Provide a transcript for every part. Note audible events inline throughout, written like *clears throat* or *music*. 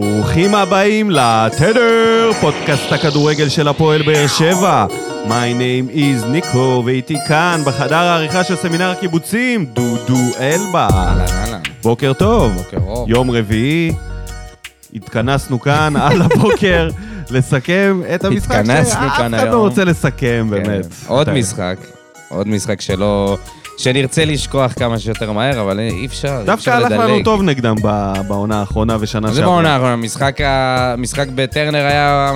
ברוכים הבאים לתדר, פודקאסט הכדורגל של הפועל באר שבע. My name is ניקו, ואיתי כאן, בחדר העריכה של סמינר הקיבוצים, דודו אלבה. אהלן, אהלן. בוקר טוב. בוקר אור. יום רביעי, התכנסנו כאן *laughs* על הבוקר לסכם את המשחק התכנסנו שאף כאן אחד לא היום. רוצה לסכם, באמת. כן. עוד משחק, עוד משחק שלא... שנרצה לשכוח כמה שיותר מהר, אבל אי אפשר, אי דווקא אפשר לדלג. הלך לנו טוב נגדם ב- בעונה האחרונה ושנה זה שעברה. בעונה האחרונה, המשחק ה- המשחק בטרנר היה...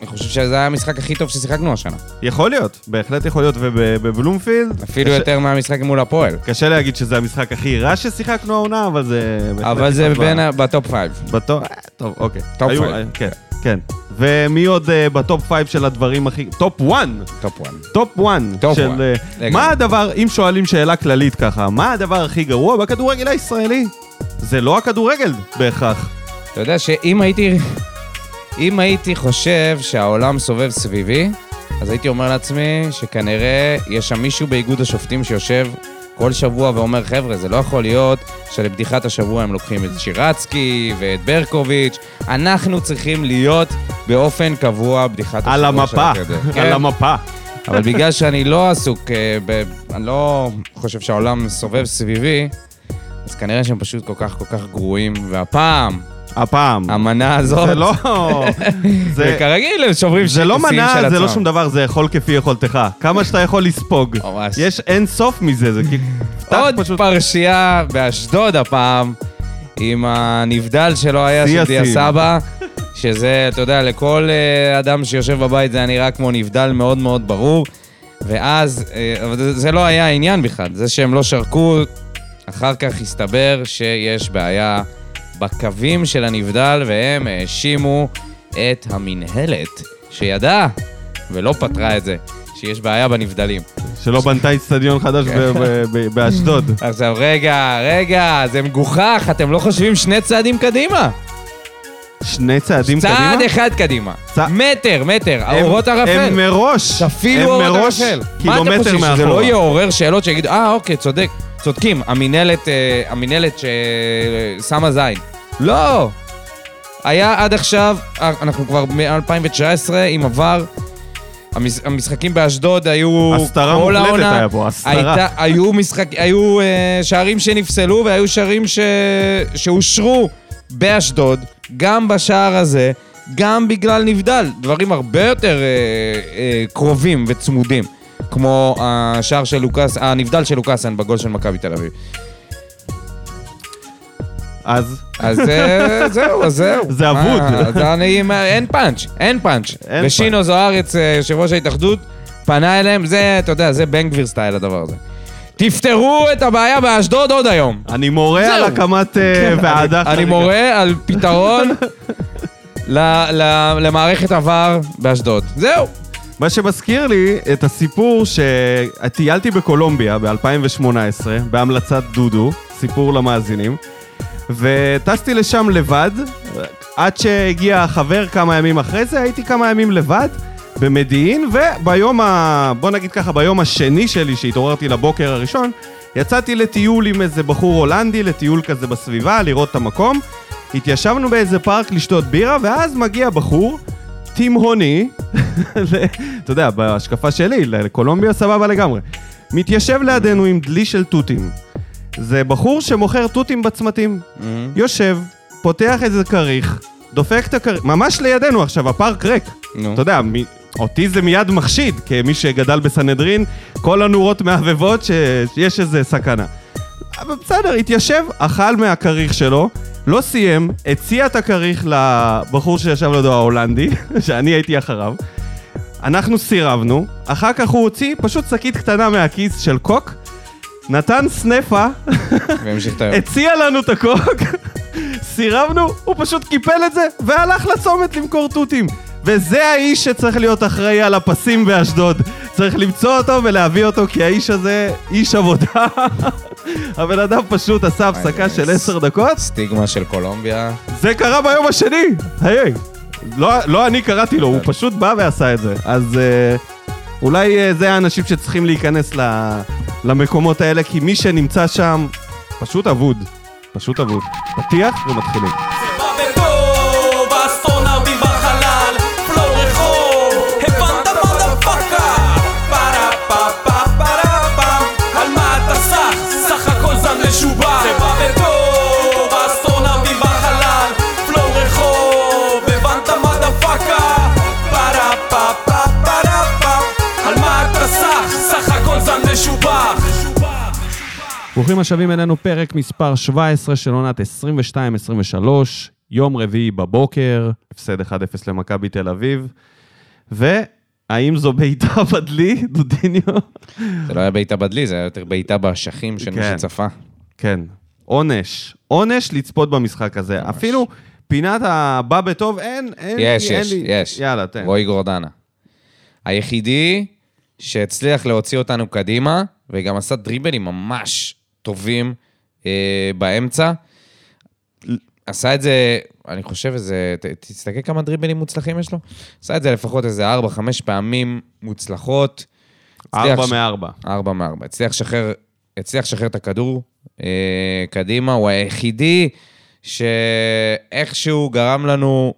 אני חושב שזה היה המשחק הכי טוב ששיחקנו השנה. יכול להיות, בהחלט יכול להיות, ובבלומפילד... אפילו יותר מהמשחק מול הפועל. קשה להגיד שזה המשחק הכי רע ששיחקנו העונה, אבל זה... בהחלט אבל זה משחק בין רע. ה... בטופ פייב. בטופ... אה, טוב, אוקיי. טופ היו- פייב. אה, כן, כן. ומי עוד אה, בטופ פייב של הדברים הכי... טופ וואן! טופ וואן. טופ וואן. טופ של... וואן, אה, לגמרי. מה הדבר, אם שואלים שאלה כללית ככה, מה הדבר הכי גרוע בכדורגל הישראלי? זה לא הכדורגל בהכרח. אתה יודע שאם הייתי... אם הייתי חושב שהעולם סובב סביבי, אז הייתי אומר לעצמי שכנראה יש שם מישהו באיגוד השופטים שיושב כל שבוע ואומר, חבר'ה, זה לא יכול להיות שלבדיחת השבוע הם לוקחים את שירצקי ואת ברקוביץ'. אנחנו צריכים להיות באופן קבוע בדיחת השבוע על המפה. של הכדור." על לא כן, המפה. אבל בגלל שאני לא עסוק, אה, ב... אני לא חושב שהעולם סובב סביבי, אז כנראה שהם פשוט כל כך כל כך גרועים, והפעם... הפעם. המנה הזאת. זה *laughs* לא... זה- וכרגיל, הם שוברים זה לא שיאים של מנה, זה עצמם. לא שום דבר, זה אכול כפי יכולתך. כמה שאתה יכול לספוג. ממש. יש אין סוף מזה, זה כאילו... עוד פשוט- פרשייה באשדוד הפעם, עם הנבדל שלא היה שיא של השיאים. דיה סבא, שזה, אתה יודע, לכל אה, אדם שיושב בבית זה היה נראה כמו נבדל מאוד מאוד ברור. ואז, אה, אבל זה- זה לא היה העניין בכלל, זה שהם לא שרקו, אחר כך הסתבר שיש בעיה בקווים של הנבדל, והם האשימו את המינהלת, שידעה ולא פתרה את זה, שיש בעיה בנבדלים. שלא בנתה איצטדיון חדש ב- ב- ב- באשדוד. עכשיו, רגע, רגע, זה מגוחך, אתם לא חושבים שני צעדים קדימה? שני צעדים קדימה? צעד אחד קדימה. צע- מטר, מטר, הם- אורות הם ערפל. מראש, תפעילו הם אורות מראש ערפל. מה אתם קילומטר חושבים, שזה מאחורה. לא יעורר שאלות שיגידו, אה, אוקיי, צודק, צודקים, המינהלת, אה, המינהלת ששמה זין. לא! היה עד עכשיו, אה, אנחנו כבר מ-2019 עם עבר. המש- המשחקים באשדוד היו הסתרה כל מוחלטת העונה. היה פה, הסתרה. הייתה, היו, משחק, היו אה, שערים שנפסלו והיו שערים ש... שאושרו באשדוד, גם בשער הזה, גם בגלל נבדל. דברים הרבה יותר אה, אה, קרובים וצמודים, כמו השער של לוקאס, הנבדל של לוקאסן בגול של מכבי תל אביב. אז אז אה, זהו, אז זהו. זה אבוד. מה, אז אני- מה, אין פאנץ', אין פאנץ'. אין ושינו זוארץ, אה, יושב ראש ההתאחדות, פנה אליהם, זה, אתה יודע, זה בן גביר סטייל הדבר הזה. תפתרו את הבעיה באשדוד עוד היום. אני מורה על זהו. כן, הקמת אה, ועדה אני חריגה. מורה על *laughs* פתרון ל- ל- למערכת עבר באשדוד. זהו. מה שמזכיר לי את הסיפור שטיילתי בקולומביה ב-2018, בהמלצת דודו, סיפור למאזינים, וטסתי לשם לבד, עד שהגיע החבר כמה ימים אחרי זה, הייתי כמה ימים לבד במדיעין, וביום ה... בוא נגיד ככה, ביום השני שלי, שהתעוררתי לבוקר הראשון, יצאתי לטיול עם איזה בחור הולנדי, לטיול כזה בסביבה, לראות את המקום. התיישבנו באיזה פארק לשתות בירה, ואז מגיע בחור תימהוני, *laughs* ל- אתה יודע, בהשקפה שלי, לקולומביה סבבה לגמרי. מתיישב לידינו עם דלי של תותים. זה בחור שמוכר תותים בצמתים. יושב, פותח איזה כריך, דופק את הכריך, ממש לידינו עכשיו, הפארק ריק. נו. אתה יודע, מ- אותי זה מיד מחשיד, כמי שגדל בסנהדרין, כל הנורות מהבהבות ש- שיש איזה סכנה. אבל בסדר, התיישב, אכל מהכריך שלו, לא סיים, הציע את הכריך לבחור שישב לידו ההולנדי, *laughs* שאני הייתי אחריו. אנחנו סירבנו, אחר כך הוא הוציא פשוט שקית קטנה מהכיס של קוק, נתן סנפה, והמשיך את היום. הציע לנו את הקוק, *laughs* סירבנו, הוא פשוט קיפל את זה, והלך לצומת למכור תותים. וזה האיש שצריך להיות אחראי על הפסים באשדוד. צריך למצוא אותו ולהביא אותו, כי האיש הזה איש עבודה. *laughs* הבן אדם פשוט עשה הפסקה אה, של אה, עשר דקות, סטיגמה של קולומביה. זה קרה ביום השני! היי! לא, לא אני קראתי לו, הוא פשוט בא ועשה את זה. אז אה, אולי אה, זה האנשים שצריכים להיכנס ל, למקומות האלה, כי מי שנמצא שם פשוט אבוד. פשוט אבוד. פתיח ומתחילים. בא בטוב, ברוכים השבים אלינו, פרק מספר 17 של עונת 22-23, יום רביעי בבוקר, הפסד 1-0 למכבי תל אביב. והאם זו בעיטה *laughs* בדלי, דודיניו? זה לא היה בעיטה בדלי, זה היה יותר בעיטה באשכים של מי כן. שצפה. כן, עונש. עונש לצפות במשחק הזה. אפילו פינת הבא בטוב, אין, אין, יש, אין יש, לי. יש. יאללה, תן. רועי גורדנה. היחידי שהצליח להוציא אותנו קדימה, וגם עשה דריבלים ממש טובים אה, באמצע. עשה את זה, אני חושב איזה, ת, תסתכל כמה דריבלים מוצלחים יש לו. עשה את זה לפחות איזה 4-5 פעמים מוצלחות. ארבע הצליח- מארבע. ארבע מארבע. הצליח לשחרר, הצליח לשחרר את הכדור אה, קדימה, הוא היחידי שאיכשהו גרם לנו,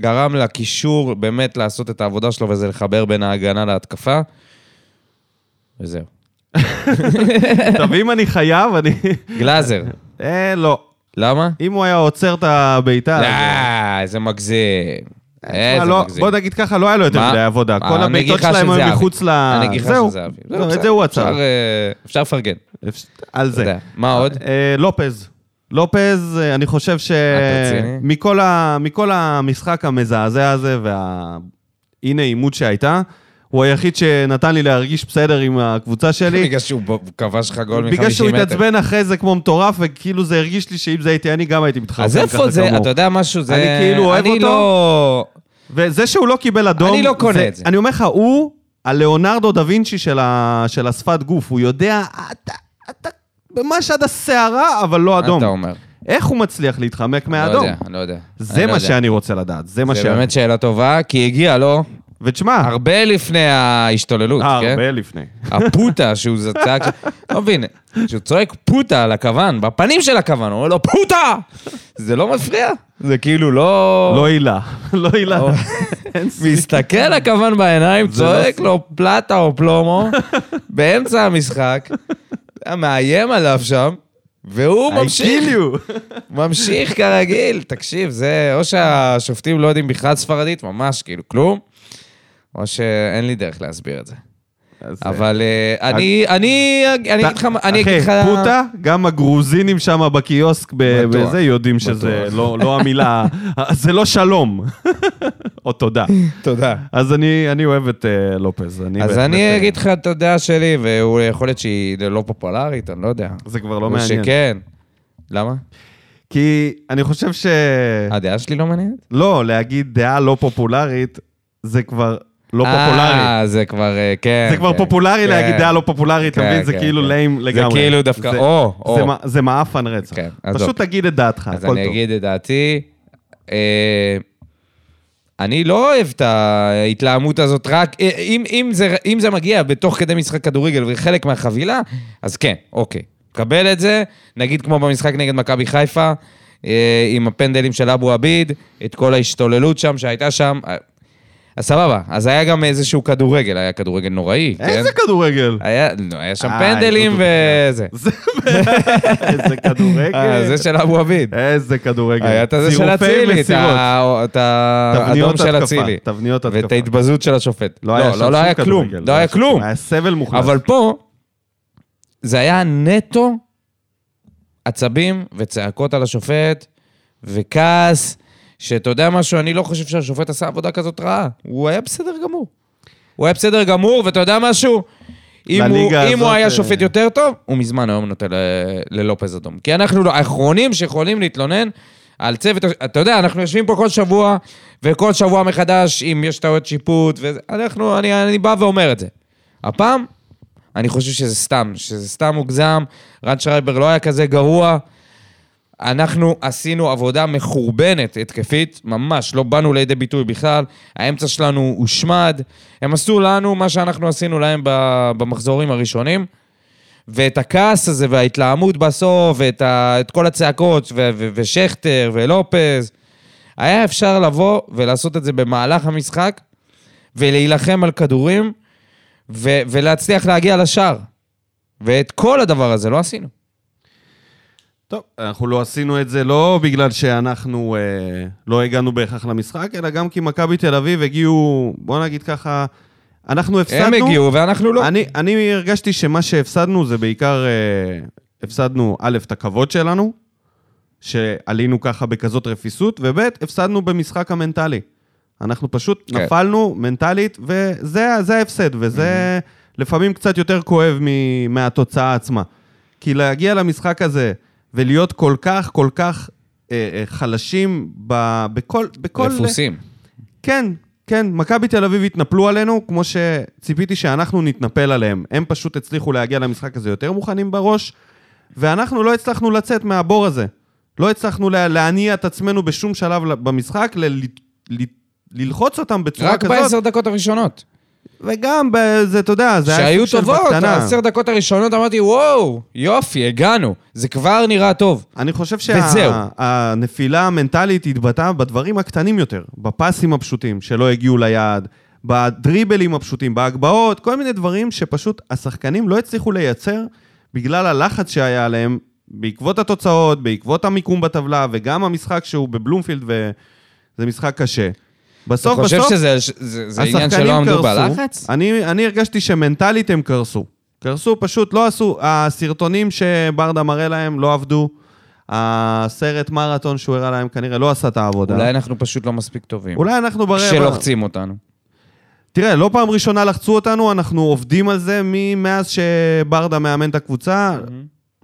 גרם לקישור באמת לעשות את העבודה שלו, וזה לחבר בין ההגנה להתקפה. וזהו. טוב, אם אני חייב, אני... *laughs* גלאזר, אה, לא. *laughs* למה? אם הוא היה עוצר את הבעיטה... לא, אז- איזה מגזים. תשמע, איזה לא- מגזים. בוא נגיד ככה, לא היה לו יותר מה? אה, מדי עבודה. מה, כל הבעיטות הנגיחה שלהם של היו זהבי. מחוץ ל... הנגיחה של זהו. זהבי. לא, זהו, את בסדר. זה הוא אפשר, עצר. אה, אפשר לפרגן. אפשר- על אתה זה. יודע. מה עוד? אה, לופז. לופז, אה, אני חושב ש... אה, אתה רציני? מכל ה- מכל המשחק המזעזע הזה והאי נעימות שהייתה, הוא היחיד שנתן לי להרגיש בסדר עם הקבוצה שלי. *laughs* בגלל שהוא ב- כבש לך גול מ-50 מטר. בגלל שהוא התעצבן אחרי זה כמו מטורף, וכאילו זה הרגיש לי שאם זה הייתי אני, גם הייתי מתחרפן אז ככה איפה זה, כמוהו. אתה יודע משהו, זה... אני כאילו אוהב אני אותו. לא... וזה שהוא לא קיבל אדום... אני לא קונה זה, את זה. אני אומר לך, הוא הלאונרדו דה וינצ'י של, ה, של השפת גוף. הוא יודע, אתה, אתה ממש עד השערה, אבל לא אדום. אתה אומר. איך הוא מצליח להתחמק לא מהאדום? יודע, אני לא יודע. זה אני לא מה יודע. שאני רוצה לדעת, זה מה ש... זה באמת שאלה טובה, כי הגיע לו ותשמע, הרבה לפני ההשתוללות, אה, כן? הרבה לפני. הפוטה שהוא ז- צעק... לא מבין, שהוא צועק פוטה על הכוון, בפנים של הכוון, הוא אומר לו פוטה! זה לא מפריע. זה כאילו לא... לא הילה, לא הילה. או- *laughs* אין סיכוי. מסתכל לכוון בעיניים, זה לא צועק סי- לו פלטה או פלומו, באמצע המשחק, מאיים עליו שם, והוא I ממשיך. kill you. ממשיך כרגיל, תקשיב, זה או שהשופטים לא יודעים בכלל ספרדית, ממש כאילו כלום, או שאין לי דרך להסביר את זה. אז, אבל אה, אני, אני, אני אתה- אגיד לך, מה- אני אגיד לך... אחי, פוטה, גם הגרוזינים שם בקיוסק ב- בטוח, בזה יודעים שזה בטוח. לא לא *laughs* המילה, זה לא שלום. *laughs* או תודה. תודה. אז אז אני, אני אוהב את אה, לופז. אני בהחלט, אה, אני אגיד לך את הדעה שלי, ויכול להיות שהיא לא פופולרית, אני לא יודע. זה כבר לא או מעניין. שכן. למה? כי אני חושב ש... כן. הדעה שלי לא מעניינת? לא, להגיד דעה לא פופולרית, זה כבר לא פופולרי. אה, זה כבר, אה, כן. זה כבר כן, פופולרי כן. להגיד דעה לא פופולרית, אתה כן, מבין? זה כן, כאילו כן. ליים זה לגמרי. כאילו דווקא, זה- או, או. זה מע- זה מעפן רצח. כן, עזוב. פשוט תגיד את דעתך, אה, הכל אז טוב. אני אגיד את דעתי. אה, אני לא אוהב את ההתלהמות הזאת, רק אה, אם, אם, זה, אם זה מגיע בתוך כדי משחק כדורגל וחלק מהחבילה, אז כן, אוקיי. קבל את זה, נגיד כמו במשחק נגד מכבי חיפה, אה, עם הפנדלים של אבו עביד, את כל ההשתוללות שם שהייתה שם. אה, אז סבבה, אז היה גם איזשהו כדורגל, היה כדורגל נוראי, כן? איזה כדורגל? היה, לא, היה שם אה, פנדלים איזה כאילו- וזה. זה- *laughs* איזה אה, כדורגל. זה של אבו עביד. איזה כדורגל. היה את הזה של צירופי אצילי, את מסירות. ה- את האדום תבניות של התקפה, אצילי. תבניות התקפה. ואת ההתבזות של השופט. לא, היה שם לא, לא שום היה כלום. כדורגל, לא היה שם- כלום. היה סבל מוחלט. אבל פה, זה היה נטו עצבים וצעקות על השופט וכעס, שאתה יודע משהו, אני לא חושב שהשופט עשה עבודה כזאת רעה. הוא היה בסדר גמור. הוא היה בסדר גמור, ואתה יודע משהו? אם, הוא, לליגה אם הוא הזאת, היה אה, שופט יותר טוב, הוא מזמן היום נותן ל- ללופז אדום. כי אנחנו לא- האחרונים שיכולים להתלונן על צוות... הש- אתה יודע, אנחנו יושבים פה כל שבוע, וכל שבוע מחדש, אם יש טעויות שיפוט, ואנחנו, אני, אני בא ואומר את זה. הפעם, אני חושב שזה סתם, שזה סתם מוגזם, רן שרייבר לא היה כזה גרוע. אנחנו עשינו עבודה מחורבנת התקפית, ממש, לא באנו לידי ביטוי בכלל. האמצע שלנו הושמד. הם עשו לנו מה שאנחנו עשינו להם ב- במחזורים הראשונים. ואת הכעס הזה וההתלהמות בסוף, ואת ה... את כל הצעקות, ו... ו... ושכטר ולופז, היה אפשר לבוא ולעשות את זה במהלך המשחק, ולהילחם על כדורים, ו... ולהצליח להגיע לשער. ואת כל הדבר הזה לא עשינו. טוב, אנחנו לא עשינו את זה לא בגלל שאנחנו אה, לא הגענו בהכרח למשחק, אלא גם כי מכבי תל אביב הגיעו, בוא נגיד ככה, אנחנו הפסדנו. הם הגיעו ואנחנו לא. אני, אני הרגשתי שמה שהפסדנו זה בעיקר אה, הפסדנו, א', את הכבוד שלנו, שעלינו ככה בכזאת רפיסות, וב', הפסדנו במשחק המנטלי. אנחנו פשוט כן. כן. נפלנו מנטלית, וזה זה ההפסד, וזה לפעמים קצת יותר כואב מ, מהתוצאה עצמה. כי להגיע למשחק הזה ולהיות כל כך, כל כך אה, אה, חלשים ב, בכל... בכל דפוסים. כן, כן, מכבי תל אביב התנפלו עלינו, כמו שציפיתי שאנחנו נתנפל עליהם. הם פשוט הצליחו להגיע למשחק הזה יותר מוכנים בראש, ואנחנו לא הצלחנו לצאת מהבור הזה. לא הצלחנו לה, להניע את עצמנו בשום שלב ל- במשחק, ל, ל, ל, ללחוץ אותם בצורה רק כזאת. בעשר דקות הראשונות. וגם, זה, אתה יודע, זה היה שהיו סוג של טובות, בקטנה. העשר דקות הראשונות אמרתי, וואו, יופי, הגענו. זה כבר נראה טוב. אני חושב וזהו. שהנפילה המנטלית התבטאה בדברים הקטנים יותר, בפסים הפשוטים שלא הגיעו ליעד, בדריבלים הפשוטים, בהגבהות, כל מיני דברים שפשוט השחקנים לא הצליחו לייצר בגלל הלחץ שהיה עליהם, בעקבות התוצאות, בעקבות המיקום בטבלה, וגם המשחק שהוא בבלומפילד, וזה משחק קשה. אתה בסוף, חושב בסוף, שזה זה- זה עניין השחקנים שלא קרסו. עמדו בלחץ? אני, אני הרגשתי שמנטלית הם קרסו. קרסו, פשוט לא עשו. הסרטונים שברדה מראה להם לא עבדו. הסרט מרתון שהוא הראה להם כנראה לא עשה את העבודה. אולי אנחנו פשוט לא מספיק טובים. אולי לא אנחנו ברבע... כשלוחצים אותנו. תראה, לא פעם ראשונה לחצו אותנו, אנחנו עובדים על זה מ- מאז שברדה מאמן את הקבוצה.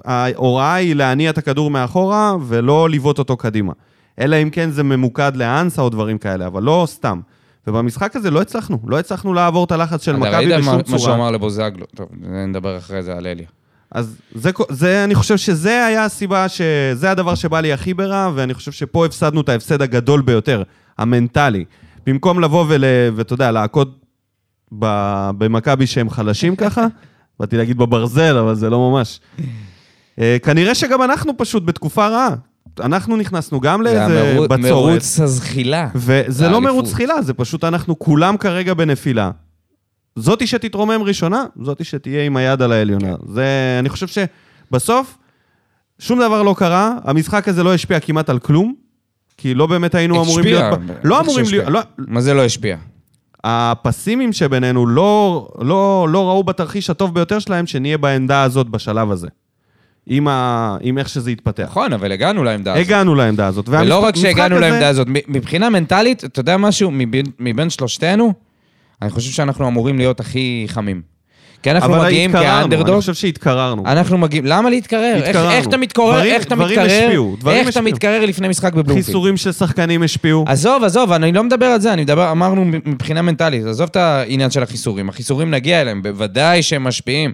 ההוראה היא להניע את הכדור מאחורה ולא לבעוט אותו קדימה. אלא אם כן זה ממוקד לאנסה או דברים כאלה, אבל לא סתם. ובמשחק הזה לא הצלחנו, לא הצלחנו לעבור את הלחץ של אתה מכבי ראית מה- בשום מה שהוא צורה. אמר לבוזגלו? טוב, זה נדבר אחרי זה על אליה. אז זה, כל- זה, אני חושב שזה היה הסיבה, ש... זה הדבר שבא לי הכי ברע, ואני חושב שפה הפסדנו את ההפסד הגדול ביותר, המנטלי. במקום לבוא ול... ואתה יודע, להכות ב... במכבי שהם חלשים *laughs* ככה, באתי להגיד בברזל, אבל זה לא ממש. אה, כנראה שגם אנחנו פשוט בתקופה רעה. אנחנו נכנסנו גם לאיזה והמרו- בצורת. מרוץ הזחילה. וזה לא לאליפות. מרוץ זחילה, זה פשוט אנחנו כולם כרגע בנפילה. זאתי שתתרומם ראשונה, זאתי שתהיה עם היד על העליונה. כן. זה, אני חושב שבסוף, שום דבר לא קרה, המשחק הזה לא השפיע כמעט על כלום, כי לא באמת היינו אמורים להיות... השפיע. ב- לא איך אמורים שהשפיע? להיות... לא, מה זה לא השפיע? הפסימים שבינינו לא, לא, לא ראו בתרחיש הטוב ביותר שלהם שנהיה בעמדה הזאת בשלב הזה. עם, ה, עם איך שזה התפתח. נכון, אבל הגענו לעמדה הזאת. הגענו לעמדה הזאת. ולא והמשחק- רק שהגענו המשחק הזה- לעמדה הזאת, מ- מבחינה מנטלית, אתה יודע משהו, מבין- מבין שלושתנו, אני חושב שאנחנו אמורים להיות הכי חמים. כי אנחנו אבל מגיעים התקררנו, אני כאנדרדוג, חושב שהתקררנו. אנחנו מגיעים, למה להתקרר? איך- התקררנו. איך אתה מתקורר? דברים- איך אתה דברים השפיעו, מתקרר? דברים איך אתה השפיעו. מתקרר לפני משחק בבלומפילד? חיסורים של שחקנים השפיעו. עזוב, עזוב, אני לא מדבר על זה, אני מדבר, אמרנו מבחינה מנטלית, עזוב את העניין של החיסורים. החיסורים נגיע אליהם, בוודאי שהם משפיעים.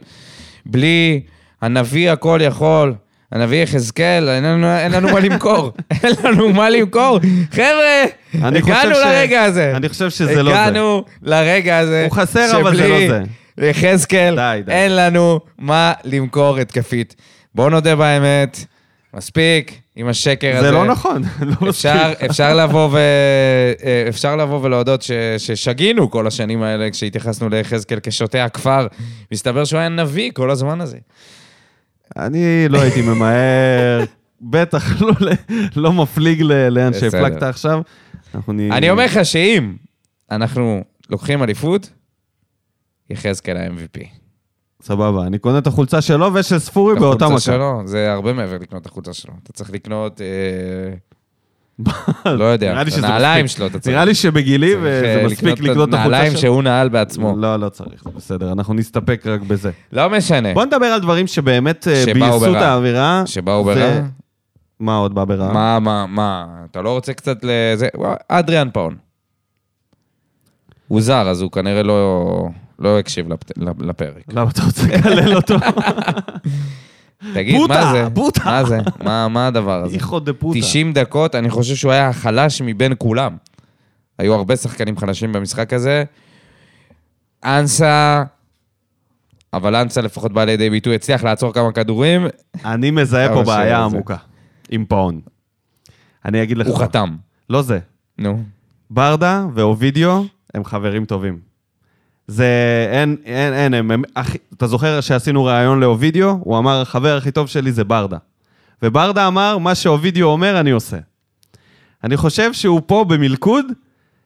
בלי הנביא הכל יכול, הנביא יחזקאל, אין לנו, אין לנו מה למכור. *laughs* אין לנו מה למכור. חבר'ה, אני חושב הגענו ש- לרגע הזה. אני חושב שזה לא זה. הגענו לרגע הזה. הוא חסר, אבל זה שבלי לא יחזקאל, די, די. אין לנו מה למכור התקפית. בואו נודה באמת, מספיק עם השקר הזה. זה לא נכון. *laughs* לא אפשר, מספיק. אפשר, לבוא ו... אה, אפשר לבוא ולהודות ש... ששגינו כל השנים האלה כשהתייחסנו ליחזקאל כשוטה הכפר. מסתבר שהוא היה נביא כל הזמן הזה. אני לא הייתי ממהר, בטח *laughs* לא ל- לא מפליג ל- לאן בסדר. שהפלגת עכשיו. אנחנו נ- אני אומר לך שאם אנחנו לוקחים אליפות, יחזקאל ה-MVP. סבבה, אני קונה את החולצה שלו ושל ספורי באותה החולצה מכה. שלו, זה הרבה מעבר לקנות את החולצה שלו. אתה צריך לקנות, אה, לא יודע, אה, נראה לי את שזה הנעליים מספיק. שלו אתה צריך. נראה לי שבגילי צריך, וזה אה, מספיק לקנות את החולצה נעליים שלו. שהוא נעל בעצמו. לא, לא צריך, בסדר, אנחנו נסתפק רק בזה. לא משנה. בוא נדבר על דברים שבאמת אה, שבאו בייסו את ברע. האווירה. זה- שבאו ברע. מה עוד בא ברע? מה, מה, מה, אתה לא רוצה קצת לזה? וואי, אדריאן פאון. הוא זר, אז הוא כנראה לא, לא הקשיב לפ- לפרק. למה אתה רוצה לקלל *laughs* אותו? תגיד, בוטה, מה זה? בוטה. מה זה? מה, מה הדבר הזה? איכו דה פוטה. 90 דקות, אני חושב שהוא היה החלש מבין כולם. היו הרבה שחקנים חלשים במשחק הזה. אנסה, אבל אנסה לפחות בא לידי ביטוי, הצליח לעצור כמה כדורים, אני מזהה כמה פה בעיה שזה. עמוקה, עם פאון. אני אגיד לך. הוא חתם. לא זה. נו. ברדה ואובידיו הם חברים טובים. זה, אין, אין, אין, הם, הם אחי, אתה זוכר שעשינו ראיון לאובידיו? הוא אמר, החבר הכי טוב שלי זה ברדה. וברדה אמר, מה שאובידיו אומר, אני עושה. אני חושב שהוא פה במלכוד,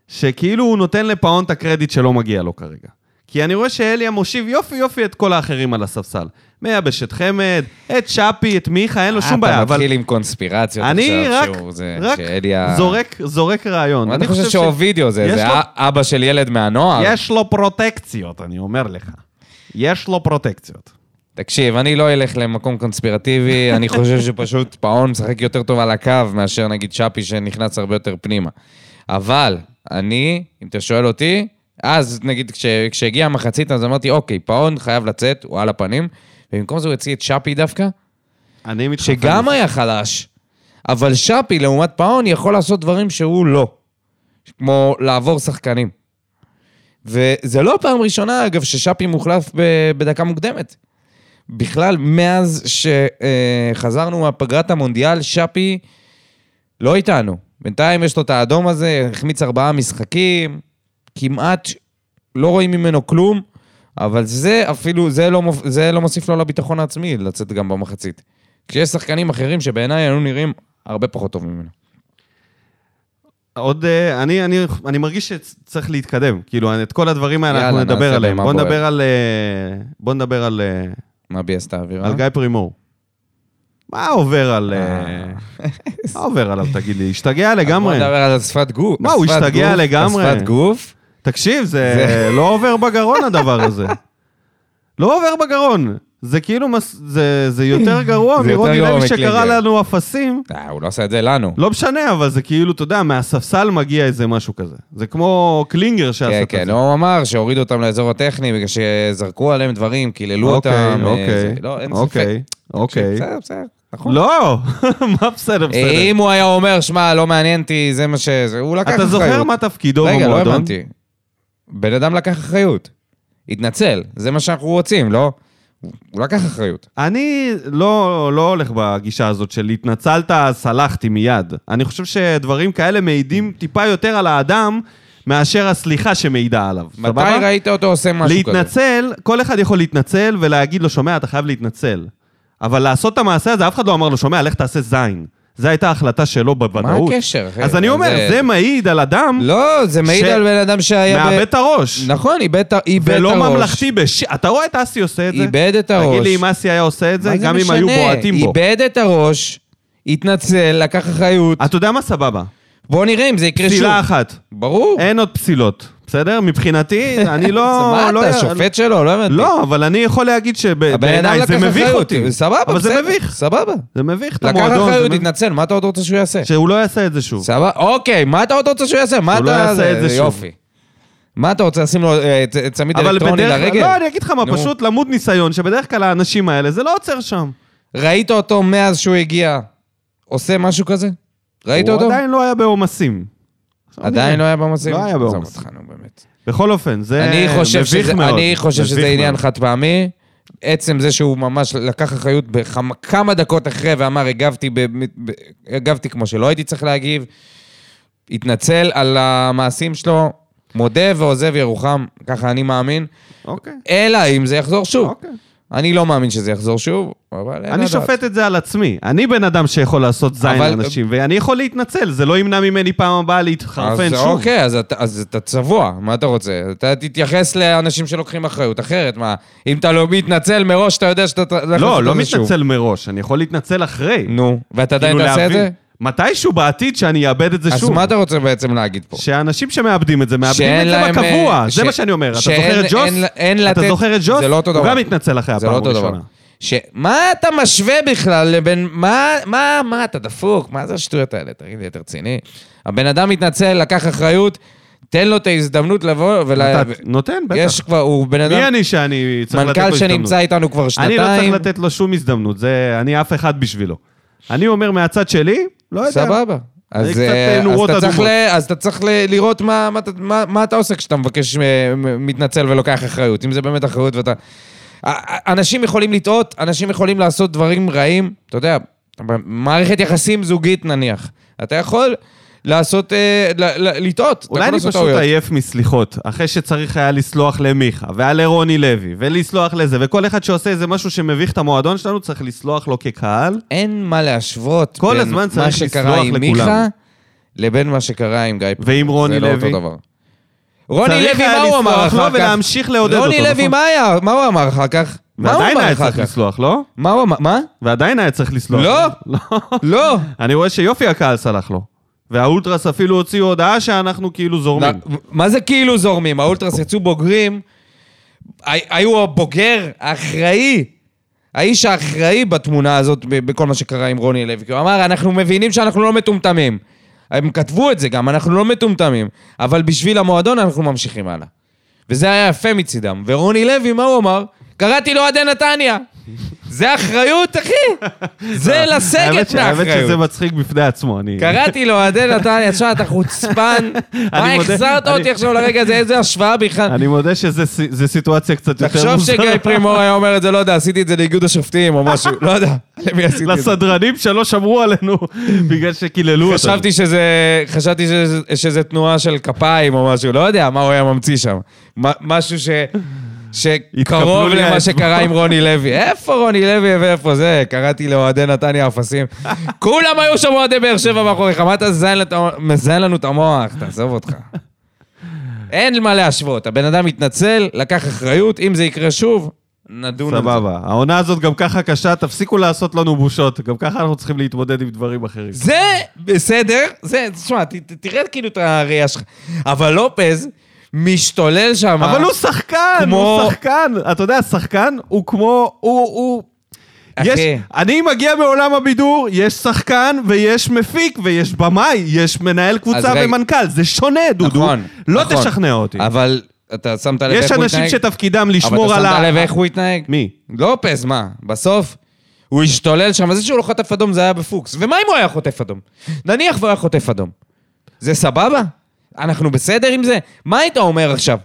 שכאילו הוא נותן לפאון את הקרדיט שלא מגיע לו כרגע. כי אני רואה שאליה מושיב יופי יופי את כל האחרים על הספסל. מייבש את חמד, את שפי, את מיכה, אין לו שום בעיה. אה, אתה אבל מתחיל עם קונספירציות אני עכשיו, רק, שהוא זה, רק שאליה... זורק, זורק רעיון. מה אתה אני חושב ש- שאובידיו זה? יש זה לו- א- אבא של ילד מהנוער? יש לו פרוטקציות, אני אומר לך. יש לו פרוטקציות. תקשיב, אני לא אלך למקום קונספירטיבי, *laughs* אני חושב שפשוט פאון משחק יותר טוב על הקו מאשר נגיד שפי שנכנס הרבה יותר פנימה. אבל אני, אם אתה שואל אותי, אז נגיד כש, כשהגיעה המחצית אז אמרתי, אוקיי, פאון חייב לצאת, הוא על הפנים, ובמקום זה הוא הוציא את שפי דווקא, אני מתחפש. שגם היה חלש, אבל שפי לעומת פאון יכול לעשות דברים שהוא לא, כמו לעבור שחקנים. וזה לא פעם ראשונה, אגב, ששפי מוחלף ב- בדקה מוקדמת. בכלל, מאז שחזרנו מהפגרת המונדיאל, שפי לא איתנו. בינתיים יש לו את האדום הזה, החמיץ ארבעה משחקים, כמעט לא רואים ממנו כלום, אבל זה אפילו, זה לא, מופ- זה לא מוסיף לו לביטחון העצמי לצאת גם במחצית. כשיש שחקנים אחרים שבעיניי היו נראים הרבה פחות טוב ממנו. עוד, אה, אני, אני, אני מרגיש שצריך להתקדם. כאילו, את כל הדברים האלה יאללה, אנחנו נעשה נדבר עליהם. במה בוא בוער. נדבר על... אה, בוא נדבר על... אה, מה ביאס את האווירה? על גיא פרימור. מה עובר על... אה, אה. מה עובר עליו, תגיד לי? השתגע בוא לגמרי. נדבר על שפת גוף. מה, הוא השפת השתגע גוף, לגמרי. השפת גוף. תקשיב, זה זה- לא עובר בגרון הדבר הזה. לא עובר בגרון. זה כאילו, מס- זה זה יותר גרוע זה יותר מרוני גרוע לוי שקרא מקלינגר. לנו אפסים. אה, הוא לא עשה את זה לנו. לא משנה, אבל זה כאילו, אתה יודע, מהספסל מגיע איזה משהו כזה. זה כמו קלינגר שעשה כן, לא את זה. כן, הוא אמר שהורידו אותם לאזור הטכני בגלל שזרקו עליהם דברים, קיללו אותם. אה, אוקיי, זה- לא, אין ספק. כן, אוקיי, אוקיי. בסדר, בסדר, נכון. אה, לא, *laughs* מה בסדר, בסדר. אם הוא היה אומר, שמע, לא מעניין אותי, זה מה ש... זה- הוא לקח אתה זוכר אחריות. מה תפקידו במועדון? רגע, לא הבנתי. בן אדם לקח אחריות. התנצל, זה מה שאנחנו רוצים, לא? הוא- הוא לקח אחריות. אני לא, לא הולך בגישה הזאת של התנצלת, אז סלחתי מיד. אני חושב שדברים כאלה מעידים טיפה יותר על האדם מאשר הסליחה שמעידה עליו. מתי ראית אותו עושה משהו כזה? להתנצל, כל אחד יכול להתנצל ולהגיד לו, שומע, אתה חייב להתנצל. אבל לעשות את המעשה הזה, אף אחד לא אמר לו, שומע, לך תעשה זין. זו הייתה ההחלטה שלו מה בוודאות. הקשר, אחי? אז אני אומר, זה מעיד על אדם לא, זה מעיד ש- על בן אדם שהיה... ב- מאבד את הראש. נכון, איבד את ה- איבד את הראש. ולא ממלכתי בש... אתה רואה את אסי עושה את זה? איבד את תגיד הראש. לי אם אסי היה עושה את זה, מה גם אם היו משנה? בועטים בו. איבד את הראש, התנצל, לקח אחריות. אתה יודע מה? סבבה. בוא נראה אם זה יקרה שוב. פסילה אחת. ברור. אין עוד פסילות, בסדר? מבחינתי, *laughs* אני לא... מה לא אתה, יודע- שופט שלו? לא הבנתי. לא, אבל אני יכול להגיד הבן אדם שבעיניי זה לקח מביך אחריות. אותי. סבבה, אבל זה בסדר, מביך. סבבה. זה מביך את לקח המועדון. זה אחריות, מביך. התנצל, מה אתה עוד רוצה שהוא יעשה? שהוא לא יעשה את זה שוב. סבבה, אוקיי, מה אתה עוד רוצה שהוא יעשה? מה שהוא לא אתה... יעשה את זה שוב. יופי. מה אתה רוצה, לשים לו אה, צ- צמיד אבל אלקטרוני בדרך לרגל? כלל... לא, אני אגיד לך מה, נו. פשוט למוד ניסיון, שבדרך כלל האנשים האלה, זה לא עוצר שם. ראית אותו מאז שהוא הגיע עושה משהו כזה? ראית הוא אותו? עדיין לא היה בעומסים. עדיין לא היה במסעים? לא היה עזוב בעומס. אותך, נו, באמת. בכל אופן, זה אני חושב מביך שזה, מאוד. אני חושב שזה מביך עניין מאוד. חד פעמי. עצם זה שהוא ממש לקח אחריות בכמה דקות אחרי ואמר, הגבתי, ב, ב, הגבתי כמו שלא הייתי צריך להגיב, התנצל על המעשים שלו, מודה ועוזב ירוחם, ככה אני מאמין, אוקיי, אלא אם זה יחזור שוב. אוקיי. אני לא מאמין שזה יחזור שוב, אבל... אין אני לדעת. שופט את זה על עצמי. אני בן אדם שיכול לעשות זין אבל- לאנשים, ואני יכול להתנצל, זה לא ימנע ממני פעם הבאה להתחרפן אז שוב. אוקיי, אז אתה, אז אתה צבוע, מה אתה רוצה? אתה תתייחס לאנשים שלוקחים אחריות, אחרת מה? אם אתה לא מתנצל מראש, אתה יודע שאתה... הולך לעשות לא, את לא זה שוב. מתנצל מראש, אני יכול להתנצל אחרי. נו, ואתה עדיין כאילו תעשה את להבין- זה? מתישהו בעתיד שאני אאבד את זה אז שוב. מה אתה רוצה בעצם להגיד פה? שהאנשים שמאבדים את זה, מאבדים שאין את זה להם, בקבוע, אה, זה ש- מה שאני אומר. אתה שאין- זוכר את ג'וס? אין- אין אתה לתת- זוכר את ג'וס? זה לא אותו הוא דבר. גם התנצל אחרי זה לא הפעם אותו דבר. הראשונה. ש... מה אתה משווה בכלל לבין... מה, מה, מה, אתה דפוק? מה זה השטויות האלה? תגיד לי, אתה רציני? הבן אדם מתנצל, לקח אחריות, תן לו את ההזדמנות לבוא ול... אתה נותן, יש בטח. כבר, הוא בן אדם... מי אני שאני צריך לתת לו מנכ"ל הזדמנות? שנמצא איתנו כבר שנתיים. אני לא צריך לתת לו שום הזדמנות, זה... אני אף אחד בשבילו. אני אומר מהצד שלי, לא יודע. סבבה. אני אז, קצת, אה, אז, נורות אתה צריך אדומות. ל, אז אתה צריך ל, לראות מה, מה, אתה- מה, מה אתה עושה כשאתה מבקש, אה, מ- מתנצל ולוקח אחריות, אם זה באמת אחריות ואתה... א- א- אנשים יכולים לטעות, אנשים יכולים לעשות דברים רעים, אתה יודע, מערכת יחסים זוגית נניח. אתה יכול לעשות, אה, ל, ל, לטעות, אתה יכול אולי אני לעשות פשוט טעויות. עייף מסליחות, אחרי שצריך היה לסלוח למיכה, והיה לרוני לוי, ולסלוח לזה, וכל אחד שעושה איזה משהו שמביך את המועדון שלנו, צריך לסלוח לו כקהל. אין מה להשוות כל בין הזמן מה צריך שקרה לסלוח עם לכולם. מיכה לבין מה שקרה עם גיא פרץ. ועם רוני זה לוי. לא אותו דבר. רוני צריך לוי, היה מה הוא אמר לסלוח לו אחר כך? ולהמשיך לעודד רוני אותו, לוי, נכון? מה היה? מה הוא אמר אחר כך? מה הוא ועדיין אמר היה אחר צריך כך? לסלוח, לא? מה הוא אמר? מה? ועדיין היה צריך לסלוח. לא. *laughs* לא. לא. אני רואה שיופי הקהל סלח לו. והאולטרס אפילו הוציאו הודעה שאנחנו כאילו זורמים. מה זה כאילו זורמים? האולטרס יצאו בוגרים, הי- היו הבוגר האחראי, האיש האחראי בתמונה הזאת, ב- בכל מה שקרה עם רוני לוי. כי הוא אמר, אנחנו מבינים שאנחנו לא מטומטמים. הם כתבו את זה גם, אנחנו לא מטומטמים. אבל בשביל המועדון אנחנו ממשיכים הלאה. וזה היה יפה מצידם. ורוני לוי, מה הוא אמר? קראתי לו עדי נתניה. *laughs* זה אחריות, אחי! *laughs* זה האמת לסגת ש- האמת שזה מאחריות. מצחיק בפני עצמו, אני... קראתי לו, אוהדי *laughs* נתניה, תשמע, אתה חוצפן. מה מודה, החזרת אני- אותי עכשיו לרגע הזה? איזה השוואה בכלל. אני מודה שזו סיטואציה קצת יותר תחשוב מוזרה. שגיא *laughs* פרימור היה אומר את זה, לא יודע, עשיתי את זה לאיגוד השופטים או משהו, לא יודע, למי עשיתי את זה. לסדרנים שלא שמרו עלינו *laughs* בגלל שקיללו אותנו. חשבתי שזה, חשבתי שזה, שזה תנועה של כפיים או משהו, לא יודע מה הוא היה ממציא שם. מה- משהו ש... שקרוב לי למה האצבעות. שקרה עם רוני לוי. איפה רוני לוי ואיפה זה? קראתי לאוהדי *laughs* נתניה אפסים. כולם היו שם אוהדי באר שבע מאחוריך, מה אתה זיין לת- מזיין לנו את המוח? תעזוב אותך. אין מה להשוות, הבן אדם התנצל, לקח אחריות, אם זה יקרה שוב, נדון על זה. סבבה. העונה הזאת גם ככה קשה, תפסיקו לעשות לנו בושות. גם ככה אנחנו צריכים להתמודד עם דברים אחרים. זה בסדר, זה, תשמע, ת, ת, תראה כאילו את הראייה שלך. אבל לופז משתולל שם. אבל הוא שחקן, כמו- הוא שחקן. אתה יודע, שחקן הוא כמו... הוא... הוא... אחי. יש, אני מגיע מעולם הבידור, יש שחקן ויש מפיק ויש במאי, יש מנהל קבוצה רגע. ומנכ"ל, זה שונה, דודו. נכון, לא נכון. תשכנע אותי. אבל אתה שמת לב יש איך הוא התנהג? אנשים שתפקידם לשמור על אבל ה... אתה שמת לב איך הוא התנהג? מי? לופז, מה? בסוף הוא השתולל שם, זה שהוא לא חטף אדום זה היה בפוקס. ומה אם הוא היה חוטף אדום? נניח והוא היה חוטף אדום. זה סבבה? אנחנו בסדר עם זה? מה היית אומר עכשיו?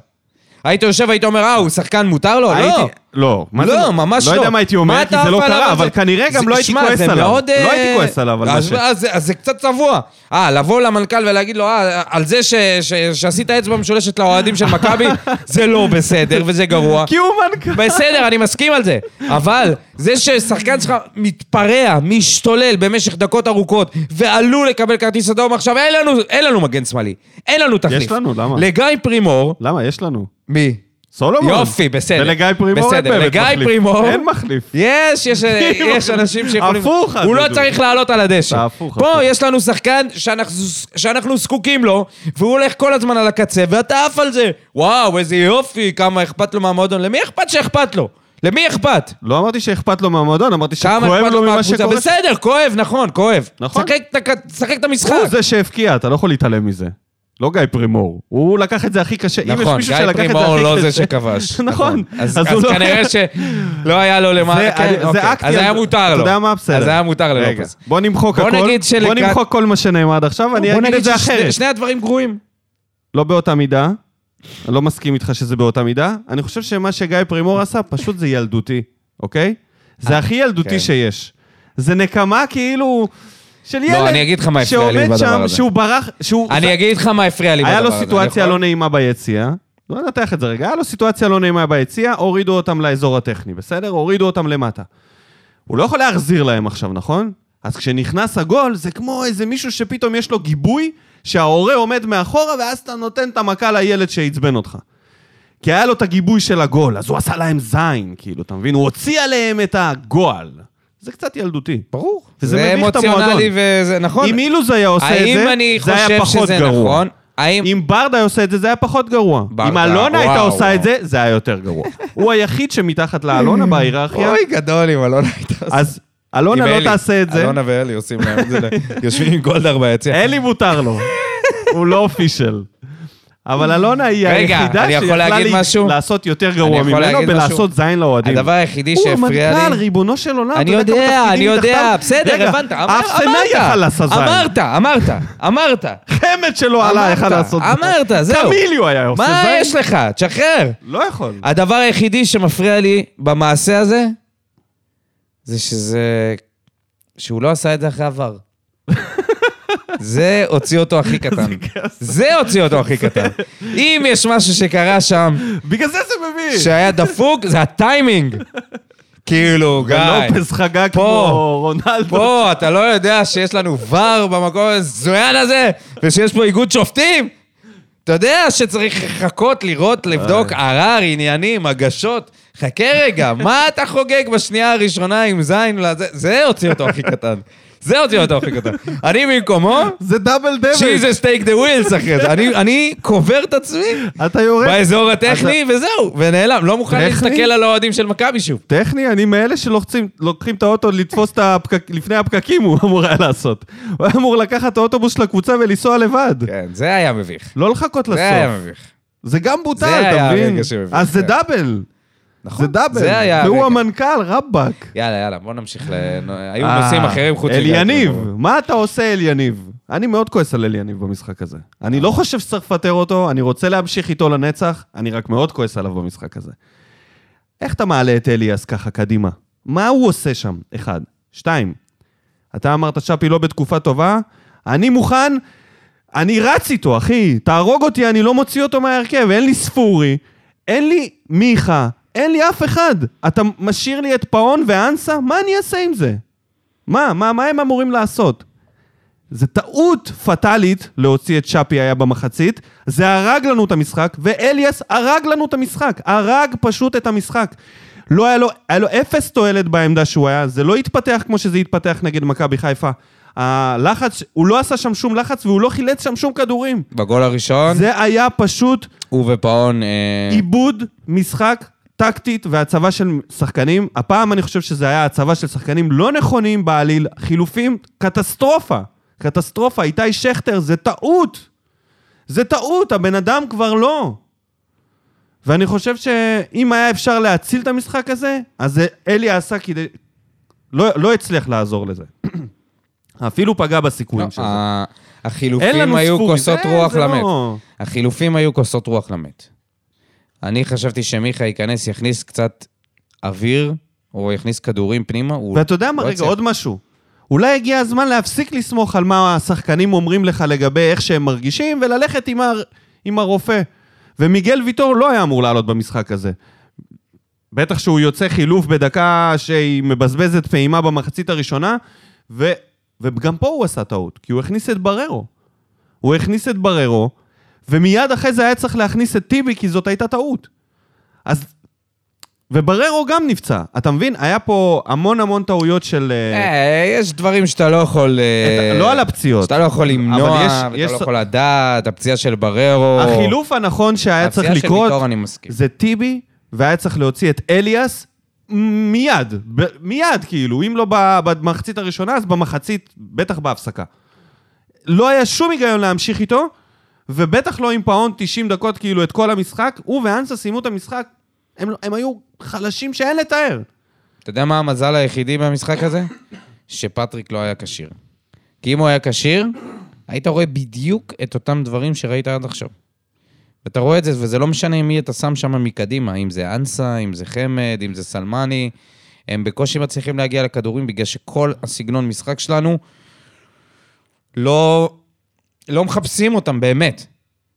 היית יושב, היית אומר, אה, הוא שחקן מותר לו? לא. הייתי- לא, מה לא, זה- ממש לא. לא יודע מה הייתי אומר, מה כי אתה זה לא עף עליו קרה, על אבל זה? כנראה גם זה- לא הייתי שמע, כועס זה עליו. מאוד, לא אה, הייתי כועס עליו על מה אז- ש... אז זה- אז זה קצת צבוע. אה, לבוא למנכ"ל ולהגיד לו, אה, על זה ש- ש- שעשית אצבע משולשת לאוהדים של *laughs* מכבי, זה לא בסדר וזה גרוע. כי הוא מנכ"ל. בסדר, אני מסכים על זה. אבל זה ששחקן שלך מתפרע, משתולל במשך דקות ארוכות, ועלול לקבל כרטיס אדום עכשיו, אין לנו, אין לנו מגן שמאלי. אין לנו תחליף. לנו, למה? לגיא פרימור, למה? יש לנו. מי? סולומון. יופי, בסדר. ולגיא פרימור אין בסדר, באמת לגיא מחליף. פרימור- אין מחליף. יש, יש, אה, *laughs* כאילו, יש אנשים שיכולים... הפוך, הוא לא הדודו. צריך לעלות על הדשא. הפוך, פה הפוך. יש לנו שחקן שאנחנו- שאנחנו זקוקים לו, והוא הולך כל הזמן על הקצה, ואתה עף על זה. וואו, איזה יופי, כמה אכפת לו מהמועדון. למי אכפת שאכפת לו? למי אכפת? לא אמרתי שאכפת לו מהמועדון, אמרתי כמה שכואב אכפת לו לו ממה מהקבוצה? שקורה. בסדר, כואב, נכון, כואב. נכון. שחק את הכ- שחק את המשחק. הוא זה שהבקיע, אתה לא יכול להתעלם מזה. לא גיא פרימור. הוא לקח את זה הכי קשה. אם יש נכון, מישהו גיא שלקח את זה פרימור הכי לא קשה- זה שכבש. *laughs* נכון. אז אז אז הוא לא- כנראה שלא היה לו למה... זה- כן, זה אוקיי. אקט אז על- היה מותר לו. אתה יודע מה? בסדר. אז היה מותר רגע, ללופס. לא בוא נמחוק בוא הכל. נגיד שלקראת- בוא נמחוק כל מה שנאמר עד עכשיו, אני בוא אגיד נגיד את זה ששני- אחרת. שני הדברים גרועים. לא באותה מידה. אני לא מסכים איתך שזה באותה מידה. אני חושב שמה שגיא פרימור עשה, פשוט זה ילדותי, אוקיי? זה הכי כן. ילדותי שיש. זה נקמה כאילו של ילד. לא, אני אגיד לך מה הפריע לי בדבר שעומד הזה. שם, שהוא ברח, שהוא... אני אגיד לך מה הפריע לי בדבר היה הזה. לו אני סיטואציה יכול? לא נעימה ביציאה. לא נתח את זה רגע, היה לו סיטואציה לא נעימה ביציאה, הורידו אותם לאזור הטכני, בסדר? הורידו אותם למטה. הוא לא יכול להחזיר להם עכשיו, נכון? אז כשנכנס הגול, זה כמו איזה מישהו שפתאום יש לו גיבוי, שההורה עומד מאחורה, ואז אתה נותן את המכה לילד שעצבן אותך. כי היה לו את הגיבוי של הגול, אז הוא עשה להם זין, כאילו, אתה מבין? הוא הוציא עליהם את הגועל. זה קצת ילדותי. ברור. וזה מביך את אמוציונלי המועדון. וזה נכון. אם אילוז היה עושה את האם זה, אני זה היה חושב פחות שזה גרוע. נכון? האם... אם ברדה היה עושה את זה, זה היה פחות גרוע. ברדה, אם אלונה הייתה וואו, עושה וואו. את זה, זה היה יותר גרוע. הוא היחיד שמתחת לאלונה בהיררכיה, אוי, גדול אם אלונה הייתה עושה. אז אלונה עם לא אלי. תעשה את זה. אלונה ואלי עושים *laughs* להם את זה. יושבים עם גולדהר ביציע. אלי מותר לו, הוא לא אופישל. אבל אלונה היא רגע, היחידה אני יכול שיכולה להגיד לי- משהו? לעשות יותר אני גרוע יכול ממנו להגיד משהו? ולעשות זין לאוהדים. הדבר היחידי הוא שהפריע המנכ"ל, לי... ריבונו של עולם. אני אתה כמה יודע, אני תפקידים יודע, אה, מתחתיו? בסדר, רגע, הבנת, אמר- אף סנאי יכל אמרת, לעשות זין. אמרת, אמרת, אמרת, חמד שלו עלה יכל אמרת, לעשות זין. אמרת, זהו. קמיליו היה עושה זין. מה יש לך? תשחרר. לא יכול. הדבר היחידי שמפריע לי במעשה הזה, זה שזה... שהוא לא עשה את זה אחרי עבר. זה הוציא *laughs* אותו הכי קטן. זה הוציא אותו הכי קטן. אם יש משהו *laughs* שקרה שם, בגלל זה זה מביך. שהיה דפוק, זה הטיימינג. כאילו, גיא. לופס חגג פה. כמו רונלדו. פה, אתה לא יודע שיש לנו ור במקום הזוין הזה, ושיש פה איגוד שופטים? אתה יודע שצריך לחכות, לראות, לבדוק ערר, עניינים, הגשות. חכה רגע, מה אתה חוגג בשנייה הראשונה עם זין? לזה? זה הוציא אותו הכי קטן. זה הוציא אותו הכי קטן. אני במקומו, זה דאבל דבל. Jesus take the wheels אחרי זה. אני- אני קובר את עצמי אתה יורד. באזור הטכני, וזהו, ונעלם. לא מוכן טכני? להסתכל על האוהדים של מכבי שוב. טכני, אני מאלה שלוחצים, לוקחים את האוטו לתפוס את הפקק, לפני הפקקים, הוא אמור היה לעשות. הוא היה אמור לקחת את האוטובוס של הקבוצה ולנסוע לבד. כן, זה היה מביך. לא לחכות זה היה לסוף. מביך. זה גם בוטל, זה אתה היה מבין? הרגע שמבין, אז זה כן. דאבל. נכון. זה דאבל. זה היה והוא הרגע. המנכ"ל, רבאק. יאללה, יאללה, בוא נמשיך ל... היו אה, נושאים אחרים חוץ כאילו. אל מגיא יניב, פינקו. מה אתה עושה אל יניב? אני מאוד כועס על אל יניב במשחק הזה. אני לא חושב שצריך לפטר אותו, אני רוצה להמשיך איתו לנצח, אני רק מאוד כועס עליו במשחק הזה. איך אתה מעלה את אליאס ככה קדימה? מה הוא עושה שם? אחד. שתיים, אתה אמרת שפי לא בתקופה טובה, אני מוכן, אני רץ איתו, אחי, תהרוג אותי, אני לא מוציא אותו מההרכב, אין לי ספורי, אין לי מיכה, אין לי אף אחד. אתה משאיר לי את פאון ואנסה? מה אני אעשה עם זה? מה, מה, מה הם אמורים לעשות? זה טעות פטאלית להוציא את שפי היה במחצית, זה הרג לנו את המשחק, ואליאס הרג לנו את המשחק, הרג פשוט את המשחק. לא היה לו, היה לו אפס תועלת בעמדה שהוא היה, זה לא התפתח כמו שזה התפתח נגד מכבי חיפה. הלחץ, הוא לא עשה שם שום לחץ והוא לא חילץ שם שום כדורים. בגול הראשון, זה היה פשוט הוא ופאון... אה, עיבוד משחק טקטית והצבה של שחקנים. הפעם אני חושב שזה היה הצבה של שחקנים לא נכונים בעליל, חילופים, קטסטרופה. קטסטרופה, איתי שכטר, זה טעות. זה טעות, הבן אדם כבר לא. ואני חושב שאם היה אפשר להציל את המשחק הזה, אז אלי עשה כדי... לא, לא הצליח לעזור לזה. *clears throat* אפילו פגע לא, בסיכויים של זה. ה- אין החילופים לנו היו ספורים. כוסות זה- רוח זה למת. לא- החילופים היו כוסות רוח למת. אני חשבתי שמיכה ייכנס, יכניס קצת אוויר, או יכניס כדורים פנימה. הוא ואתה יודע מה, לא רגע, הצליח. עוד משהו. אולי הגיע הזמן להפסיק לסמוך על מה השחקנים אומרים לך לגבי איך שהם מרגישים, וללכת עם, הר... עם הרופא. ומיגל ויטור לא היה אמור לעלות במשחק הזה. בטח שהוא יוצא חילוף בדקה שהיא מבזבזת פעימה במחצית הראשונה, ו... וגם פה הוא עשה טעות, כי הוא הכניס את בררו. הוא הכניס את בררו, ומיד אחרי זה היה צריך להכניס את טיבי, כי זאת הייתה טעות. אז... ובררו גם נפצע. אתה מבין? היה פה המון המון טעויות של... אה, אה, יש דברים שאתה לא יכול... אה, את- לא על הפציעות. שאתה לא יכול למנוע, אבל יש- ואתה יש- לא יכול לדעת, הפציעה של בררו. החילוף הנכון שהיה צריך הפציעה של לקרות ויטור, אני מסכים. זה טיבי, והיה צריך להוציא את אליאס מיד, ב- מיד כאילו, אם לא ב- במחצית הראשונה, אז במחצית, בטח בהפסקה. לא היה שום היגיון להמשיך איתו, ובטח לא עם פאון 90 דקות כאילו את כל המשחק. הוא ואנסה סיימו את המשחק, הם, לא- הם היו חלשים שאין לתאר. אתה יודע מה המזל היחידי במשחק הזה? שפטריק לא היה כשיר. כי אם הוא היה כשיר, היית רואה בדיוק את אותם דברים שראית עד עכשיו. ואתה רואה את זה, וזה לא משנה מי אתה שם שם מקדימה, אם זה אנסה, אם זה חמד, אם זה סלמני, הם בקושי מצליחים להגיע לכדורים בגלל שכל הסגנון משחק שלנו לא, לא מחפשים אותם באמת.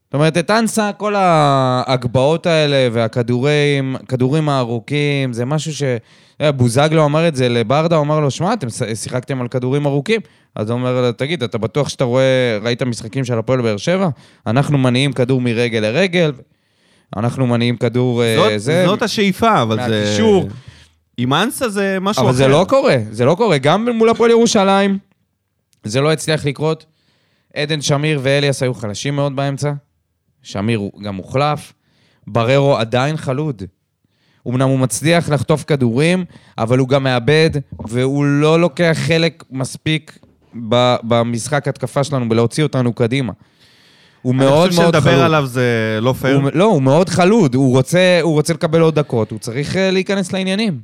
זאת אומרת, את אנסה, כל ההגבהות האלה והכדורים, הכדורים הארוכים, זה משהו ש... אתה יודע, בוזגלו אמר את זה לברדה, הוא אמר לו, שמע, אתם ש- שיחקתם על כדורים ארוכים. אז הוא אומר לו, תגיד, אתה בטוח שאתה רואה, ראית משחקים של הפועל באר שבע? אנחנו מניעים כדור מרגל לרגל, אנחנו מניעים כדור... אה, זאת, זה, זאת השאיפה, אבל זה... מהקישור. עם אנסה זה משהו אבל אחר. זה לא קורה, זה לא קורה. גם מול הפועל ירושלים, זה לא הצליח לקרות. עדן שמיר ואליאס היו חלשים מאוד באמצע. שמיר הוא גם הוחלף. בררו עדיין חלוד. אמנם הוא מצליח לחטוף כדורים, אבל הוא גם מאבד, והוא לא לוקח חלק מספיק ב- במשחק התקפה שלנו, בלהוציא אותנו קדימה. הוא מאוד מאוד חלוד. אני חושב שלדבר עליו זה לא פייר. הוא, לא, הוא מאוד חלוד, הוא רוצה, הוא רוצה לקבל עוד דקות, הוא צריך אה, להיכנס לעניינים.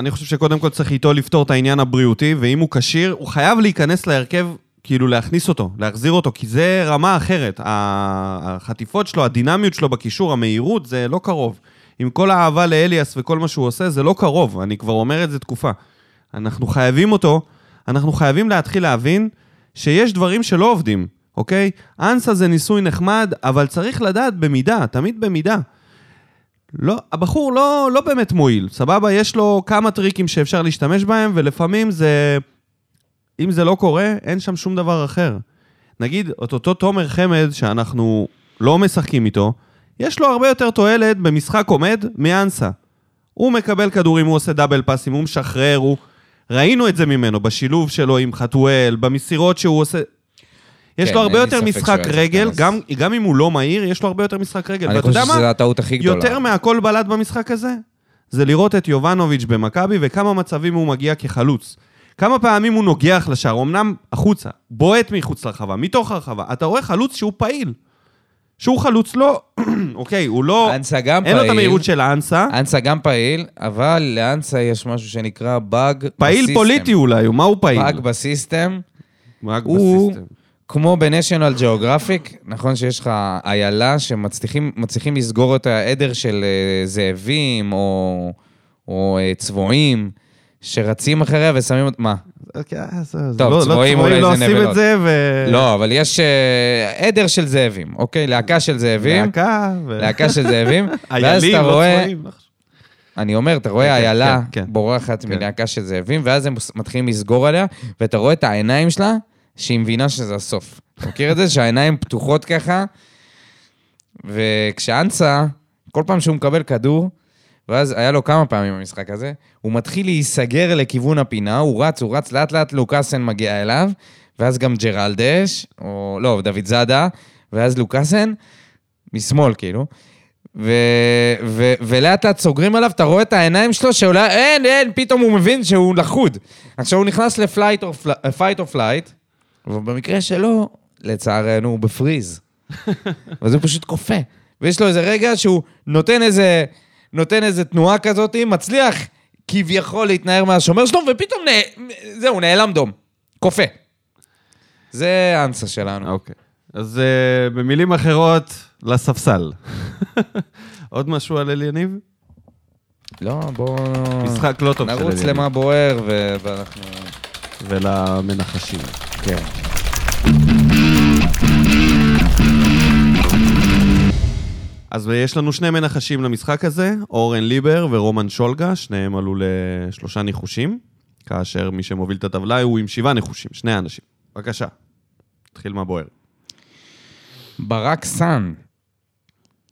אני חושב שקודם כל צריך איתו לפתור את העניין הבריאותי, ואם הוא כשיר, הוא חייב להיכנס להרכב, כאילו להכניס אותו, להחזיר אותו, כי זה רמה אחרת. ה- החטיפות שלו, הדינמיות שלו בקישור, המהירות, זה לא קרוב. עם כל האהבה לאליאס וכל מה שהוא עושה, זה לא קרוב, אני כבר אומר את זה תקופה. אנחנו חייבים אותו, אנחנו חייבים להתחיל להבין שיש דברים שלא עובדים, אוקיי? אנסה זה ניסוי נחמד, אבל צריך לדעת במידה, תמיד במידה. לא, הבחור לא, לא באמת מועיל, סבבה? יש לו כמה טריקים שאפשר להשתמש בהם, ולפעמים זה... אם זה לא קורה, אין שם שום דבר אחר. נגיד, את אותו תומר חמד, שאנחנו לא משחקים איתו, יש לו הרבה יותר תועלת במשחק עומד מאנסה. הוא מקבל כדורים, הוא עושה דאבל פאסים, הוא משחרר, הוא... ראינו את זה ממנו, בשילוב שלו עם חתואל, במסירות שהוא עושה... יש כן, לו הרבה אין לי יותר ספק משחק שהוא היה רגל, שחקן, גם, גם אם הוא לא מהיר, יש לו הרבה יותר משחק רגל. אני כן, ואתה חושב יודע מה? שזו הטעות הכי גדולה. יותר מהכל בלט במשחק הזה, זה לראות את יובנוביץ' במכבי וכמה מצבים הוא מגיע כחלוץ. כמה פעמים הוא נוגח לשער, אמנם החוצה, בועט מחוץ לרחבה, מתוך הרחבה. אתה רואה חלוץ שהוא פעיל. שהוא חלוץ לא, *clears throat* אוקיי, הוא לא... אנסה גם אין פעיל. לו את המהירות של אנסה. אנסה גם פעיל, אבל לאנסה יש משהו שנקרא באג בסיסטם. פעיל פוליטי אולי, מה הוא פעיל? באג בסיסטם. רק הוא- בסיסטם. כמו בניישנל ג'אוגרפיק, נכון שיש לך איילה שמצליחים מצליחים לסגור את העדר של אה, זאבים או, או אה, צבועים, שרצים אחריה ושמים אותם... מה? אוקיי, אז- אז טוב, לא- לא צבועים אולי לא זה עושים נבלות. את זה, ו... לא, אבל יש אה, עדר של זאבים, אוקיי? להקה של זאבים. להקה, ו... להקה של זאבים. ואז *laughs* איילים, אתה לא רואה... צבועים. אני אומר, אתה כן, רואה כן, איילה כן, כן. בורחת כן. מלהקה של זאבים, ואז הם מתחילים לסגור עליה, ואתה רואה את העיניים שלה, שהיא מבינה שזה הסוף. אתה מכיר את זה? שהעיניים פתוחות ככה, וכשאנסה, כל פעם שהוא מקבל כדור, ואז היה לו כמה פעמים במשחק הזה, הוא מתחיל להיסגר לכיוון הפינה, הוא רץ, הוא רץ, לאט לאט לוקאסן מגיע אליו, ואז גם ג'רלדש, או לא, דוד זאדה, ואז לוקאסן, משמאל כאילו. ו- ו- ולאט לאט סוגרים עליו, אתה רואה את העיניים שלו שאולי, אין, אין, פתאום הוא מבין שהוא לחוד. עכשיו הוא נכנס לפלייט או פל- פייט או פלייט, ובמקרה שלו, לצערנו, הוא בפריז. *laughs* ואז הוא פשוט קופא. ויש לו איזה רגע שהוא נותן איזה, נותן איזה תנועה כזאת, מצליח כביכול להתנער מהשומר שלו, ופתאום נ... זהו, נעלם דום. קופא. זה האנסה שלנו. אוקיי. אז אה, במילים אחרות, לספסל. *laughs* עוד משהו על אל יניב? לא, בואו... משחק לא טוב של אל יניב. נרוץ למה בוער, ו- ואנחנו... ולמנחשים. כן. אז אה, יש לנו שני מנחשים למשחק הזה, אורן ליבר ורומן שולגה, שניהם עלו לשלושה ניחושים, כאשר מי שמוביל את הטבלה הוא עם שבעה ניחושים, שני האנשים. בבקשה, תתחיל מה בוער. ברק סאן.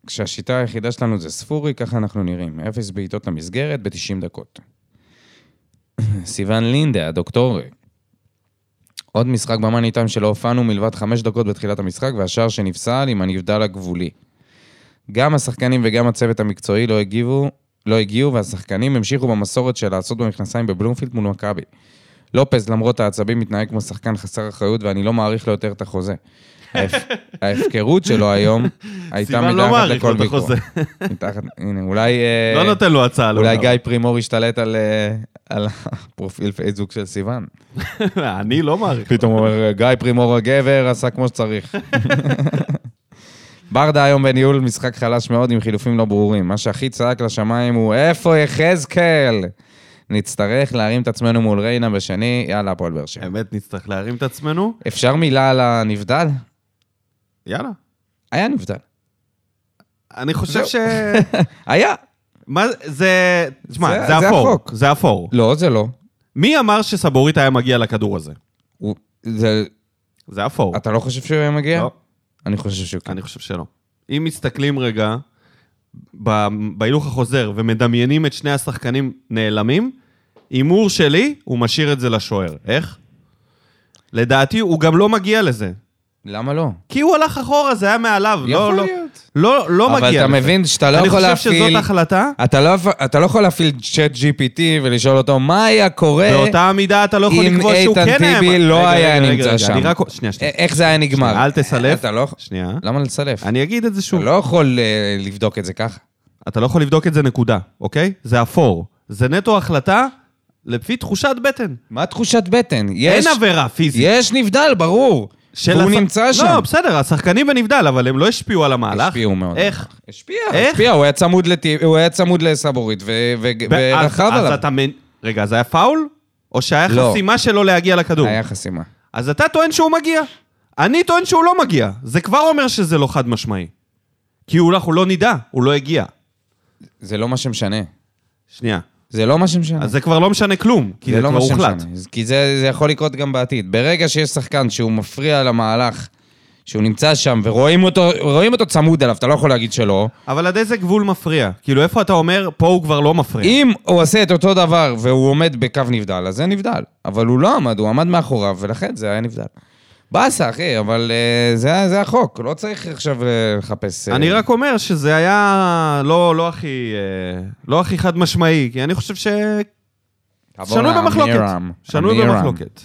כשהשיטה היחידה שלנו זה ספורי, ככה אנחנו נראים. אפס בעיטות למסגרת ב-90 דקות. סיוון לינדה, הדוקטור. עוד משחק במאני טיים שלא הופענו מלבד חמש דקות בתחילת המשחק, והשער שנפסל עם הנבדל הגבולי. גם השחקנים וגם הצוות המקצועי לא הגיבו, לא הגיעו, והשחקנים המשיכו במסורת של לעשות במכנסיים בבלומפילד מול מכבי. לופז, למרות העצבים, מתנהג כמו שחקן חסר אחריות, ואני לא מעריך לו יותר את החוזה. ההפ- ההפקרות שלו היום הייתה סיוון לא מתחת מעריך לו לכל את ביקור. החוזה. מתחת, הנה, אולי... אה, לא נותן לו הצעה. לא אולי אומר. גיא פרימור השתלט על, אה, על הפרופיל פייסבוק של סיוון. *laughs* אני לא מעריך. פתאום הוא אומר, גיא פרימור הגבר עשה כמו שצריך. *laughs* ברדה היום בניהול משחק חלש מאוד עם חילופים לא ברורים. מה שהכי צעק לשמיים הוא, איפה יחזקאל? נצטרך להרים את עצמנו מול ריינה בשני, יאללה, הפועל באר שבע. האמת, נצטרך להרים את עצמנו. אפשר מילה על הנבדל? יאללה. היה נבדל. אני חושב זהו. ש... היה. מה זה- זה... תשמע, זה- זה זה אפור. החוק. זה אפור. לא, זה לא. מי אמר שסבורית היה מגיע לכדור הזה? הוא- זה- זה אפור. אתה לא חושב שהוא היה מגיע? לא. אני חושב שהוא כן. אני חושב שלא. אם מסתכלים רגע ב- בהילוך החוזר ומדמיינים את שני השחקנים נעלמים, הימור שלי, הוא משאיר את זה לשוער. איך? לדעתי, הוא גם לא מגיע לזה. למה לא? כי הוא הלך אחורה, זה היה מעליו. לא, לא, להיות. לא, לא מגיע לזה. אבל אתה מבין שאתה לא יכול אני חושב להפעיל... שזאת החלטה. אתה לא, אתה לא יכול להפעיל צ'אט GPT ולשאול אותו מה היה קורה, באותה המידה אתה לא יכול אה, אם לקבוע שהוא כן איתן היה... טיבי רגע, לא רגע, היה רגע, נמצא רגע, שם. אני רק... שנייה, א- שנייה. "אה, איך זה היה נגמר. אל תסלף. אתה לא... שנייה. למה לסלף? אני אגיד את זה שוב. אתה לא יכול אה, לבדוק את זה ככה. אתה לא יכול לבדוק את זה נקודה, אוקיי? זה אפור. זה נטו החלטה לפי תחושת בטן. מה תחושת בטן? יש, אין עבירה פיזית. יש נבדל, ברור. של והוא הש- נמצא שם. לא, בסדר, השחקנים בנבדל, אבל הם לא השפיעו על המהלך. השפיעו מאוד. איך? השפיע, איך? השפיע, הוא היה צמוד, לטי... הוא היה צמוד לסבורית ו... ו... ואז- ורכב אז עליו. אתה מנ... רגע, אז היה פאול? או שהיה לא. חסימה שלו להגיע לכדור? היה חסימה. אז אתה טוען שהוא מגיע. אני טוען שהוא לא מגיע. זה כבר אומר שזה לא חד משמעי. כי הוא- אנחנו לא נדע, הוא לא הגיע. זה לא מה שמשנה. שנייה. זה לא מה שמשנה. אז זה כבר לא משנה כלום, כי זה כבר מה הוחלט. שמשנה, כי זה, זה יכול לקרות גם בעתיד. ברגע שיש שחקן שהוא מפריע למהלך שהוא נמצא שם ורואים אותו, רואים אותו צמוד אליו, אתה לא יכול להגיד שלא. אבל עד איזה גבול מפריע? כאילו, איפה אתה אומר, פה הוא כבר לא מפריע? אם הוא עושה את אותו דבר והוא עומד בקו נבדל, אז זה נבדל. אבל הוא לא עמד, הוא עמד מאחוריו, ולכן זה היה נבדל. באסה, אחי, אבל אה, זה, זה החוק, לא צריך עכשיו אה, לחפש... אה, אני רק אומר שזה היה לא, לא הכי, אה, לא הכי חד משמעי, כי אני חושב ש... תעבור שנוי במחלוקת. לאמירם. שנוי אמירם. במחלוקת.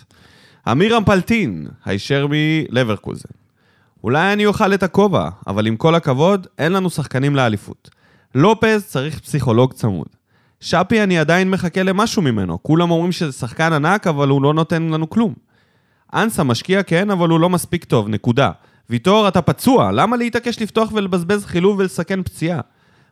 אמירם פלטין, הישר מלברקוזן. אולי אני אוכל את הכובע, אבל עם כל הכבוד, אין לנו שחקנים לאליפות. לופז צריך פסיכולוג צמוד. שפי, אני עדיין מחכה למשהו ממנו. כולם אומרים שזה שחקן ענק, אבל הוא לא נותן לנו כלום. אנסה משקיע כן, אבל הוא לא מספיק טוב, נקודה. ויטור, אתה פצוע, למה להתעקש לפתוח ולבזבז חילוב ולסכן פציעה?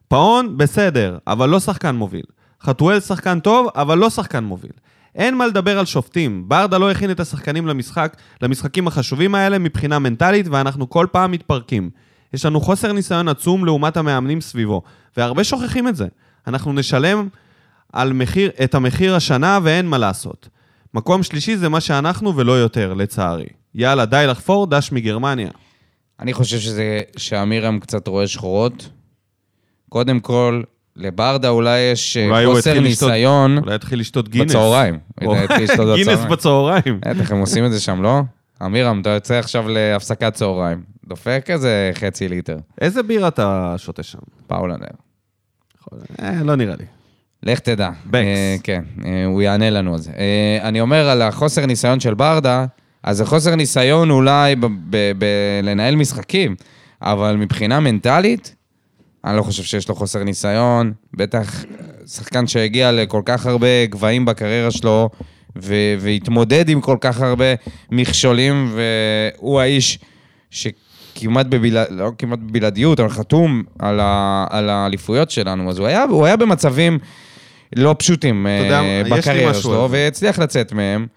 פאון, בסדר, אבל לא שחקן מוביל. חתואל שחקן טוב, אבל לא שחקן מוביל. אין מה לדבר על שופטים, ברדה לא הכין את השחקנים למשחק, למשחקים החשובים האלה מבחינה מנטלית, ואנחנו כל פעם מתפרקים. יש לנו חוסר ניסיון עצום לעומת המאמנים סביבו, והרבה שוכחים את זה. אנחנו נשלם על מחיר, את המחיר השנה ואין מה לעשות. מקום שלישי זה מה שאנחנו ולא יותר, לצערי. יאללה, די לחפור, דש מגרמניה. אני חושב שזה, שאמירם קצת רואה שחורות. קודם כל, לברדה אולי יש אה, אולי הוא חוסר התחיל לשתות- ניסיון אולי יתחיל לשתות גינס. *laughs* בצהריים. או- התחיל לשתות *laughs* גינס בצהריים. בצהריים. בטח, הם עושים את זה שם, לא? אמירם, אתה יוצא עכשיו להפסקת צהריים. דופק איזה חצי ליטר, איזה בירה אתה שותה שם? פאולנדר. אה, לא נראה לי. לך תדע. בקס. אה, כן, אה, הוא יענה לנו על זה. אה, אני אומר על החוסר ניסיון של ברדה, אז החוסר ניסיון אולי בלנהל משחקים, אבל מבחינה מנטלית, אני לא חושב שיש לו חוסר ניסיון. בטח שחקן שהגיע לכל כך הרבה גבהים בקריירה שלו, ו- והתמודד עם כל כך הרבה מכשולים, והוא האיש שכמעט בבלעדיות, לא כמעט בבלעדיות, אבל חתום על, ה- על האליפויות שלנו. אז הוא היה, הוא היה במצבים לא פשוטים אה, יודע, יש לי בקריירה משהו שלו, על זה. והצליח לצאת מהם.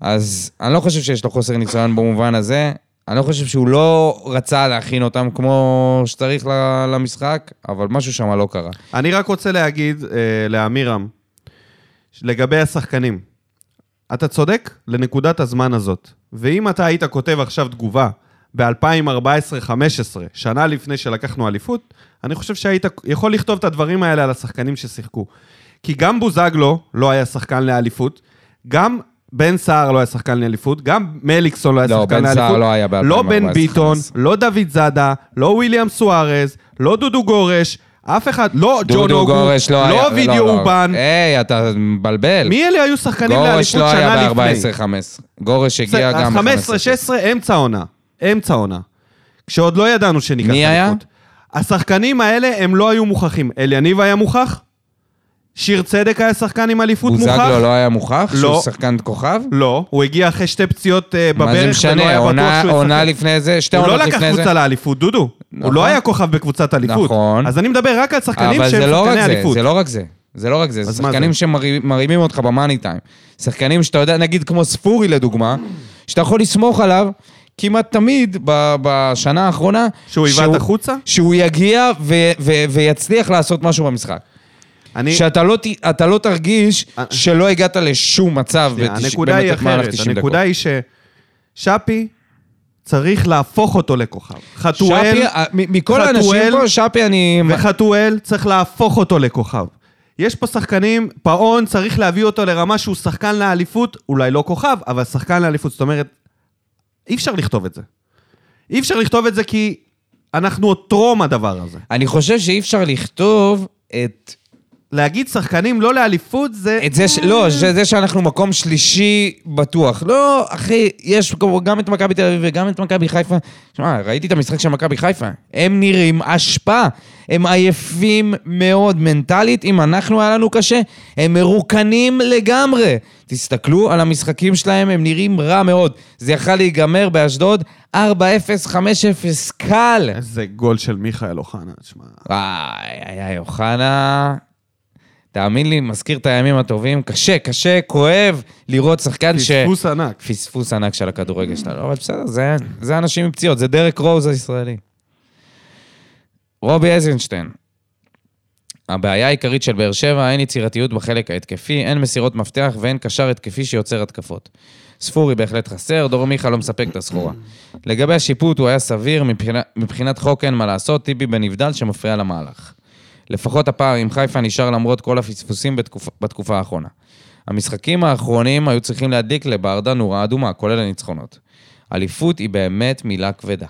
אז אני לא חושב שיש לו חוסר ניסיון במובן הזה. אני לא חושב שהוא לא רצה להכין אותם כמו שצריך ל- למשחק, אבל משהו שם לא קרה. אני רק רוצה להגיד אה, לאמירם, לגבי השחקנים, אתה צודק לנקודת הזמן הזאת. ואם אתה היית כותב עכשיו תגובה ב-2014-2015, שנה לפני שלקחנו אליפות, אני חושב שהיית יכול לכתוב את הדברים האלה על השחקנים ששיחקו. כי גם בוזגלו לא היה שחקן לאליפות, גם בן סער לא היה שחקן לאליפות, גם מליקסון לא היה לא, שחקן בן סער לאליפות. לא היה לא ב-2014-2015. בן ביטון, לא דוד זאדה, לא וויליאם סוארז, לא דודו גורש, אף אחד, לא ג'ון דודו אוגו, גורש לא היה... לא וידאו אובן. היי, אתה מבלבל. מי אלה היו שחקנים גורש לאליפות לא שנה היה לפני? ב-14-15. גורש הגיע גם ב-15-16. ב-15-16, אמצע עונה. אמצע עונה. כשעוד לא ידענו שניקח מי היה? אליפות. השחקנים האלה, הם לא היו מוכחים. אליניב היה מוכח? שיר צדק היה שחקן עם אליפות מוכח? בוזגלו לא היה מוכח? לא. שהוא שחקן כוכב? לא, הוא הגיע אחרי שתי פציעות אה, מה זה בברך, ולא משנה? היה בטוח עונה- שהוא עונה ישחק. לפני זה, שתי הוא לא עונות לקח לפני זה. קבוצה לאליפות, דודו. הוא נכון. לא היה כוכב בקבוצת אליפות. נכון. אז אני מדבר רק על שחקנים אבל שהם זה לא רק שחקני זה, אליפות. זה לא רק זה. זה לא רק זה, זה אז מה שחקנים זה? שמרימים אותך במאני טיים. שחקנים שאתה יודע, נגיד כמו ספורי לדוגמה, שאתה יכול לסמוך עליו כמעט תמיד ב- בשנה האחרונה. שהוא עיוות החוצה? שהוא יגיע ו- ו- ויצליח לעשות משהו במשחק. אני... שאתה לא, ת- אתה לא תרגיש אה. שלא הגעת לשום מצב שנייה, בתש- הנקודה היא במהלך אחרת, 90 דקות. הנקודה היא ששאפי צריך להפוך אותו לכוכב. חתואל, שפי, אה, מ- מכל האנשים חתואל פה, שפי אני... וחתואל צריך להפוך אותו לכוכב. יש פה שחקנים, פאון צריך להביא אותו לרמה שהוא שחקן לאליפות, אולי לא כוכב, אבל שחקן לאליפות. זאת אומרת, אי אפשר לכתוב את זה. אי אפשר לכתוב את זה כי אנחנו עוד טרום הדבר הזה. אני חושב שאי אפשר לכתוב את להגיד שחקנים לא לאליפות זה... את זה, ש... לא, זה, זה שאנחנו מקום שלישי בטוח. לא, אחי, יש כמו גם את מכבי תל אביב וגם את מכבי חיפה. שמע, ראיתי את המשחק של מכבי חיפה. הם נראים אשפה. הם עייפים מאוד מנטלית. אם אנחנו, היה לנו קשה, הם מרוקנים לגמרי. תסתכלו על המשחקים שלהם, הם נראים רע מאוד. זה יכל להיגמר באשדוד 4-0, 5-0, קל. איזה גול של מיכאל אוחנה, תשמע. וואי, איי, איי, אוחנה. תאמין לי, מזכיר את הימים הטובים. קשה, קשה, כואב לראות שחקן כן, ש... פספוס ענק. פספוס ענק של הכדורגל שלנו. אבל בסדר, זה, זה אנשים עם פציעות, זה דרק רוז הישראלי. רובי אייזנשטיין. הבעיה העיקרית של באר שבע, אין יצירתיות בחלק ההתקפי, אין מסירות מפתח ואין קשר התקפי שיוצר התקפות. ספורי בהחלט חסר, דור מיכה לא מספק את הסחורה. לגבי השיפוט, הוא היה סביר, מבחינה, מבחינת חוק אין מה לעשות, טיבי בנבדל שמפריע למהלך. לפחות הפער עם חיפה נשאר למרות כל הפספוסים בתקופ, בתקופה האחרונה. המשחקים האחרונים היו צריכים להדליק לברדה נורה אדומה, כולל הניצחונות. אליפות היא באמת מילה כבדה.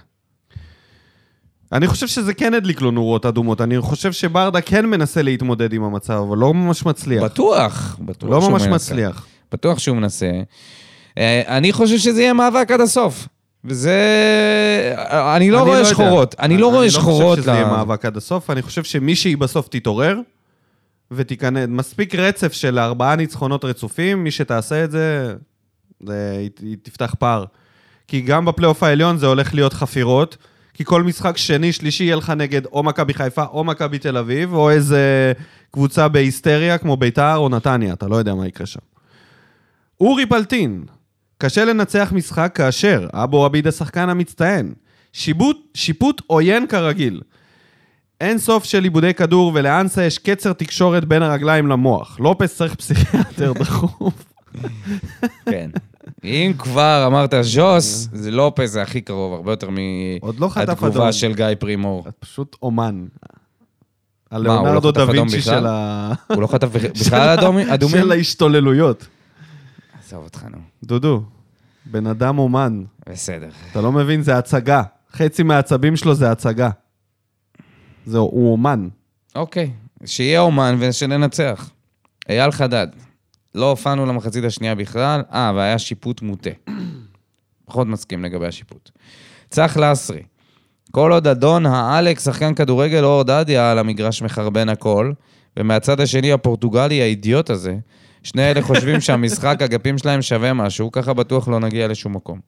אני חושב שזה כן הדליק לו נורות אדומות. אני חושב שברדה כן מנסה להתמודד עם המצב, אבל לא ממש מצליח. בטוח, בטוח לא שהוא ממש מנסה. מצליח. בטוח שהוא מנסה. אה, אני חושב שזה יהיה מאבק עד הסוף. וזה... אני לא אני רואה יודע. שחורות. אני לא רואה אני לא שחורות. חושב שזה ל- יהיה מאבק עד הסוף, אני חושב שמישהי בסוף תתעורר ותיכנס. מספיק רצף של ארבעה ניצחונות רצופים, מי שתעשה את זה, זה היא- היא תפתח פער. כי גם בפלייאוף העליון זה הולך להיות חפירות, כי כל משחק שני, שלישי יהיה לך נגד או מכבי חיפה או מכבי תל אביב, או איזה קבוצה בהיסטריה כמו ביתר או נתניה, אתה לא יודע מה יקרה שם. אורי פלטין, קשה לנצח משחק כאשר אבו עביד השחקן המצטיין. שיבוט, שיפוט עוין כרגיל. אין סוף של עיבודי כדור, ולאנסה יש קצר תקשורת בין הרגליים למוח. לופס צריך *laughs* פסיכיאטר דחוף. כן. אם כבר אמרת ז'וס, זה לופז זה הכי קרוב, הרבה יותר עוד לא חטף אדום. מהתגובה של גיא *laughs* פרימור. את פשוט אומן. לא הלאונרדו חטף דה אדום וינצ'י בכלל? של ה... הוא לא חטף בכ- של בכלל ה- אדומי- אדומים? של ההשתוללויות. עזוב אותך, נו. דודו, בן אדם אומן. בסדר. אתה לא מבין, זה הצגה. חצי מהעצבים שלו זה הצגה. זהו, הוא אומן. אוקיי, שיהיה אומן ושננצח. אייל חדד, לא הופענו למחצית השנייה בכלל, אה, והיה שיפוט מוטה. *clears throat* פחות מסכים לגבי השיפוט. צח לסרי, כל עוד אדון האלק, שחקן כדורגל אור דדיה על המגרש מחרבן הכל, ומהצד השני הפורטוגלי האידיוט הזה, שני אלה חושבים שהמשחק אגפים שלהם שווה משהו, ככה בטוח לא נגיע לשום מקום.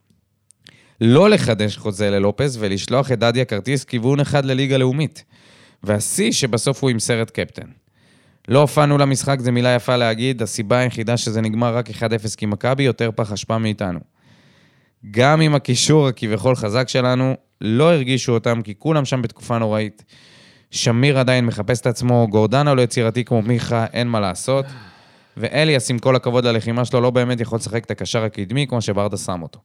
לא לחדש חוזה ללופס ולשלוח את דדיה כרטיס כיוון אחד לליגה לאומית. והשיא שבסוף הוא עם סרט קפטן. לא הופענו למשחק, זו מילה יפה להגיד, הסיבה היחידה שזה נגמר רק 1-0 כי מכבי יותר פח אשפה מאיתנו. גם עם הקישור הכביכול חזק שלנו, לא הרגישו אותם כי כולם שם בתקופה נוראית. שמיר עדיין מחפש את עצמו, גורדנה לא יצירתי כמו מיכה, אין מה לעשות. ואליאס, עם כל הכבוד ללחימה שלו, לא באמת יכול לשחק את הקשר הקדמי כמו שברדה שם אותו.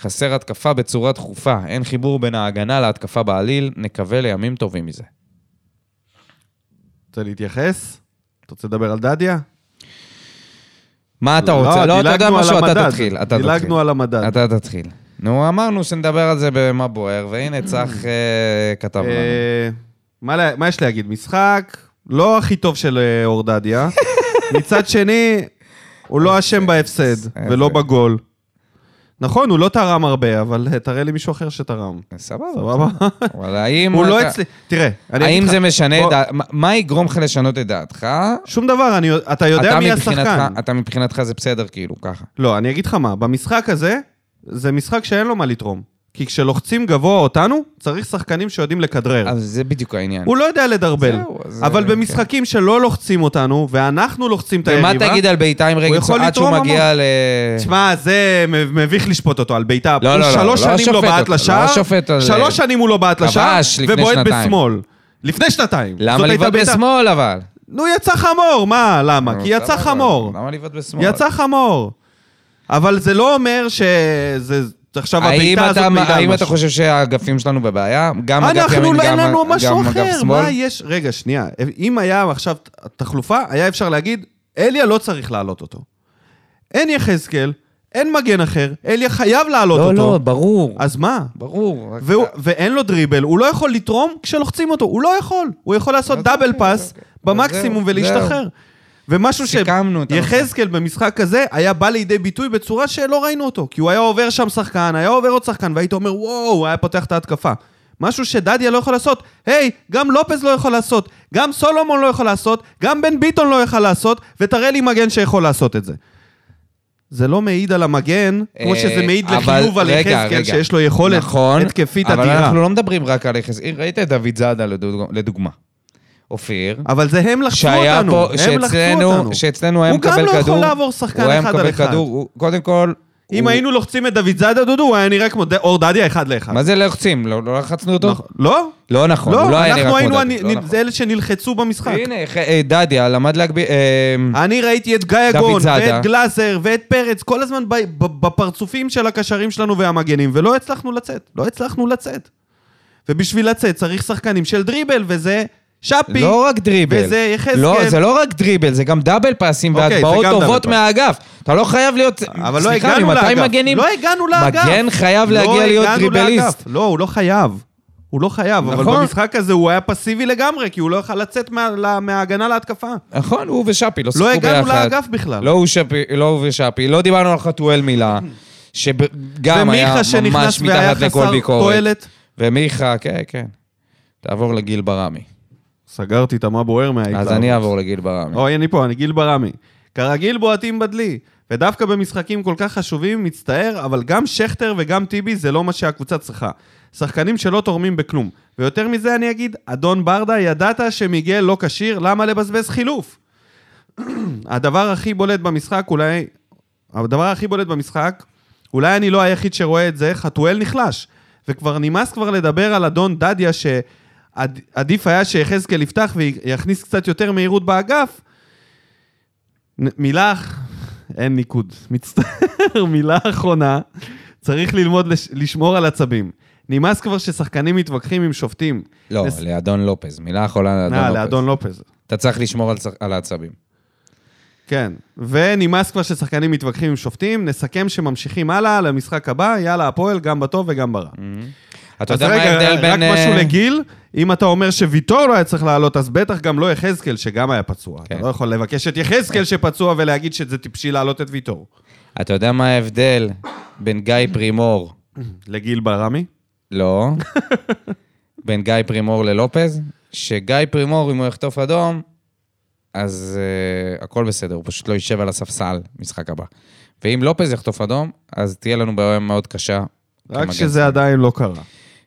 חסר התקפה בצורה דחופה, אין חיבור בין ההגנה להתקפה בעליל, נקווה לימים טובים מזה. רוצה להתייחס? אתה רוצה לדבר על דדיה? מה אתה רוצה? לא, אתה יודע דילגנו על משהו, אתה המדד. תתחיל. אתה תתחיל. דילגנו על המדד. אתה תתחיל. נו, אמרנו שנדבר על זה במה בוער, והנה צח אה, כתב לנו. אה, מה לה- מה יש להגיד? משחק לא הכי טוב של אה, *laughs* אורדדיה. מצד שני, הוא לא אשם בהפסד ולא אפס. בגול. נכון, הוא לא תרם הרבה, אבל אה, תראה לי מישהו אחר שתרם. סבבה. סבבה? *laughs* אבל האם... הוא לא אתה- אצלי... תראה, אני אגיד האם לך... זה משנה את בוא- דעת... מה- מה יגרום לך לשנות את דעתך? שום דבר, אני- אתה יודע אתה מי מבחינתך- השחקן. אתה מבחינתך זה בסדר, כאילו, ככה. לא, אני אגיד לך מה, במשחק הזה, זה משחק שאין לו מה לתרום. כי כשלוחצים גבוה אותנו, צריך שחקנים שיודעים לכדרר. אז זה בדיוק העניין. הוא לא יודע לדרבל. זהו, אז- אבל אה, במשחקים שלא לוחצים אותנו, ואנחנו לוחצים את היריבה... ומה תגיד על בעיטה עם רגל הוא יכול עד שהוא לתרום מגיע ל... תשמע, זה מ- מביך לשפוט אותו על בעיטה. לא, לא, הוא לא, שלוש לא שנים לא שופט בעט אותו, לשער. לא שופט על- שלוש שנים הוא לא בעט לשער, כבש לפני ובועט שנתיים. בשמאל. לפני שנתיים. זאת למה הייתה לבעוט בעיטה- בשמאל, אבל? נו, יצא חמור, מה? למה? כי יצא סבבה, חמור. למה לבעוט בשמאל? יצא חמור. אבל זה לא אומר שזה... עכשיו האם הבעיטה הזאת אתה- מעידה על האם אתה משהו. חושב שהאגפים שלנו בבעיה? גם אגף אנחנו, ימין, לא- אין גם לנו ה- משהו גם אגף אחר. שמאל? מה יש? רגע, שנייה. אם היה עכשיו תחלופה, היה אפשר להגיד, אליה לא צריך להעלות אותו. אין יחזקאל, אין מגן אחר, אליה חייב להעלות לא, אותו. לא, ברור. אז מה? ברור. רק- והוא, ואין לו דריבל, הוא לא יכול לתרום כשלוחצים אותו, הוא לא יכול. הוא יכול לעשות אז דאבל אוקיי, פאס אוקיי. במקסימום אז זהו, ולהשתחרר. ומשהו סיכמנו את הנושא. שיחזקאל במשחק הזה היה בא לידי ביטוי בצורה שלא ראינו אותו. כי הוא היה עובר שם שחקן, היה עובר עוד שחקן, והיית אומר, וואו, הוא היה פותח את ההתקפה. משהו שדדיה לא יכול לעשות. היי, גם לופז לא יכול לעשות, גם סולומון לא יכול לעשות, גם בן ביטון לא יכול לעשות, ותראה לי מגן שיכול לעשות את זה. זה לא מעיד על המגן, כמו אה, שזה מעיד אבל- לחיוב על רגע, יחזקאל, רגע. שיש לו יכולת נכון, התקפית אבל אדירה. אנחנו לא מדברים רק על יחס... ראית את דוד זאדה לדוג- לדוגמה. אופיר. אבל זה הם לחצו שהיה אותנו, פה, הם לחצו שאצלנו, אותנו. שאצלנו היה הוא מקבל גם כדור. לא יכול לעבור שחקן הוא היה אחד על מקבל אחד. כדור, הוא- קודם כל, אם היינו לוחצים את דוד זאדה, דודו, הוא היה נראה כמו ד- אור דדיה אחד לאחד. מה זה לחצים? לא לא לחצנו אותו? נכון. לא? לא נכון, הוא לא לא, היה נראה אנחנו כמו היינו דדיה. הנ- לא נכון. אלה שנלחצו במשחק. הנה, ח- אה, דדיה למד להגביר... אה, אני ראיתי את גיא דוד גון, זאדה. ואת גלאזר, ואת פרץ, כל הזמן ב- ב- בפרצופים של הקשרים שלנו והמגנים, ולא הצלחנו לצאת. לא הצלחנו לצאת. ובשביל לצאת צריך שחקנים של דריבל, וזה שפי. לא רק דריבל. וזה יחזקאל. לא, זה לא רק דריבל, זה גם דאבל פאסים אוקיי, זה והטבעות גם דאבל טובות פאס. מהאגף. אתה לא חייב להיות... אבל לא סליחה, הגענו ממתי לאגף. מגנים? לא הגענו לאגף. מגן חייב לא להגיע להיות הגענו דריבליסט. לאגף. לא, הוא לא חייב. הוא לא חייב, אבל נכון. במשחק הזה הוא היה פסיבי לגמרי, כי הוא לא יכל לצאת מה- לה- מההגנה להתקפה. נכון, הוא ושאפי לא שיחקו לא ביחד. הגענו לאגף בכלל. לא הוא שפי- לא הוא ושאפי, לא דיברנו על חתואל מילה, שגם היה ומיכה שנכנס ממש והיה מתחת לכל חסר ביקורת. תועלת. ומיכה, כן, כן. תעבור לגיל ברמי. סגרתי את המה בוער מההתלהבות. אז אני אעבור לגיל ברמי. אוי, אני פה, אני גיל ברמי. כרגיל בועטים בדלי. ודווקא במשחקים כל כך חשובים, מצטער, אבל גם שכטר וגם טיבי זה לא מה שהקבוצה צריכה. שחקנים שלא תורמים בכלום. ויותר מזה אני אגיד, אדון ברדה, ידעת שמיגל לא כשיר, למה לבזבז חילוף? *clears throat* הדבר הכי בולט במשחק, אולי... הדבר הכי בולט במשחק, אולי אני לא היחיד שרואה את זה, חתואל נחלש. וכבר נמאס כבר לדבר על אדון דדיה, שעדיף היה שיחזקאל יפתח ויכניס קצת יותר מהירות באגף. נ- מילה... אח- אין ניקוד. מצטער, *laughs* מילה אחרונה. צריך ללמוד לש... לשמור על עצבים. נמאס כבר ששחקנים מתווכחים עם שופטים. לא, לס- לאדון לופז. מילה אחרונה נא, לאדון לופז. אה, לאדון לופז. אתה צריך לשמור על צ- על העצבים. כן, ונמאס כבר ששחקנים מתווכחים עם שופטים, נסכם שממשיכים הלאה למשחק הבא, יאללה, הפועל גם בטוב וגם ברע. אתה יודע מה ההבדל רק בין... משהו אה, לגיל, אם אתה אומר שוויטור לא היה צריך לעלות, אז בטח גם לא יחזקאל, שגם היה פצוע. אתה כן. לא יכול לבקש את יחזקאל שפצוע ולהגיד שזה טיפשי להעלות את ויטור. אתה יודע מה ההבדל בין גיא פרימור, לגיל ברמי? *laughs* לא, בין גיא פרימור ללופז? שגיא פרימור, אם הוא יחטוף אדום, אז uh, הכל בסדר, הוא פשוט לא יישב על הספסל משחק הבא. ואם לופז יחטוף אדום, אז תהיה לנו בעיה מאוד קשה. רק כמגן. שזה עדיין לא קרה.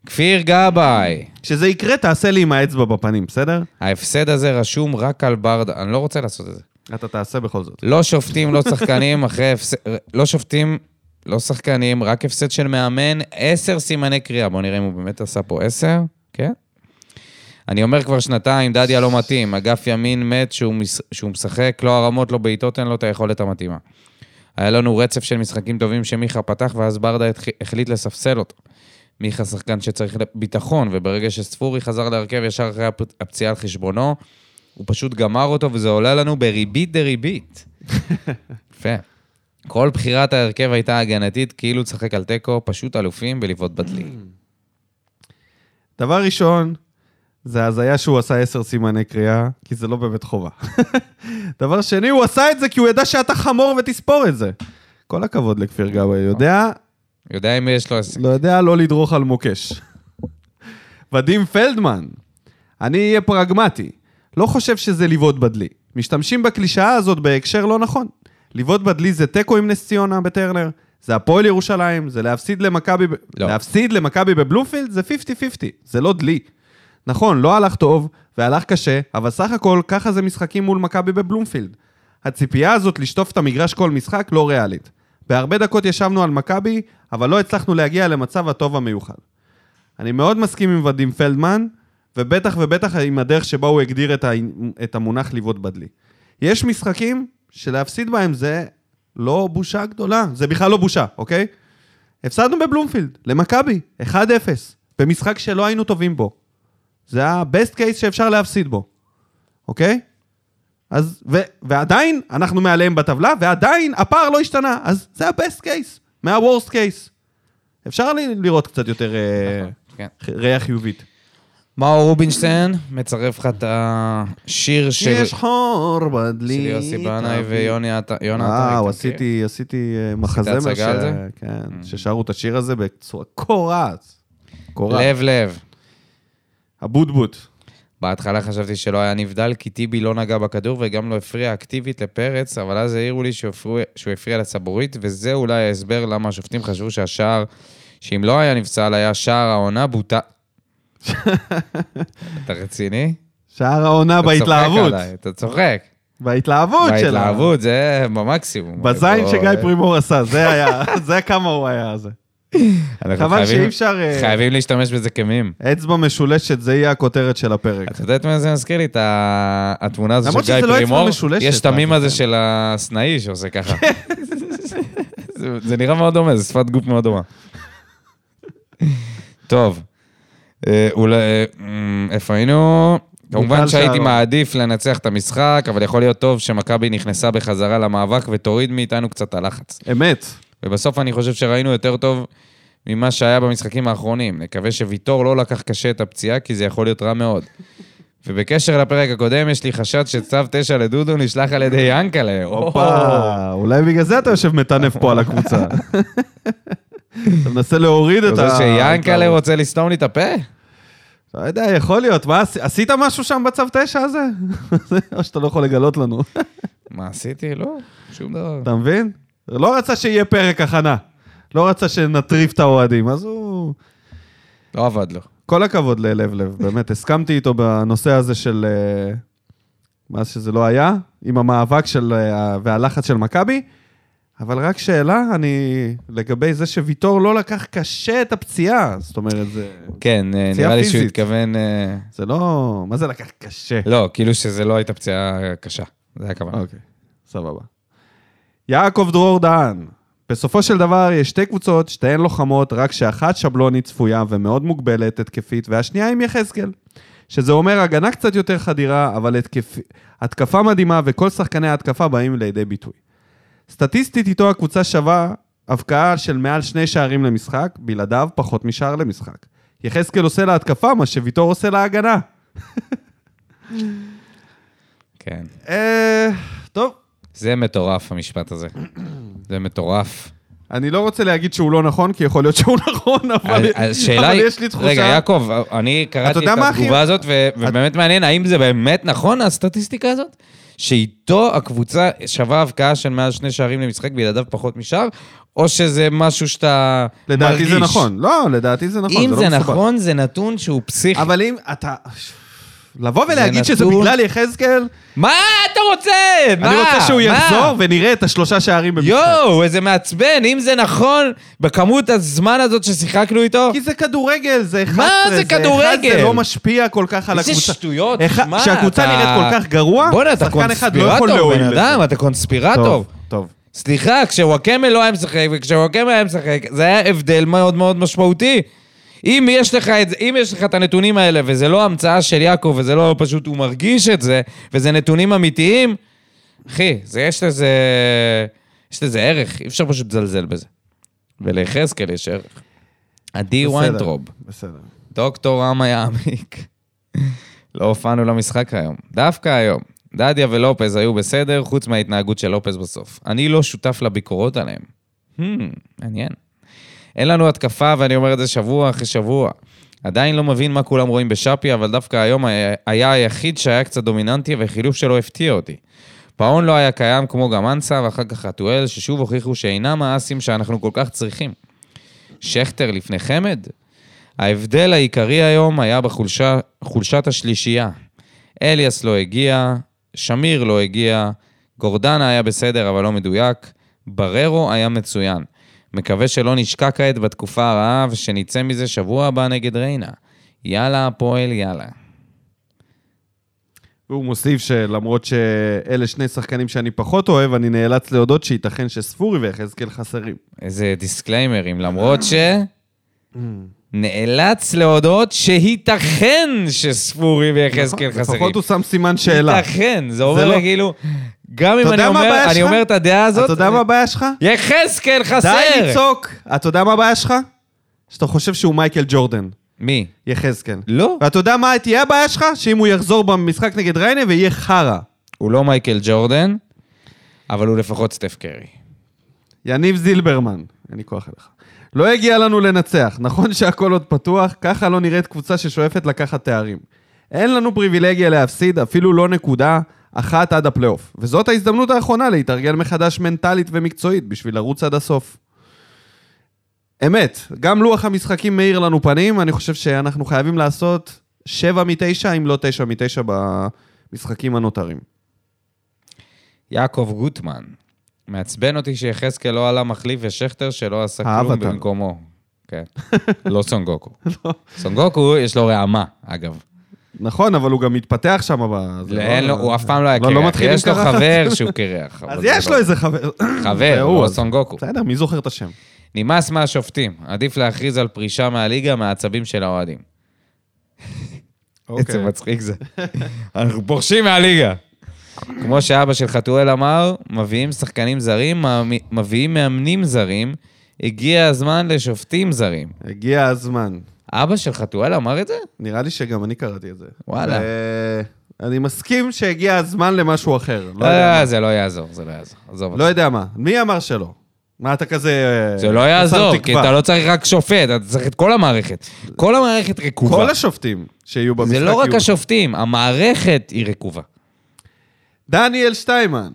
כפיר גבאי, כשזה יקרה, תעשה לי עם האצבע בפנים, בסדר? ההפסד הזה רשום רק על ברדה, אני לא רוצה לעשות את זה. אתה תעשה בכל זאת. לא שופטים, לא שחקנים, *laughs* אחרי הפסד... לא שופטים, לא שחקנים, רק הפסד של מאמן, עשר סימני קריאה. בואו נראה אם הוא באמת עשה פה עשר, כן? אני אומר כבר שנתיים, דדיה לא מתאים, אגף ימין מת שהוא, מש... שהוא משחק, לא הרמות, לא בעיטות, אין לו את היכולת המתאימה. היה לנו רצף של משחקים טובים שמיכה פתח, ואז ברדה התח... החליט לספסל אותו. מיכה שחקן שצריך ביטחון, וברגע שספורי חזר להרכב ישר אחרי הפ- הפציעה על חשבונו, הוא פשוט גמר אותו, וזה עולה לנו בריבית דריבית. יפה. כל בחירת ההרכב הייתה הגנתית, כאילו תשחק על תיקו, פשוט אלופים בלבעוט בדלי. דבר ראשון, זה הזיה שהוא עשה עשר סימני קריאה, כי זה לא באמת חובה. *laughs* דבר שני, הוא עשה את זה כי הוא ידע שאתה חמור ותספור את זה. כל הכבוד לכפיר גבאי, יודע, יודע אם יש לו... עסק. לא יודע לא לדרוך על מוקש. *laughs* ודים פלדמן, אני אהיה פרגמטי. לא חושב שזה לבעוט בדלי. משתמשים בקלישאה הזאת בהקשר לא נכון. לבעוט בדלי זה תיקו עם נס ציונה בטרנר, זה הפועל ירושלים, זה להפסיד למכבי... ב- לא. להפסיד למכבי בבלומפילד זה 50-50, זה לא דלי. נכון, לא הלך טוב, והלך קשה, אבל סך הכל ככה זה משחקים מול מכבי בבלומפילד. הציפייה הזאת לשטוף את המגרש כל משחק לא ריאלית. בהרבה דקות ישבנו על מכבי, אבל לא הצלחנו להגיע למצב הטוב המיוחד. אני מאוד מסכים עם ודים פלדמן, ובטח ובטח עם הדרך שבה הוא הגדיר את, ה... את המונח לבעוט בדלי. יש משחקים שלהפסיד בהם זה לא בושה גדולה, זה בכלל לא בושה, אוקיי? הפסדנו בבלומפילד, למכבי, 1-0, במשחק שלא היינו טובים בו. זה ה-best case שאפשר להפסיד בו, אוקיי? אז, ו, ועדיין, אנחנו מעליהם בטבלה, ועדיין הפער לא השתנה, אז זה ה-best case, מה-worst case. אפשר ל- לראות קצת יותר אה, נכון, כן. ח- ראייה חיובית. מאור רובינשטיין מצרף לך את השיר של יש חור של בדלי. יוסי בנאי תביא. ויוני עט- יונה וואו, עטרי. אתה מכיר? עשיתי, עשיתי אה, מחזמר. הצגה ש- על זה? Mm. כן, ששרו את השיר הזה בצורה קורעת. קורעת. לב לב. הבוטבוט. בהתחלה חשבתי שלא היה נבדל, כי טיבי לא נגע בכדור וגם לא הפריע אקטיבית לפרץ, אבל אז העירו לי שהוא הפריע, שהוא הפריע לצבורית, וזה אולי ההסבר למה השופטים חשבו שהשער, שאם לא היה נפסל, היה שער *laughs* העונה בוטה. אתה רציני? שער העונה אתה צוחק בהתלהבות. עליי, אתה צוחק. וההתלהבות שלה. בהתלהבות, זה במקסימום. בזין בוא, שגיא אה, פרימור עשה, זה היה, *laughs* זה כמה הוא היה זה. אנחנו חבל חייבים- שאי אפשר... אה, חייבים להשתמש בזה כמים. אצבע משולשת, זה יהיה הכותרת של הפרק. אתה יודעת מה זה מזכיר לי? את ה- התמונה הזו של גיא למרות פרימור. שזה לא אצבע משולשת, יש את המים אבל- הזה של הסנאי שעושה ככה. זה- זה נראה מאוד דומה, זו שפת גוף מאוד דומה. טוב, אה, אולי... אמ, איפה היינו? כמובן מיכל שהייתי שרון. מעדיף לנצח את המשחק, אבל יכול להיות טוב שמכבי נכנסה בחזרה למאבק ותוריד מאיתנו קצת הלחץ. אמת. ובסוף אני חושב שראינו יותר טוב ממה שהיה במשחקים האחרונים. נקווה שוויטור לא לקח קשה את הפציעה, כי זה יכול להיות רע מאוד. ובקשר לפרק הקודם, יש לי חשד שצו 9 לדודו נשלח על ידי ינקלה. הופה, אולי בגלל זה אתה יושב מטנף פה על *laughs* הקבוצה. אתה מנסה להוריד את זה ה... שיאנקלה רוצה לסתום לי את הפה? לא יודע, יכול להיות. מה, עשי- עשית משהו שם בצו תשע הזה? *laughs* או שאתה לא יכול לגלות לנו. מה עשיתי? לא, שום דבר. אתה מבין? לא רצה שיהיה פרק הכנה. לא רצה שנטריף את האוהדים, אז הוא... לא עבד לו. כל הכבוד ללב לב, באמת. *laughs* הסכמתי איתו בנושא הזה של... אה, מה שזה לא היה, עם המאבק של, אה, והלחץ של מכבי. אבל רק שאלה, אני... לגבי זה שוויטור לא לקח קשה את הפציעה. זאת אומרת, זה, כן, אה, פציעה נראה לי שהוא פיזית. התכוון... אה, זה לא... מה זה לקח קשה? לא, כאילו שזה לא הייתה פציעה קשה. זה הכוונה. אוקיי, סבבה. יעקב דרור דהן, בסופו של דבר יש שתי קבוצות, שתיהן לוחמות, רק שאחת שבלונית צפויה ומאוד מוגבלת התקפית, והשנייה עם יחזקאל. שזה אומר הגנה קצת יותר חדירה, אבל התקפ... התקפה מדהימה וכל שחקני ההתקפה באים לידי ביטוי. סטטיסטית איתו הקבוצה שווה הבקעה של מעל שני שערים למשחק, בלעדיו פחות משער למשחק. יחזקאל עושה להתקפה מה שוויטור עושה להגנה. כן. אה... טוב, זה מטורף, המשפט הזה. זה מטורף. אני לא רוצה להגיד שהוא לא נכון, כי יכול להיות שהוא *laughs* נכון, אבל, אז- אז השאלה אבל היא... יש לי תחושה... רגע, יעקב, אני קראתי יודע את מה הכי- התגובה הזאת, ו- ובאמת מעניין, האם זה באמת נכון, הסטטיסטיקה הזאת? שאיתו הקבוצה שווה הבקעה של מעל שני שערים למשחק, בלעדיו פחות משער, או שזה משהו שאתה מרגיש? לדעתי זה נכון. לא, לדעתי זה נכון, אם זה, זה לא מסובך. נכון, זה נתון שהוא פסיכי. אבל אם אתה... לבוא זה ולהגיד שזה נתון- בגלל יחזקאל, מה אתה רוצה? מה? אני רוצה שהוא מה? יחזור ונראה את השלושה שערים במשחק. יואו, איזה מעצבן, אם זה נכון, בכמות הזמן הזאת ששיחקנו איתו, כי זה כדורגל, זה 11, זה אחד, כדורגל? זה לא משפיע כל כך על איזה הקבוצה. שטויות, אחד- מה, כשהקבוצה אתה- נראית כל כך גרוע, בואנה, אתה שחקן אחד לא יכול קונספירטור, להועיל בן לזה. אדם, אתה קונספירטור. טוב, טוב. סליחה, כשוואקמה לא היה משחק, וכשוואקמה היה משחק, זה היה הבדל מאוד מאוד משמעותי. אם יש לך את זה, אם יש לך את הנתונים האלה, וזה לא המצאה של יעקב, וזה לא פשוט הוא מרגיש את זה, וזה נתונים אמיתיים, אחי, זה יש לזה... יש לזה ערך, אי אפשר פשוט לזלזל בזה. וליחזקאל יש ערך. עדי בסדר, ויינטרוב, בסדר. דוקטור עמה יעמיק. *laughs* לא הופענו למשחק היום, דווקא היום. דדיה ולופז היו בסדר, חוץ מההתנהגות של לופז בסוף. אני לא שותף לביקורות עליהם. Hmm, מעניין. אין לנו התקפה, ואני אומר את זה שבוע אחרי שבוע. עדיין לא מבין מה כולם רואים בשאפי, אבל דווקא היום היה- היה היחיד שהיה קצת דומיננטי, והחילוף שלו הפתיע אותי. פאון לא היה קיים כמו גם אנסה, ואחר כך חתואל, ששוב הוכיחו שאינם האסים שאנחנו כל כך צריכים. שכטר לפני חמד? ההבדל העיקרי היום היה בחולשה- חולשת השלישייה. אליאס לא הגיע, שמיר לא הגיע, גורדנה היה בסדר אבל לא מדויק, בררו היה מצוין. מקווה שלא נשקע כעת בתקופה הרעה ושנצא מזה שבוע הבא נגד ריינה. יאללה, הפועל, יאללה. והוא מוסיף שלמרות שאלה שני שחקנים שאני פחות אוהב, אני נאלץ להודות שייתכן שספורי ויחזקאל חסרים. איזה דיסקליימרים, למרות ש... Mm. נאלץ להודות שייתכן שספורי ויחזקאל נכון, חסרים. לפחות הוא שם סימן שאלה. ייתכן, זה זה אומר לא- כאילו, גם אם אתה אני יודע מה אומר, הבעיה אני שלך? אומר את הדעה הזאת, אתה יודע מה הבעיה שלך? יחזקאל חסר! די לצעוק. אתה יודע מה הבעיה שלך? שאתה חושב שהוא מייקל ג'ורדן, מי? יחזקאל. לא. ואתה יודע מה תהיה הבעיה שלך? שאם הוא יחזור במשחק נגד ריינה ויהיה חרא. הוא לא מייקל ג'ורדן, אבל הוא לפחות סטף קרי. יניב זילברמן, אין לי כוח אליך. לא הגיע לנו לנצח, נכון שהכל עוד פתוח, ככה לא נראית קבוצה ששואפת לקחת תארים. אין לנו פריבילגיה להפסיד, אפילו לא נקודה אחת עד הפלייאוף. וזאת ההזדמנות האחרונה להתארגן מחדש מנטלית ומקצועית בשביל לרוץ עד הסוף. אמת, גם לוח המשחקים מאיר לנו פנים, אני חושב שאנחנו חייבים לעשות 7 מ-9, אם לא 9 מ-9 במשחקים הנותרים. יעקב גוטמן. מעצבן אותי שיחזקאל לא עלה מחליף ושכטר שלא עשה אהב כלום אותנו. במקומו. *laughs* כן. לא סונגוקו. סונגוקו, יש לו רעמה, אגב. נכון, אבל הוא גם מתפתח שם. ב- זה אין לא- לו- הוא אף פעם לא היה לא- לא קרח. מתחיל יש לו עם קרחת. חבר שהוא קרח. אבל אז זה יש לא- לו איזה חבר. חבר, זה הוא לא אז- סונגוקו. בסדר, מי זוכר את השם? נמאס מהשופטים, עדיף להכריז על פרישה מהליגה מהעצבים של האוהדים. אוקיי. איזה מצחיק זה. אנחנו פורשים מהליגה. כמו שאבא של חתואל אמר, מביאים שחקנים זרים, מאמי- מביאים מאמנים זרים, הגיע הזמן לשופטים זרים. הגיע הזמן. אבא של חתואל אמר את זה? נראה לי שגם אני קראתי את זה. וואלה. ו- אני מסכים שהגיע הזמן למשהו אחר. לא לא, יודע מה. זה לא יעזור, זה לא יעזור. עזוב לא אותך. יודע מה. מי אמר שלא? מה אתה כזה... אה, זה לא חסר יעזור, כי תקווה? אתה לא צריך רק שופט, אתה צריך את כל המערכת. כל המערכת רקובה. כל השופטים שיהיו במשחק זה לא רק יהיו- השופטים, המערכת היא רקובה. דניאל שטיימן,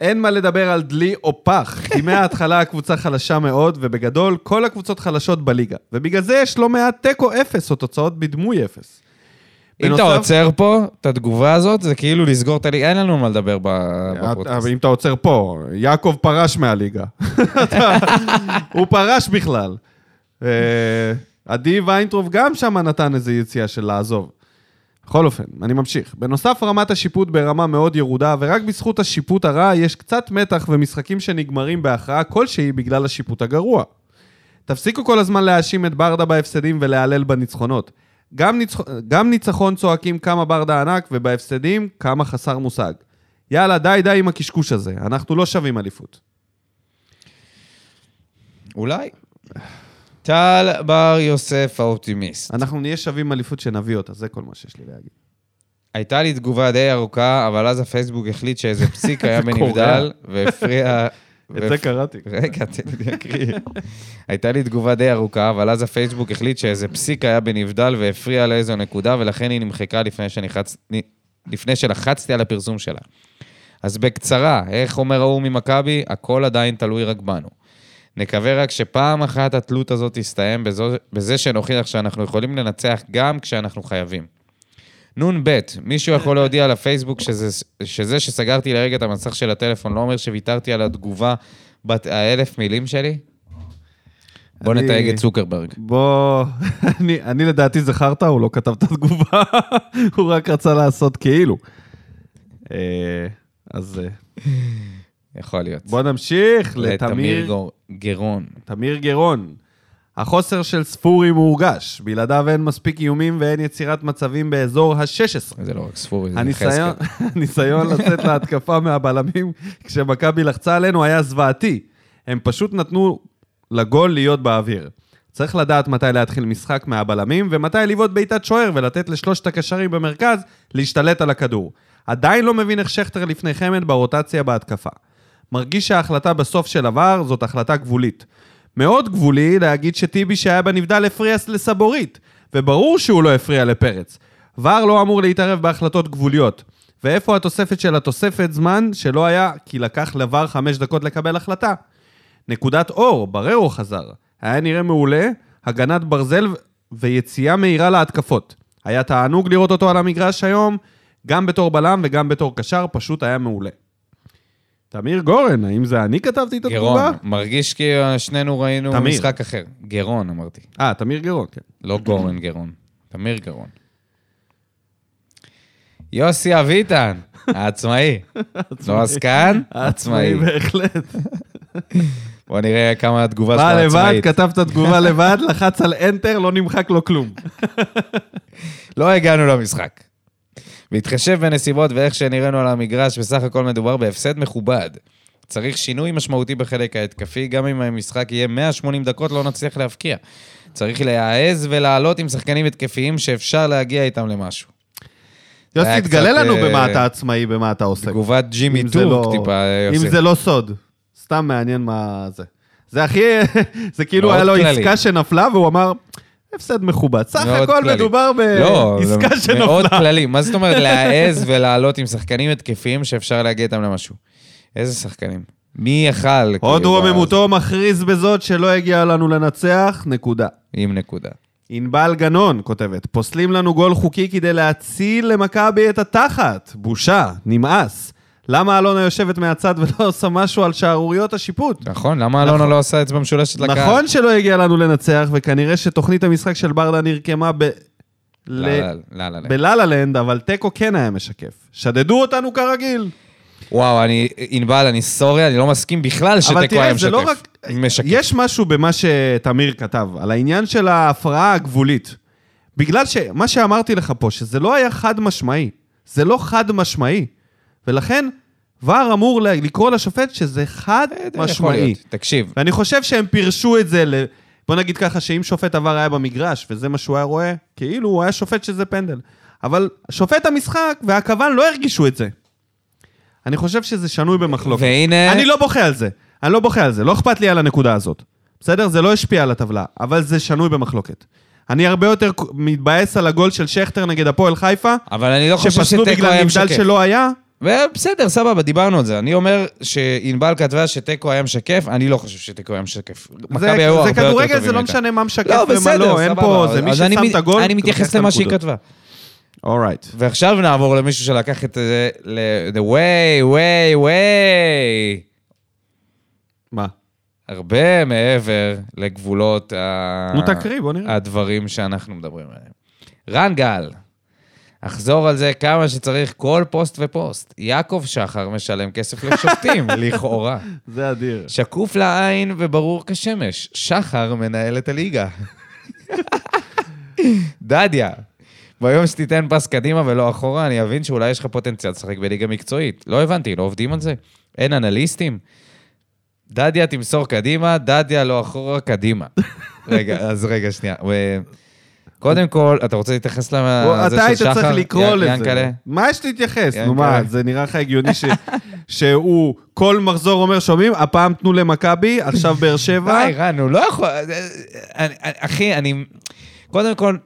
אין מה לדבר על דלי או פח, *laughs* כי מההתחלה הקבוצה חלשה מאוד, ובגדול כל הקבוצות חלשות בליגה. ובגלל זה יש לא מעט תיקו אפס או תוצאות בדמוי אפס. אם אתה בנוסף- עוצר פה את התגובה הזאת, זה כאילו לסגור את הליגה, אין לנו מה לדבר ב- בפודקאסט. אבל אם אתה עוצר פה, יעקב פרש מהליגה. *laughs* אתה- הוא פרש בכלל. אה, עדי ויינטרוב גם שם נתן איזו יציאה של לעזוב. בכל אופן, אני ממשיך. בנוסף, רמת השיפוט ברמה מאוד ירודה, ורק בזכות השיפוט הרע יש קצת מתח ומשחקים שנגמרים בהכרעה כלשהי בגלל השיפוט הגרוע. תפסיקו כל הזמן להאשים את ברדה בהפסדים ולהלל בניצחונות. גם, ניצח... גם ניצחון צועקים כמה ברדה ענק, ובהפסדים כמה חסר מושג. יאללה, די, די עם הקשקוש הזה, אנחנו לא שווים אליפות. אולי. טל בר יוסף האופטימיסט. אנחנו נהיה שווים אליפות שנביא אותה, זה כל מה שיש לי להגיד. הייתה לי תגובה די ארוכה, אבל אז הפייסבוק החליט שאיזה *laughs* פסיק היה זה קורע. בנבדל, והפריע... את זה קראתי. רגע, תן לי להקריא. הייתה לי תגובה די ארוכה, אבל אז הפייסבוק החליט שאיזה פסיק היה בנבדל והפריע לאיזו נקודה, ולכן היא נמחקה לפני, שנחצ... לפני שלחצתי על הפרסום שלה. אז בקצרה, איך אומר ההוא ממכבי? הכל עדיין תלוי רק בנו. נקווה רק שפעם אחת התלות הזאת תסתיים בזו... בזה שנוכיח שאנחנו יכולים לנצח גם כשאנחנו חייבים. נ"ב, מישהו יכול להודיע לפייסבוק שזה, שזה שסגרתי לרגע את המסך של הטלפון לא אומר שוויתרתי על התגובה בת האלף מילים שלי? בוא אני- נתייג את צוקרברג. בוא, *laughs* אני, אני לדעתי זה חרטא, הוא לא כתב את התגובה, *laughs* הוא רק רצה לעשות כאילו. אה, אז אה, יכול להיות. בוא נמשיך לתמיר גור- גרון. תמיר גרון. החוסר של ספורי מורגש, בלעדיו אין מספיק איומים ואין יצירת מצבים באזור ה-16. זה לא רק ספורי, זה הניסיון, חזקה. *laughs* הניסיון לצאת להתקפה מהבלמים כשמכבי לחצה עלינו היה זוועתי. הם פשוט נתנו לגול להיות באוויר. צריך לדעת מתי להתחיל משחק מהבלמים ומתי לבעוט בעיטת שוער ולתת לשלושת הקשרים במרכז להשתלט על הכדור. עדיין לא מבין איך שכטר לפני חמד ברוטציה בהתקפה. מרגיש שההחלטה בסוף של עבר זאת החלטה גבולית. מאוד גבולי להגיד שטיבי שהיה בנבדל הפריע לסבורית, וברור שהוא לא הפריע לפרץ. ור לא אמור להתערב בהחלטות גבוליות. ואיפה התוספת של התוספת זמן שלא היה, כי לקח לבר חמש דקות לקבל החלטה? נקודת אור, בררו חזר. היה נראה מעולה, הגנת ברזל ו- ויציאה מהירה להתקפות. היה תענוג לראות אותו על המגרש היום, גם בתור בלם וגם בתור קשר, פשוט היה מעולה. תמיר גורן, האם זה אני כתבתי את התגובה? גרון, מרגיש כי שנינו ראינו תמיר. משחק אחר. גרון, אמרתי. אה, תמיר גרון, כן. לא גורן גרון, תמיר גרון. יוסי אביטן, העצמאי. לא עסקן, עצמאי. בהחלט. בוא נראה כמה התגובה שלו בא לבד, עצמאית. כתב את התגובה לבד, לחץ על Enter, לא נמחק לו כלום. לא הגענו למשחק. בהתחשב בנסיבות ואיך שנראינו על המגרש, בסך הכל מדובר בהפסד מכובד. צריך שינוי משמעותי בחלק ההתקפי, גם אם המשחק יהיה 180 דקות לא נצליח להבקיע. צריך להעז ולעלות עם שחקנים התקפיים שאפשר להגיע איתם למשהו. היה יוסי, תגלה קצת, לנו אה, במה אתה עצמאי, במה אתה עוסק. תגובת ג'ימי אם זה טורק לא- טיפה, אה, אם יוסי. זה לא סוד. סתם מעניין מה זה. זה הכי... *laughs* זה כאילו מאוד היה לו כללי. עסקה שנפלה, והוא אמר, הפסד מכובד. סך מאוד הכל כללי. מדובר לא, זה בעסקה *laughs* מאוד שנפלה. כללי. מה *laughs* זאת אומרת להעז ולעלות עם שחקנים התקפיים שאפשר להגיע איתם למשהו? איזה שחקנים? מי יכל? הוד כאילו, רוממותו מכריז בזאת שלא הגיע לנו לנצח, נקודה. עם נקודה. ענבל גנון כותבת, פוסלים לנו גול חוקי כדי להציל למכבי את התחת. בושה, נמאס. למה אלונה יושבת מהצד ולא עושה משהו על שערוריות השיפוט? נכון, למה אלונה לא עושה אצבע משולשת לקהל? נכון שלא הגיע לנו לנצח, וכנראה שתוכנית המשחק של ברדה נרקמה ב... לא, ל- לא, לא, לא, לא. בלה-לה לנד, אבל תיקו כן היה משקף. שדדו אותנו כרגיל. וואו, אני, ענבל, אני סורי, אני לא מסכים בכלל אבל שתיקו היה תראה, משקף. זה לא רק... משקף. יש משהו במה שתמיר כתב, על העניין של ההפרעה הגבולית. בגלל שמה שאמרתי לך פה, שזה לא היה חד משמעי. זה לא חד משמעי. ולכן, ור אמור ל- לקרוא לשופט שזה חד יכול משמעי. להיות. תקשיב, ואני חושב שהם פירשו את זה ל... בוא נגיד ככה, שאם שופט עבר היה במגרש, וזה מה שהוא היה רואה, כאילו הוא היה שופט שזה פנדל. אבל שופט המשחק והכוון לא הרגישו את זה. אני חושב שזה שנוי במחלוקת. והנה- אני לא בוכה על זה. אני לא בוכה על זה. לא אכפת לי על הנקודה הזאת. בסדר? זה לא השפיע על הטבלה, אבל זה שנוי במחלוקת. אני הרבה יותר מתבאס על הגול של שכטר נגד הפועל חיפה, אבל אני לא חושב שפסלו שתיקו בגלל היה נבדל משקף. שלא היה. בסדר, סבבה, דיברנו על זה. אני אומר שענבל כתבה שתיקו היה משקף, אני לא חושב שתיקו היה משקף. מכבי זה- היו הרבה זה יותר כדורגל, טובים זה לא מאיתנו. משנה מה משקף לא, ומה בסדר, לא, אין פה, סבבה. זה מי אז אני ששם מת- את הגול. אני מתייחס למה שהיא כתבה. אורייט. ועכשיו נעבור למישהו שלקח את זה ל- the way, way, way. מה? הרבה מעבר לגבולות ה... נו, תקריא, בוא אה. נראה. הדברים שאנחנו מדברים עליהם. רן גל, אחזור על זה כמה שצריך, כל פוסט ופוסט. יעקב שחר משלם *laughs* כסף לשופטים, לכאורה. זה אדיר. שקוף לעין וברור כשמש, שחר מנהל *laughs* את הליגה. דדיה, ביום שתיתן פס קדימה ולא אחורה, אני אבין שאולי יש לך פוטנציאל לשחק בליגה מקצועית. לא הבנתי, לא עובדים על זה? אין אנליסטים? דדיה תמסור קדימה, דדיה לא אחורה, *laughs* קדימה. רגע, אז רגע, שנייה. ו- קודם כל, אתה רוצה להתייחס בוא, לזה אתה אה, של היית שחר? צריך לקרוא י- לזה. ינקלה? מה יש להתייחס? נו ינקלה. מה, זה נראה לך הגיוני ש- *laughs* שהוא כל מחזור אומר, שומעים? הפעם תנו למכבי, עכשיו באר שבע. די, רן, הוא לא יכול... אני- אני- אה, אחי, אני... קודם כל...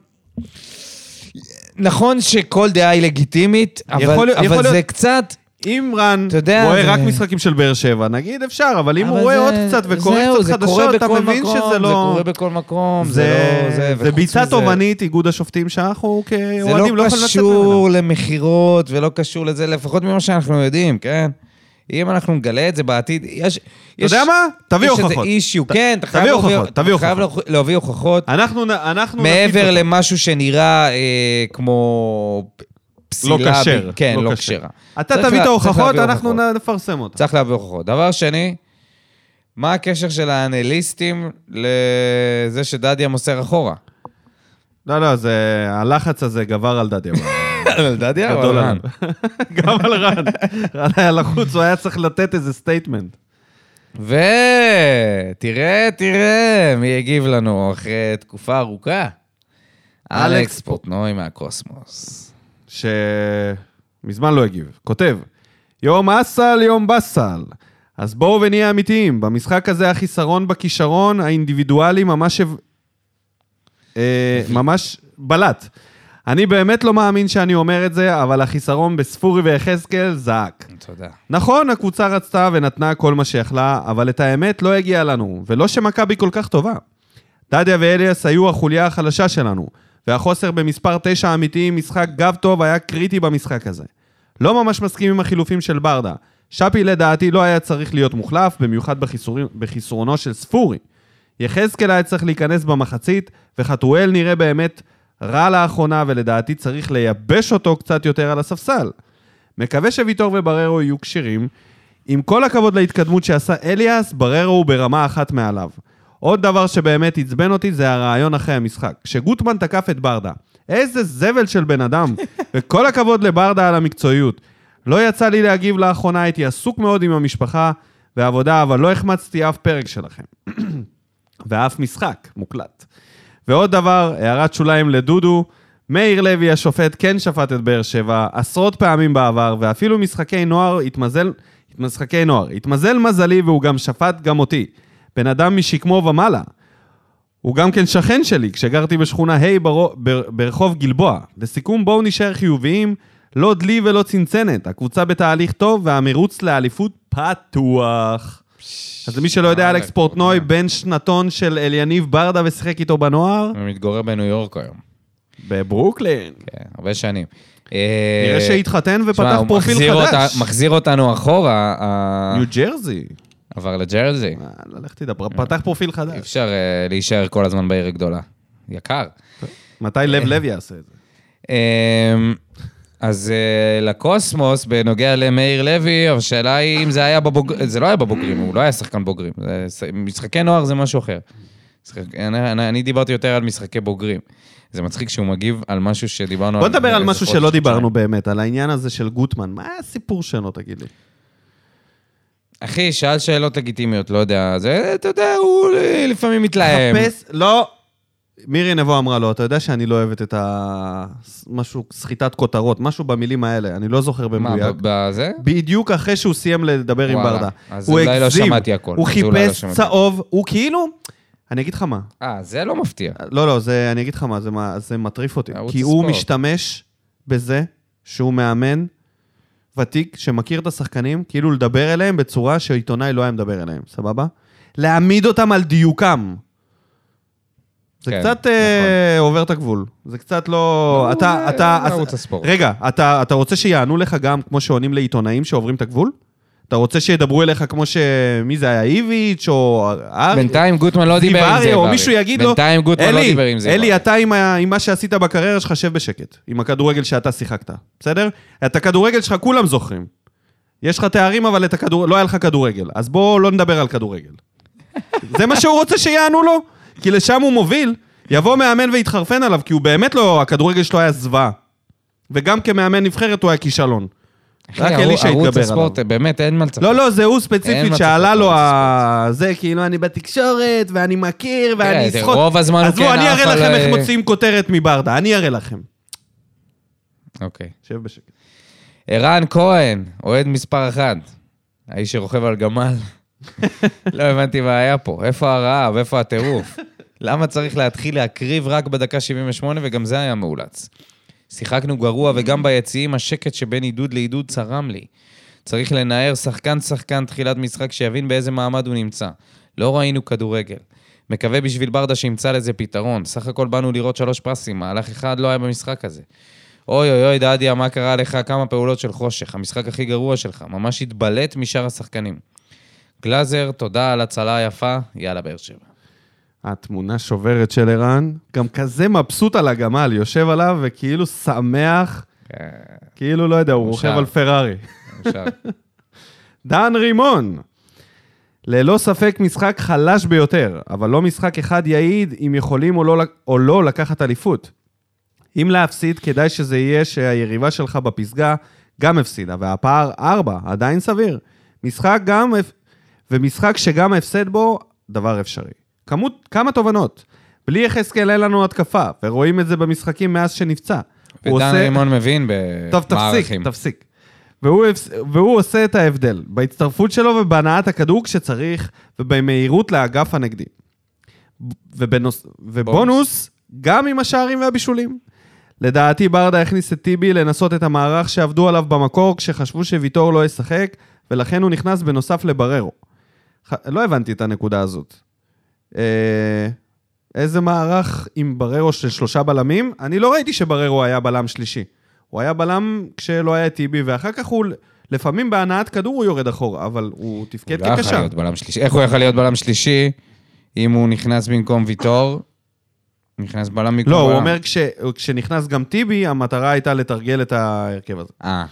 נכון שכל דעה היא לגיטימית, יכול אבל, להיות- יכול אבל זה להיות- קצת... אם רן אתה יודע, רואה זה- רק משחקים של באר שבע, נגיד אפשר, אבל אם הוא אבל רואה זה- עוד קצת וקורא זהו, קצת זה קורה חדשות, אתה בכל מבין מקום, שזה זה לא... קורה בכל מקום, זה, לא... זה זה וחוץ ביצה מזה- תובענית, איגוד השופטים שאנחנו זה לא כאוהדים לא יכולים לצאת ממנה. קשור למכירות ולא קשור לזה, לפחות ממה שאנחנו יודעים, כן? אם אנחנו נגלה את זה בעתיד, יש... אתה יודע מה? תביא יש איזה הוכחות. אישיו, ת- כן, אתה חייב תביא להביא- הוכחות, תביא אתה חייב להביא הוכחות. אנחנו נ- אנחנו... לא נפיץ מעבר אותה. למשהו שנראה אה, כמו פ- פסילה. לא כשר. ב- כן, לא כשר. כשרה. אתה תביא צריך לה- את צריך ההוכחות, להביא אנחנו הוכחות. נפרסם אותן. צריך להביא הוכחות. דבר שני, מה הקשר של האנליסטים לזה שדדיה מוסר אחורה? לא, לא, זה... הלחץ הזה גבר *laughs* על דדיה. על *laughs* דדיה או גדול על עליו. *laughs* רן? גם על רן. רן היה לחוץ, הוא היה צריך לתת איזה סטייטמנט. ותראה, תראה, מי הגיב לנו אחרי תקופה ארוכה? אלכס אלכס פורטנוי מהקוסמוס. שמזמן לא הגיב. כותב, יום אסל, יום באסל. אז בואו ונהיה אמיתיים. במשחק הזה החיסרון בכישרון האינדיבידואלי ממש... הב- אה, ממש בלט. אני באמת לא מאמין שאני אומר את זה, אבל החיסרון בספורי ויחזקאל זעק. תודה. נכון, הקבוצה רצתה ונתנה כל מה שיכלה, אבל את האמת לא הגיעה לנו, ולא שמכבי כל כך טובה. דדיה ואליאס היו החוליה החלשה שלנו, והחוסר במספר 9 אמיתי עם משחק גב טוב היה קריטי במשחק הזה. לא ממש מסכים עם החילופים של ברדה. שפי לדעתי לא היה צריך להיות מוחלף, במיוחד בחיסורים- בחיסרונו של ספורי. יחזקאל היה צריך להיכנס במחצית, וחתואל נראה באמת רע לאחרונה, ולדעתי צריך לייבש אותו קצת יותר על הספסל. מקווה שוויטור ובררו יהיו כשירים. עם כל הכבוד להתקדמות שעשה אליאס, בררו הוא ברמה אחת מעליו. עוד דבר שבאמת עצבן אותי זה הרעיון אחרי המשחק. כשגוטמן תקף את ברדה. איזה זבל של בן אדם. וכל הכבוד לברדה על המקצועיות. לא יצא לי להגיב לאחרונה, הייתי עסוק מאוד עם המשפחה והעבודה, אבל לא החמצתי אף פרק שלכם. ואף משחק מוקלט. ועוד דבר, הערת שוליים לדודו, מאיר לוי השופט כן שפט את באר שבע עשרות פעמים בעבר, ואפילו משחקי נוער התמזל, משחקי נוער. התמזל מזלי והוא גם שפט גם אותי. בן אדם משכמו ומעלה. הוא גם כן שכן שלי, כשגרתי בשכונה ה' ברו- בר, ברחוב גלבוע. לסיכום, בואו נישאר חיוביים, לא דלי ולא צנצנת. הקבוצה בתהליך טוב והמרוץ לאליפות פתוח. אז למי שלא יודע, אלכס פורטנוי, בן שנתון של אליניב ברדה ושיחק איתו בנוער. הוא מתגורר בניו יורק היום. בברוקלין. כן, הרבה שנים. אה, נראה שהתחתן ופתח פרופיל חדש. מחזיר אותנו אחורה, ה- ניו ג'רזי. עבר לג'רזי. אה, לא, לך תדע, פר- פתח פרופיל אי חדש. אפשר אה, להישאר כל הזמן בעיר הגדולה. יקר. מתי לב לב יעשה את זה? אה, אמ, אז אה, לקוסמוס, בנוגע למאיר לוי, השאלה היא אם זה היה בבוגרים, זה לא היה בבוגרים, הוא לא היה שחקן בוגרים. זה ש- משחקי נוער זה משהו אחר. משחק- אני- אני אני דיברתי יותר על משחקי בוגרים. זה מצחיק שהוא מגיב על משהו שדיברנו בוא נדבר על איזה משהו אה, חודש, שלא חודשיים. דיברנו באמת, על העניין הזה של גוטמן. מה הסיפור שלו, תגיד לי? אחי, שאל שאלות לגיטימיות, לא יודע. זה, אתה יודע, הוא אה, לפעמים מתלהם. חפש, לא. מירי נבו אמרה לו, אתה יודע שאני לא אוהבת את ה... משהו, סחיטת כותרות, משהו במילים האלה, אני לא זוכר מה, במדויק. ב- בזה? בדיוק אחרי שהוא סיים לדבר עם וואלה, ברדה. אז הוא אולי לא הגזים, שמעתי הכל, הוא אז אולי לא חיפש שמעתי. צהוב, הוא כאילו... אני אגיד לך מה. אה, זה לא מפתיע. לא, לא, זה, אני אגיד לך מה, זה, מה, זה מטריף אותי. ערוץ כי הוא הספורט. משתמש בזה שהוא מאמן ותיק שמכיר את השחקנים, כאילו לדבר אליהם בצורה שעיתונאי לא היה מדבר אליהם, סבבה? להעמיד אותם על דיוקם. זה כן, קצת אה, עובר את הגבול. זה קצת לא... נו, אתה... זה- אתה זה אז- ערוץ הספורט. רגע, אתה, אתה רוצה שיענו לך גם כמו שעונים לעיתונאים שעוברים את הגבול? אתה רוצה שידברו אליך כמו ש... מי זה היה? איביץ' או... אר- בינתיים גוטמן לא דיבר עם זה. אה, או ברי. מישהו יגיד לו, בינתיים גוטמן לא "אלי, דיבר עם זה. אלי, אתה עם ה- עם מה שעשית בקריירה שלך, שב בשקט. עם הכדורגל שאתה שיחקת, בסדר? את הכדורגל שלך כולם זוכרים. יש לך תארים, אבל את הכדור... לא היה לך כדורגל. אז בואו לא נדבר על כדורגל. *laughs* זה מה שהוא רוצה שיענו לו? כי לשם הוא מוביל. יבוא מאמן ויתחרפן עליו, כי הוא באמת לא... הכדורגל שלו היה זוועה. וגם כמאמן נבחרת הוא היה כישלון. אחי, רק ערו- אלי ערוץ שהתגבר עליו. הספורט, באמת, אין מה לצפות. לא, לא, זה הוא אין ספציפית מצב שעלה כזה, לו זה ה... זה, כאילו, אני בתקשורת, ואני מכיר, תראה, ואני כן, זה אסחוט. רוב הזמן הוא עזבו, כן אני עף אראה על, לכם איך אה, מוציאים כותרת מברדה, אני אראה לכם. אוקיי. שב בשקט. ערן כהן, אוהד מספר אחת. האיש שרוכב על גמל. לא הבנתי מה היה פה. איפה הרעב? איפה הטירוף? למה צריך להתחיל להקריב רק בדקה 78, וגם זה היה מאולץ. שיחקנו גרוע, וגם ביציעים השקט שבין עידוד לעידוד צרם לי. צריך לנער שחקן-שחקן תחילת משחק שיבין באיזה מעמד הוא נמצא. לא ראינו כדורגל. מקווה בשביל ברדה שימצא לזה פתרון. סך הכל באנו לראות שלוש פרסים, מהלך אחד לא היה במשחק הזה. אוי אוי אוי, דדיה, מה קרה לך? כמה פעולות של חושך. המשחק הכי גרוע שלך. ממש התבלט משאר השחקנים. גלאזר, תודה על הצלה היפה. יאללה, באר שבע. התמונה שוברת של ערן, גם כזה מבסוט על הגמל, יושב עליו וכאילו שמח, כאילו, לא יודע, הוא מאושר. רוכב על פרארי. מאושר. דן רימון. ללא ספק משחק חלש ביותר, אבל לא משחק אחד יעיד אם יכולים או לא, לק- או לא לקחת אליפות. אם להפסיד, כדאי שזה יהיה שהיריבה שלך בפסגה גם הפסידה, והפער 4, עדיין סביר. משחק גם, הפ- ומשחק שגם ההפסד בו, דבר אפשרי. כמות, כמה תובנות. בלי יחזקאל אין לנו התקפה, ורואים את זה במשחקים מאז שנפצע. הוא ודן עושה- רימון מבין טוב, תפסיק, במערכים. תפסיק. והוא, הפס- והוא עושה את ההבדל, בהצטרפות שלו ובהנעת הכדור כשצריך, ובמהירות לאגף הנגדי. ב- ובנוס, ובונוס, גם עם השערים והבישולים. לדעתי ברדה הכניס את טיבי לנסות את המערך שעבדו עליו במקור כשחשבו שוויטור לא ישחק, ולכן הוא נכנס בנוסף לבררו. ח... לא הבנתי את הנקודה הזאת. אה... איזה מערך עם בררו של שלושה בלמים? אני לא ראיתי שבררו היה בלם שלישי. הוא היה בלם כשלא היה טיבי, ואחר כך הוא, לפעמים בהנעת כדור הוא יורד אחורה, אבל הוא הוא תפקד לא יכול כקשר. להיות בלם שלישי. איך הוא יכול להיות בלם שלישי אם הוא נכנס במקום ויטור? נכנס בלם במקום לא, בלם. הוא אומר כש, כשנכנס גם טיבי, המטרה הייתה לתרגל את ההרכב הזה. אה,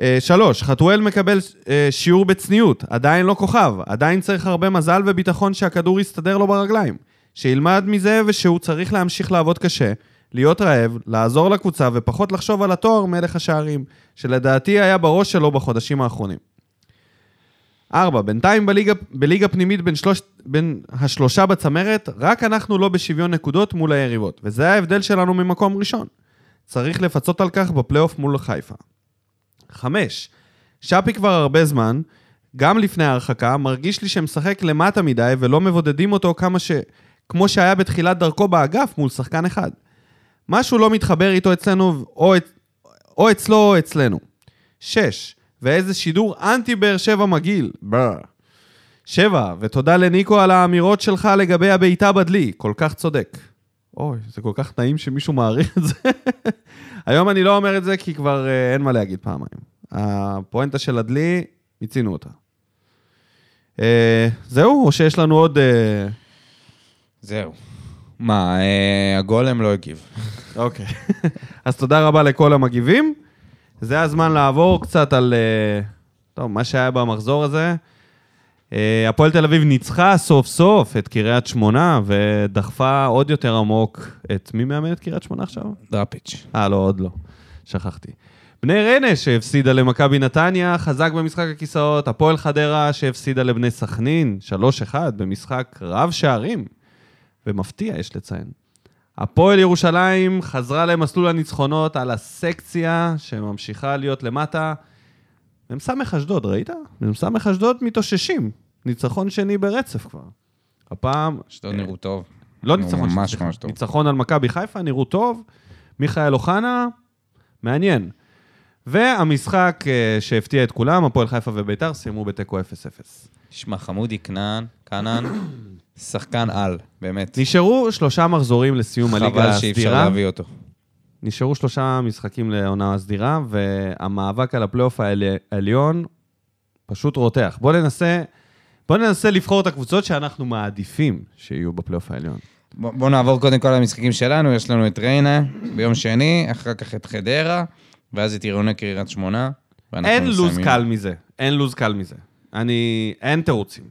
אה, שלוש, חתואל מקבל אה, שיעור בצניעות, עדיין לא כוכב, עדיין צריך הרבה מזל וביטחון שהכדור יסתדר לו ברגליים. שילמד מזה ושהוא צריך להמשיך לעבוד קשה, להיות רעב, לעזור לקבוצה ופחות לחשוב על התואר מלך השערים, שלדעתי היה בראש שלו בחודשים האחרונים. ארבע, בינתיים בליגה, בליגה פנימית בין, שלוש, בין השלושה בצמרת, רק אנחנו לא בשוויון נקודות מול היריבות, וזה ההבדל שלנו ממקום ראשון. צריך לפצות על כך בפלייאוף מול חיפה. חמש, שפי כבר הרבה זמן, גם לפני ההרחקה, מרגיש לי שמשחק למטה מדי ולא מבודדים אותו כמה ש... כמו שהיה בתחילת דרכו באגף מול שחקן אחד. משהו לא מתחבר איתו אצלנו, או, את... או אצלו או אצלנו. שש, ואיזה שידור אנטי באר שבע מגעיל. בר. שבע, ותודה לניקו על האמירות שלך לגבי הבעיטה בדלי, כל כך צודק. אוי, זה כל כך נעים שמישהו מעריך את זה. היום אני לא אומר את זה כי כבר אה, אין מה להגיד פעמיים. הפואנטה של הדלי, מיצינו אותה. אה, זהו, או שיש לנו עוד... אה, זהו. מה, אה, הגולם לא הגיב. אוקיי. *laughs* אז תודה רבה לכל המגיבים. זה הזמן לעבור קצת על... אה, טוב, מה שהיה במחזור הזה. אה, הפועל תל אביב ניצחה סוף סוף את קריית שמונה, ודחפה עוד יותר עמוק את... מי מאמן את קריית שמונה עכשיו? דראפיץ'. אה, לא, עוד לא. שכחתי. בני ריינה שהפסידה למכבי נתניה, חזק במשחק הכיסאות. הפועל חדרה שהפסידה לבני סכנין, 3-1 במשחק רב שערים. ומפתיע, יש לציין. הפועל ירושלים חזרה למסלול הניצחונות על הסקציה שממשיכה להיות למטה. מ"ס אשדוד, ראית? מ"ס אשדוד מתאוששים. ניצחון שני ברצף כבר. הפעם... אשדוד נראו טוב. לא נו, ניצחון, ממש סליחה. ממש טוב. ניצחון על מכבי חיפה, נראו טוב. מיכאל אוחנה, מעניין. והמשחק אה, שהפתיע את כולם, הפועל חיפה וביתר, סיימו בתיקו 0-0. שמע, חמודי כנען, כנען, שחקן על, באמת. נשארו שלושה מחזורים לסיום הליגה חבל שאי אפשר הסדירה. להביא אותו. נשארו שלושה משחקים לעונה הסדירה, והמאבק על הפלייאוף העל- העליון פשוט רותח. בואו ננסה, בואו ננסה לבחור את הקבוצות שאנחנו מעדיפים שיהיו בפלייאוף העליון. בוא- בואו נעבור קודם כל למשחקים שלנו, יש לנו את ריינה ביום שני, אחר כך את חדרה, ואז את עירוני קריית שמונה. ואנחנו אין לוז מסיימים. קל מזה, אין לוז קל מזה. אני, אין תירוצים.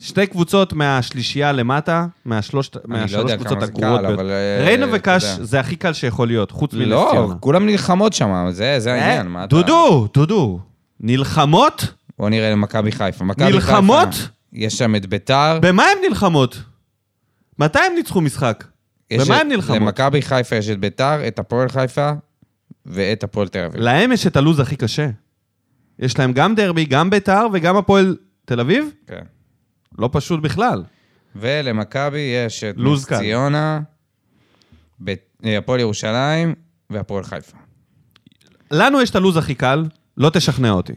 שתי קבוצות מהשלישייה למטה, מהשלוש, מהשלוש לא יודע קבוצות כמה זה הגרועות קל, ביותר. אבל, אה, ריינה אתה וקאש יודע. זה הכי קל שיכול להיות, חוץ מנס לא, ציונה. כולם נלחמות שם, זה זה אה, העניין. מה אתה- דודו, דודו, נלחמות? בואו נראה למכבי חיפה. מכבי נלחמות? חיפה, יש שם את ביתר. במה הן נלחמות? מתי הם ניצחו משחק? יש במה את- הן נלחמות? למכבי חיפה יש את ביתר, את הפועל חיפה ואת הפועל תל אביב. להם יש את הלוז הכי קשה. יש להם גם דרבי, גם ביתר וגם הפועל תל אביב? כן. לא פשוט בכלל. ולמכבי יש את לוז נס קל. ציונה, בית- אה, הפועל ירושלים והפועל חיפה. לנו יש את הלו"ז הכי קל, לא תשכנע אותי.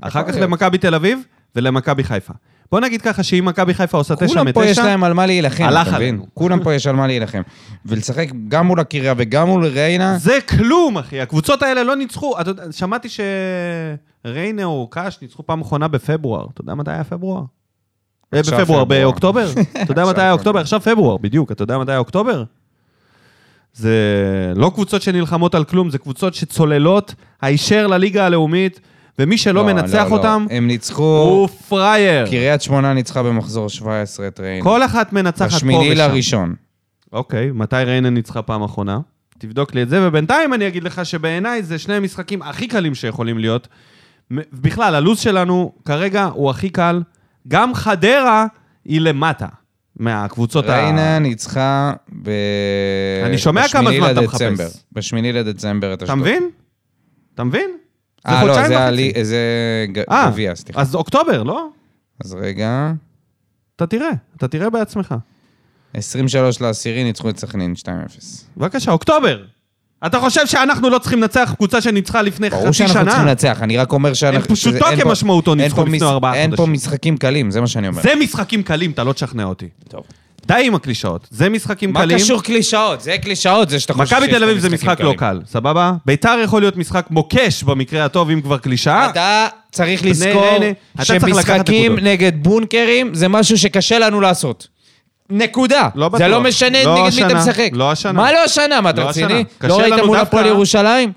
אחר כך להיות. למכבי תל אביב ולמכבי חיפה. בוא נגיד ככה שאם מכבי חיפה עושה תשע כולם פה יש מתשע, להם על מה להילחם, הלך אתה מבין? עלינו. כולם פה יש על מה להילחם. ולשחק גם מול הקריה וגם מול ריינה, זה כלום, אחי. הקבוצות האלה לא ניצחו. אתה יודע, שמעתי שריינה או קאש ניצחו פעם אחרונה בפברואר. אתה יודע מתי היה פברואר? אה, עכשיו בפברואר, פברואר. *laughs* באוקטובר? אתה יודע מתי עכשיו היה אוקטובר? פברואר. עכשיו פברואר, בדיוק. אתה יודע מתי היה אוקטובר? זה לא קבוצות שנלחמות על כלום, זה קבוצות שצוללות הישר לליגה הלאומית, ומי שלא לא, מנצח לא, לא. אותם, הם ניצחו, הוא פראייר. קריית שמונה ניצחה במחזור 17 את ריינה. כל אחת מנצחת פה כן. בשמיני ושם. לראשון. אוקיי, מתי ריינה ניצחה פעם אחרונה? תבדוק לי את זה, ובינתיים אני אגיד לך שבעיניי זה שני המשחקים הכי קלים שיכולים להיות. מ- בכלל, הלו"ז שלנו כרגע הוא הכי קל. גם חדרה היא למטה מהקבוצות ה... ריינה ניצחה ב... אני שומע בשמיני כמה זמן אתה לדצמבר. מחפש. בשמיני לדצמבר את אתה אשדוד. מבין? אתה מבין? אה, לא, חודשיים זה וחצי. הלי- זה ג- אה, גביע, סליחה. אז אוקטובר, לא? אז רגע, אתה תראה, אתה תראה בעצמך. 23 לעשירי ניצחו את סכנין 2-0. בבקשה, אוקטובר. אתה חושב שאנחנו לא צריכים לנצח קבוצה שניצחה לפני חצי שנה? ברור שאנחנו צריכים לנצח, אני רק אומר שאנחנו... פשוטו שזה- אין פה- כמשמעותו אין ניצחו פה לפני מש- ארבעה אין פה חודשים. משחקים קלים, זה מה שאני אומר. זה משחקים קלים, אתה לא תשכנע אותי. טוב. די עם הקלישאות. זה משחקים מה קלים. קשור קלישאות? זה קלישאות, זה שאתה חושב מכבי שיש תל פה אביב זה משחקים משחק לא קל, קלים. סבבה? ביתר יכול להיות משחק מוקש במקרה הטוב, אם כבר קלישאה. אתה צריך בני לזכור ריינה, אתה צריך לקחת שמשחקים נקודות. נגד בונקרים זה משהו שקשה לנו לעשות. נקודה. לא בטוח. זה לא משנה לא נגד מי השנה, אתה משחק. לא השנה. מה לא השנה? מה, אתה לא השנה. רציני? קשה לא ראית לנו מול דווקא- הפועל ירושלים?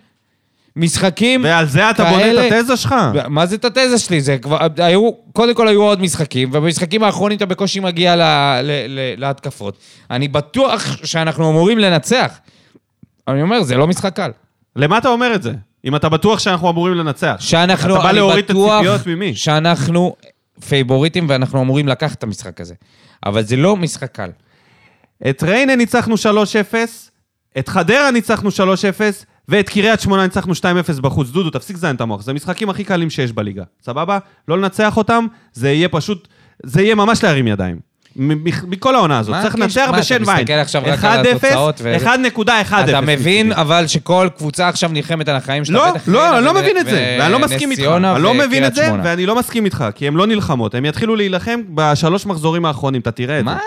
משחקים... ועל זה אתה בונה כאלה- את התזה שלך? מה זה את התזה שלי? זה כבר... היו... קודם כל היו עוד משחקים, ובמשחקים האחרונים אתה בקושי מגיע ל... ל... ל... להתקפות. אני בטוח שאנחנו אמורים לנצח. אני אומר, זה לא משחק קל. למה אתה אומר את זה? אם אתה בטוח שאנחנו אמורים לנצח. שאנחנו, אתה בא אני להוריד את בטוח הציפיות ממי? שאנחנו פייבוריטים ואנחנו אמורים לקחת את המשחק הזה. אבל זה לא משחק קל. את ריינה ניצחנו 3-0, את חדרה ניצחנו 3-0, ואת קריית שמונה ניצחנו 2-0 בחוץ. דודו, תפסיק לזיין את המוח. זה המשחקים הכי קלים שיש בליגה, סבבה? לא לנצח אותם, זה יהיה פשוט... זה יהיה ממש להרים ידיים. מ- מ- מכל העונה הזאת. מה צריך הקשר? לנצח מה, אתה בשן מסתכל ויין. עכשיו רק על התוצאות ו- 1-0, 1.10. אתה מבין אבל שכל קבוצה עכשיו נלחמת על החיים שלה. לא, בטח לא, ריינה אני לא ו- מבין את ו- זה, ואני לא מסכים נס איתך. ציונה אני לא מבין את וקריית זה, שמונה. ואני לא מסכים איתך, כי הן לא נלחמות. הן יתחילו להילחם בשלוש מחזורים האחרונים, אתה תראה את זה. מה?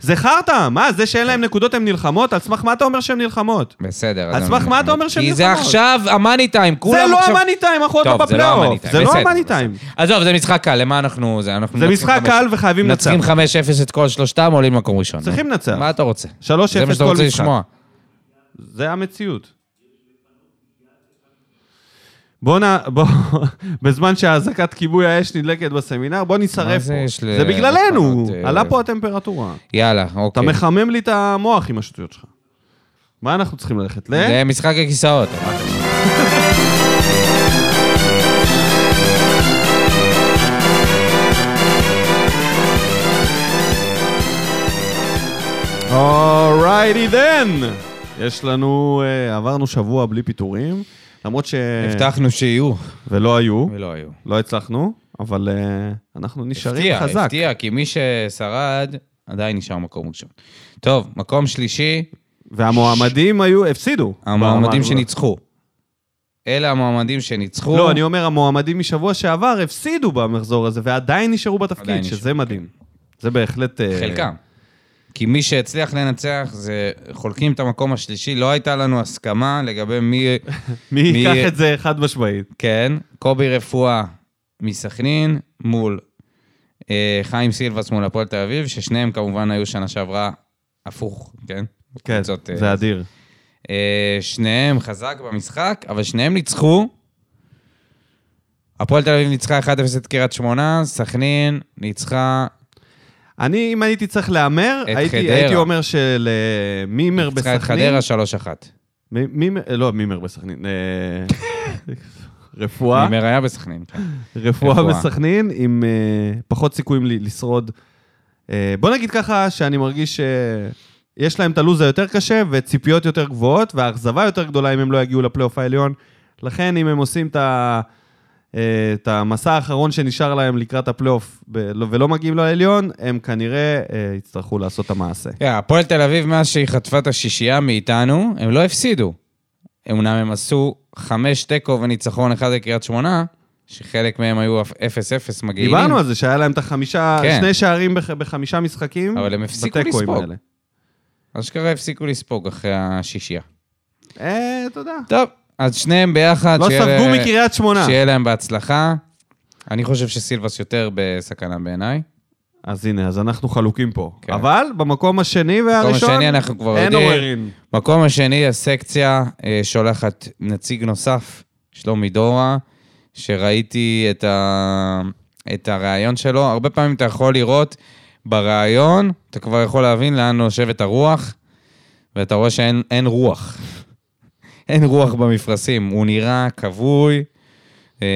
זה חרטא, מה, זה שאין להם נקודות הן נלחמות? על סמך מה אתה אומר שהן נלחמות? בסדר. אז אני- סמך מה אתה אומר שהן כי זה נלחמות? עכשיו המאני טיים, זה כולם לא עכשיו... המאני טיים, אנחנו עוד טוב, לא זה לא המאני בפלייאוף. טיים, זה לא בסדר, המאני טיים. עזוב, זה משחק קל, למה אנחנו... זה אנחנו זה מנצחים משחק חמש- קל וחייבים לנצח. מנצחים 5-0 את כל שלושתם, עולים מקום ראשון. צריכים נו. לנצח. מה אתה רוצה? 3-0 כל משחק. זה מה שאתה רוצה לשמוע. זה המציאות. בוא נ... בוא... *laughs* בזמן שהאזעקת כיבוי האש נדלקת בסמינר, בוא מה נישרף זה פה. יש ל- זה בגללנו, לפנות, אה, עלה פה הטמפרטורה. יאללה, אוקיי. אתה מחמם לי את המוח עם השטויות שלך. מה אנחנו צריכים ללכת? ל... זה משחק הכיסאות. אה, אורייטי then! יש לנו... אה, עברנו שבוע בלי פיטורים, למרות ש... הבטחנו שיהיו. ולא היו, ולא היו. לא הצלחנו, אבל אה, אנחנו נשארים הפתיע, חזק. הפתיע, כי מי ששרד עדיין נשאר מקום ראשון. טוב, מקום שלישי, והמועמדים היו... הפסידו. המועמדים ברמה- שניצחו. אלה המועמדים שניצחו. לא, אני אומר, המועמדים משבוע שעבר הפסידו במחזור הזה, ועדיין נשארו בתפקיד, עדיין שזה נשארו, כן. מדהים. זה בהחלט... אה, חלקם. כי מי שהצליח לנצח, זה חולקים את המקום השלישי. לא הייתה לנו הסכמה לגבי *laughs* מי... מי מי- ייקח את זה חד משמעית? כן, קובי רפואה מסכנין מול אה, חיים סילבס מול הפועל תל אביב, ששניהם כמובן היו שנה שעברה הפוך, כן? כן, קבוצות, אה, זה אדיר. אה, שניהם חזק במשחק, אבל שניהם ניצחו. הפועל תל אביב ניצחה 1-0 את קריית שמונה, סכנין ניצחה... אני, אם הייתי צריך להמר, את הייתי- חדרה. הייתי אומר שלמימר ניצחה את בסכנין... חדרה 3-1. מ- מימר- לא, מימר בסכנין. *laughs* אה, רפואה, נימר היה בסכנין. כן. רפואה רפואה. בסכנין, עם אה, פחות סיכויים ל- לשרוד. אה, בוא נגיד ככה, שאני מרגיש שיש להם את הלו"ז היותר קשה, וציפיות יותר גבוהות, והאכזבה יותר גדולה אם הם לא יגיעו לפלייאוף העליון. לכן, אם הם עושים את ה... אה, את המסע האחרון שנשאר להם לקראת הפלייאוף ב- לא- ולא מגיעים לעליון, הם כנראה אה, יצטרכו לעשות את המעשה. תראה, הפועל תל אביב, מאז שהיא חטפה את השישייה מאיתנו, הם לא הפסידו. אמנם הם עשו חמש תיקו וניצחון אחד לקריית שמונה, שחלק מהם היו 0-0 מגעילים. דיברנו על זה שהיה להם את החמישה, כן. שני שערים בח, בחמישה משחקים. אבל הם הפסיקו בתיקואים לספוג. האלה. אשכרה הפסיקו לספוג אחרי השישייה. אה, תודה. טוב, אז שניהם ביחד. לא שיהיה ספגו לה- מקריית שמונה. שיהיה להם בהצלחה. אני חושב שסילבס יותר בסכנה בעיניי. אז הנה, אז אנחנו חלוקים פה. כן. אבל במקום השני והראשון, במקום השני אנחנו כבר אין יודעים. עוררין. מקום השני, הסקציה אה, שולחת נציג נוסף, שלומי דורה, שראיתי את, ה... את הריאיון שלו. הרבה פעמים אתה יכול לראות בריאיון, אתה כבר יכול להבין לאן נושבת הרוח, ואתה רואה שאין אין רוח. *laughs* אין רוח במפרשים. הוא נראה כבוי. אה,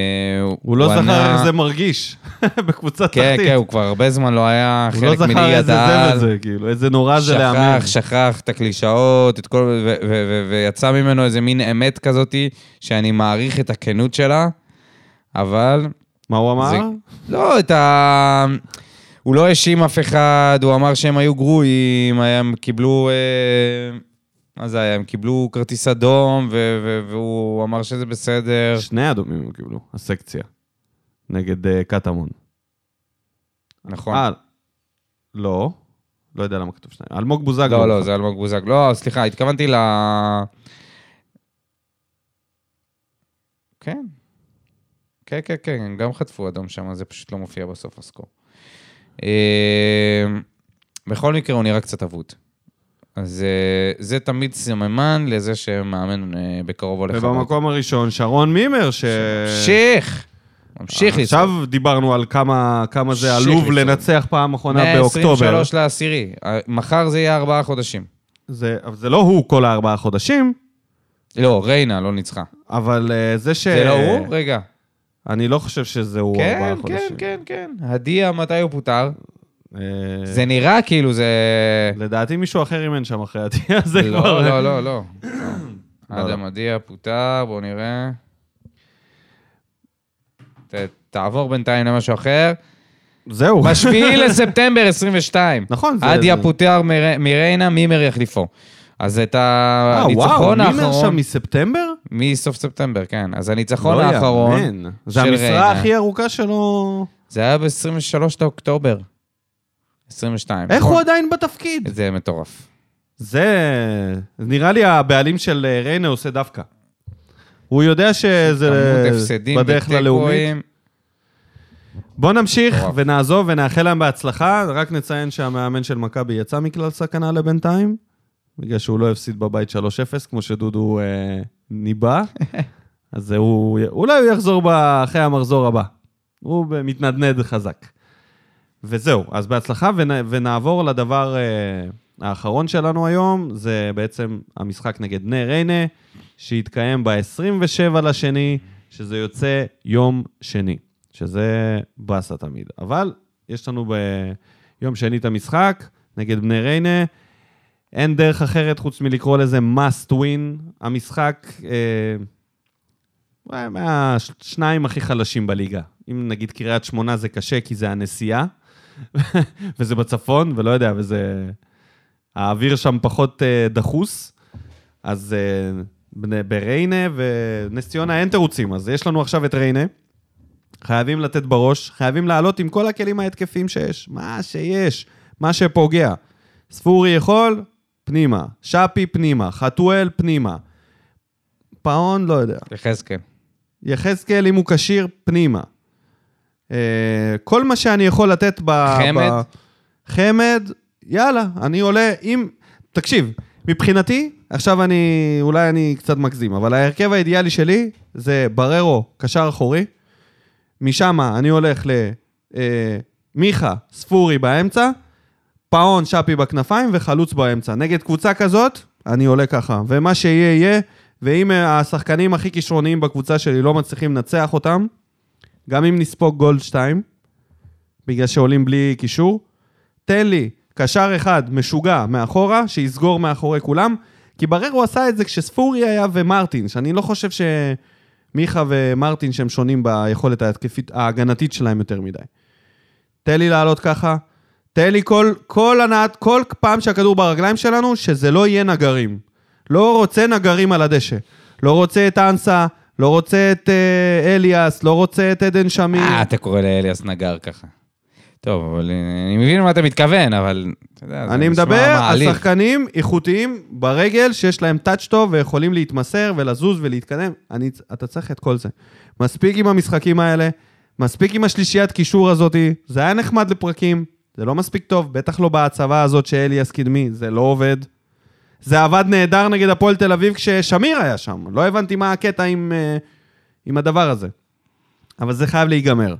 הוא לא זכר ענה- איך זה מרגיש *laughs* בקבוצה כן, תחתית. כן, הוא כבר הרבה זמן לא היה הוא לא חלק מליגת זכר העל. איזה זבל זה, כאילו, איזה נורא זה להאמר. שכח, שכח את הקלישאות, את כל... ו- ו- ו- ויצא ממנו איזה מין אמת כזאתי, שאני מעריך את הכנות שלה, אבל... מה הוא אמר? זה- לא, את ה... הוא לא האשים אף אחד, הוא אמר שהם היו גרועים, הם קיבלו... אה, מה זה היה? הם קיבלו כרטיס אדום, ו- ו- והוא אמר שזה בסדר. שני אדומים הם קיבלו, הסקציה. נגד אה, קטמון. נכון. אה, לא. לא יודע למה כתוב שניים. אלמוג בוזגלו. לא, לא, זה אלמוג בוזגלו. לא, סליחה, התכוונתי ל... כן. כן, כן, כן, הם גם חטפו אדום שם, זה פשוט לא מופיע בסוף הסקור. אה, בכל מקרה, הוא נראה קצת אבוד. אז אה, זה תמיד סממן לזה שמאמן אה, בקרוב הולך... הביתה. ובמקום הראשון, שרון מימר, ש... ממשיך! ממשיך לצחוק. עכשיו דיברנו על כמה, כמה זה ממשיך עלוב לצעוק. לנצח פעם אחרונה באוקטובר. 123 לעשירי. אה, מחר זה יהיה ארבעה חודשים. זה, אבל זה לא הוא כל הארבעה חודשים, לא, ריינה לא ניצחה. אבל אה, זה ש... זה לא הוא? רגע. אני לא חושב שזה הוא כן, ארבעה כן, חודשים. כן, כן. הדיה, מתי הוא פוטר? אה, זה נראה כאילו זה... לדעתי מישהו אחר אימן שם אחרי הדיה *laughs* הזה כבר. לא, לא, לא, לא. אדם לא. הדיה פוטר, בואו נראה. ת- תעבור בינתיים *laughs* למשהו אחר. זהו. בשביעי לספטמבר 22. *laughs* נכון, זה... אדיה זה- פוטר מר- מריינה, מימר יחליפו. אז את אה, וואו, הניצחון מימר שם האחרון... מספטמבר? מסוף ספטמבר, כן. אז הניצחון לא האחרון, יאמן. זה של המשרה ריינה. הכי ארוכה שלו. זה היה ב-23 באוקטובר. 22. איך נכון? הוא עדיין בתפקיד? זה מטורף. זה... נראה לי הבעלים של אה, ריינה עושה דווקא. הוא יודע שזה כמות הפסדים אה, בדרך ללאומית. בתיקואים. בואו נמשיך מטורף. ונעזוב ונאחל להם בהצלחה. רק נציין שהמאמן של מכבי יצא מכלל סכנה לבינתיים, בגלל שהוא לא הפסיד בבית 3-0, כמו שדודו אה, ניבא. אז הוא, אולי הוא יחזור ב- אחרי המחזור הבא. הוא ב- מתנדנד חזק. וזהו, אז בהצלחה, ונ, ונעבור לדבר אה, האחרון שלנו היום, זה בעצם המשחק נגד בני ריינה, שיתקיים ב-27 לשני, שזה יוצא יום שני, שזה באסה תמיד. אבל יש לנו ביום שני את המשחק נגד בני ריינה. אין דרך אחרת חוץ מלקרוא לזה must win. המשחק אה, אה, מהשניים הכי חלשים בליגה. אם נגיד קריית שמונה זה קשה כי זה הנסיעה, *laughs* וזה בצפון, ולא יודע, וזה... האוויר שם פחות אה, דחוס, אז אה, בני- בריינה ונס ציונה אין תירוצים, אז יש לנו עכשיו את ריינה. חייבים לתת בראש, חייבים לעלות עם כל הכלים ההתקפיים שיש. מה שיש, מה שפוגע. ספורי יכול, פנימה. שפי, פנימה. חתואל, פנימה. פאון, לא יודע. יחזקאל. יחזקאל, אם הוא כשיר, פנימה. אה, כל מה שאני יכול לתת ב... חמד? ב... חמד, יאללה, אני עולה עם... תקשיב, מבחינתי, עכשיו אני... אולי אני קצת מגזים, אבל ההרכב האידיאלי שלי זה בררו, קשר אחורי. משם אני הולך למיכה, ספורי באמצע, פאון, שפי בכנפיים וחלוץ באמצע. נגד קבוצה כזאת, אני עולה ככה. ומה שיהיה, יהיה. ואם אה, השחקנים הכי כישרוניים בקבוצה שלי לא מצליחים לנצח אותם, גם אם נספוג גול שתיים, בגלל שעולים בלי קישור, תן לי קשר אחד משוגע מאחורה, שיסגור מאחורי כולם, כי ברר הוא עשה את זה כשספורי היה ומרטין, שאני לא חושב שמיכה ומרטין שהם שונים ביכולת ההתקפית, ההגנתית שלהם יותר מדי. תן לי לעלות ככה, תן לי כל, כל הנעת, כל פעם שהכדור ברגליים שלנו, שזה לא יהיה נגרים. לא רוצה נגרים על הדשא. לא רוצה את אנסה, לא רוצה את אה, אליאס, לא רוצה את עדן שמיר. אה, אתה קורא לאליאס נגר ככה. טוב, אבל אה, אני מבין למה אתה מתכוון, אבל... אתה יודע, זה אני נשמע מדבר על מעליב. שחקנים איכותיים ברגל, שיש להם טאץ' טוב ויכולים להתמסר ולזוז ולהתקדם. אני, אתה צריך את כל זה. מספיק עם המשחקים האלה, מספיק עם השלישיית קישור הזאתי, זה היה נחמד לפרקים, זה לא מספיק טוב, בטח לא בהצבה הזאת שאליאס קדמי, זה לא עובד. זה עבד נהדר נגד הפועל תל אביב כששמיר היה שם, לא הבנתי מה הקטע עם, אה, עם הדבר הזה. אבל זה חייב להיגמר.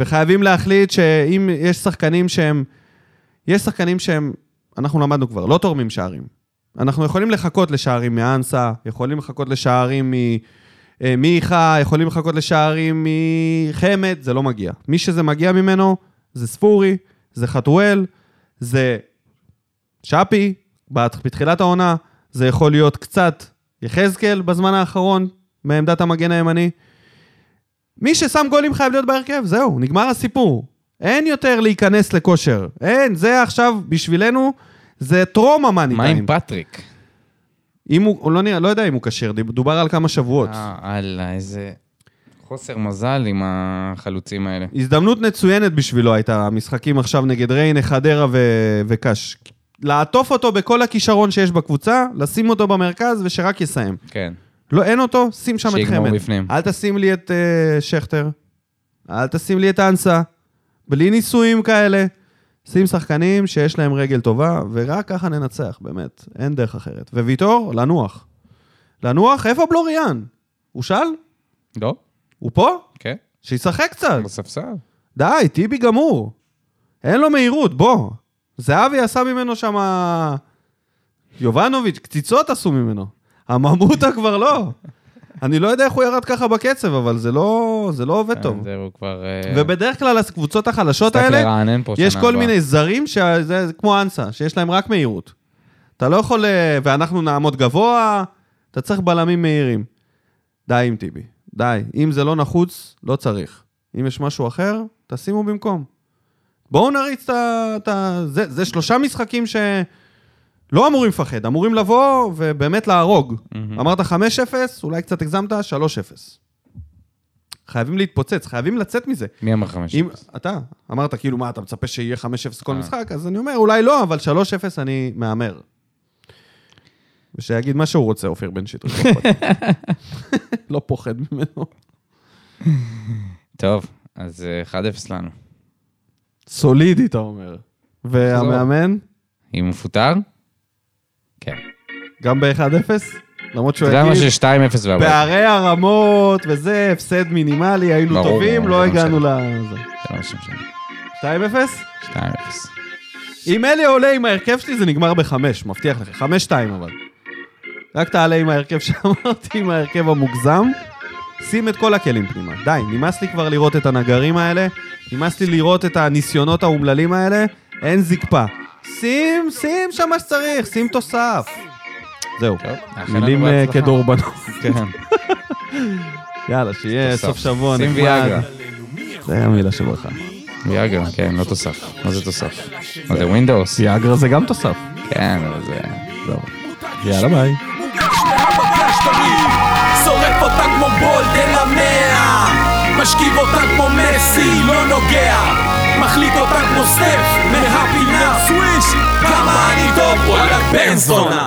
וחייבים להחליט שאם יש שחקנים שהם... יש שחקנים שהם, אנחנו למדנו כבר, לא תורמים שערים. אנחנו יכולים לחכות לשערים מאנסה, יכולים לחכות לשערים מ... אה, מיכה, יכולים לחכות לשערים מחמד, זה לא מגיע. מי שזה מגיע ממנו זה ספורי, זה חתואל, זה שפי, בת- בתחילת העונה, זה יכול להיות קצת יחזקאל בזמן האחרון, מעמדת המגן הימני. מי ששם גולים חייב להיות בהרכב, זהו, נגמר הסיפור. אין יותר להיכנס לכושר. אין, זה עכשיו בשבילנו, זה טרום המאני מה עם טיים. פטריק? אם הוא, הוא לא נראה, לא יודע אם הוא כשיר, דיב- דובר על כמה שבועות. אה, אללה, איזה חוסר מזל עם החלוצים האלה. הזדמנות מצוינת בשבילו הייתה, המשחקים עכשיו נגד ריינה, חדרה ו... וקאש. לעטוף אותו בכל הכישרון שיש בקבוצה, לשים אותו במרכז ושרק יסיים. כן. לא, אין אותו, שים שם את שיגמור חמד. בפנים. אל תשים לי את uh, שכטר, אל תשים לי את אנסה, בלי ניסויים כאלה. שים שחקנים שיש להם רגל טובה, ורק ככה ננצח, באמת, אין דרך אחרת. וויטור, לנוח. לנוח, איפה בלוריאן? הוא שאל? לא? הוא פה? כן. שישחק קצת. בספסל. די, טיבי גמור. אין לו מהירות, בוא. זהבי עשה ממנו שם... יובנוביץ', קציצות עשו ממנו. הממותה כבר לא. אני לא יודע איך הוא ירד ככה בקצב, אבל זה לא, זה לא עובד טוב. זה הוא כבר... אה, ובדרך כלל הקבוצות החלשות קצת האלה, לרענן פה יש שנה כל הבאה. מיני זרים, שזה, זה כמו אנסה, שיש להם רק מהירות. אתה לא יכול... אה, ואנחנו נעמוד גבוה, אתה צריך בלמים מהירים. די עם טיבי, די. אם זה לא נחוץ, לא צריך. אם יש משהו אחר, תשימו במקום. בואו נריץ את ה... את ה- זה, זה שלושה משחקים שלא אמורים לפחד, אמורים לבוא ובאמת להרוג. אמרת 5-0, אולי קצת הגזמת, 3-0. חייבים להתפוצץ, חייבים לצאת מזה. מי אמר חמש? אם אתה אמרת, כאילו, מה, אתה מצפה שיהיה 5-0 כל משחק? אז אני אומר, אולי לא, אבל 3-0 אני מהמר. ושיגיד מה שהוא רוצה, אופיר בן שטרית. לא אכפת לי. *laughs* לא פוחד ממנו. טוב, אז אה, 1-0 לנו. סולידי, אתה אומר. והמאמן, אם הוא מפוטר? כן. גם ב-1-0, למרות שהוא אתה יודע מה יגיד, ש-2-0 והבית. בערי הרמות וזה, הפסד מינימלי, היינו ברור, טובים, ברור, לא זה לא הגענו לזה. זה לא משנה. 2-0? 2-0. אם אלי עולה עם ההרכב שלי, זה נגמר בחמש, מבטיח לך. חמש-שתיים אבל. רק תעלה עם ההרכב שאמרתי, עם ההרכב המוגזם. שים את כל הכלים פנימה. די, נמאס לי כבר לראות את הנגרים האלה, נמאס לי לראות את הניסיונות האומללים האלה, אין זקפה. שים, שים שם מה שצריך, שים תוסף. זהו. נאחל לנו מילים אה, בהצלחה. כדורבנות. *laughs* כן. יאללה, שיהיה תוסף. סוף שבוע שים נחמד. ויאגרה. זה המילה שברכה. ויאגרה, כן, לא תוסף. מה זה תוסף? מה זה ווינדוס? ויאגרה זה גם תוסף. כן, אבל זה... זהו. יאללה, ביי. שורף אותה כמו בולד אל המאה משכיב אותה כמו מסי, לא נוגע מחליט אותה כמו סטף, מהפינה סוויש כמה אני טוב, וואלה בן זונה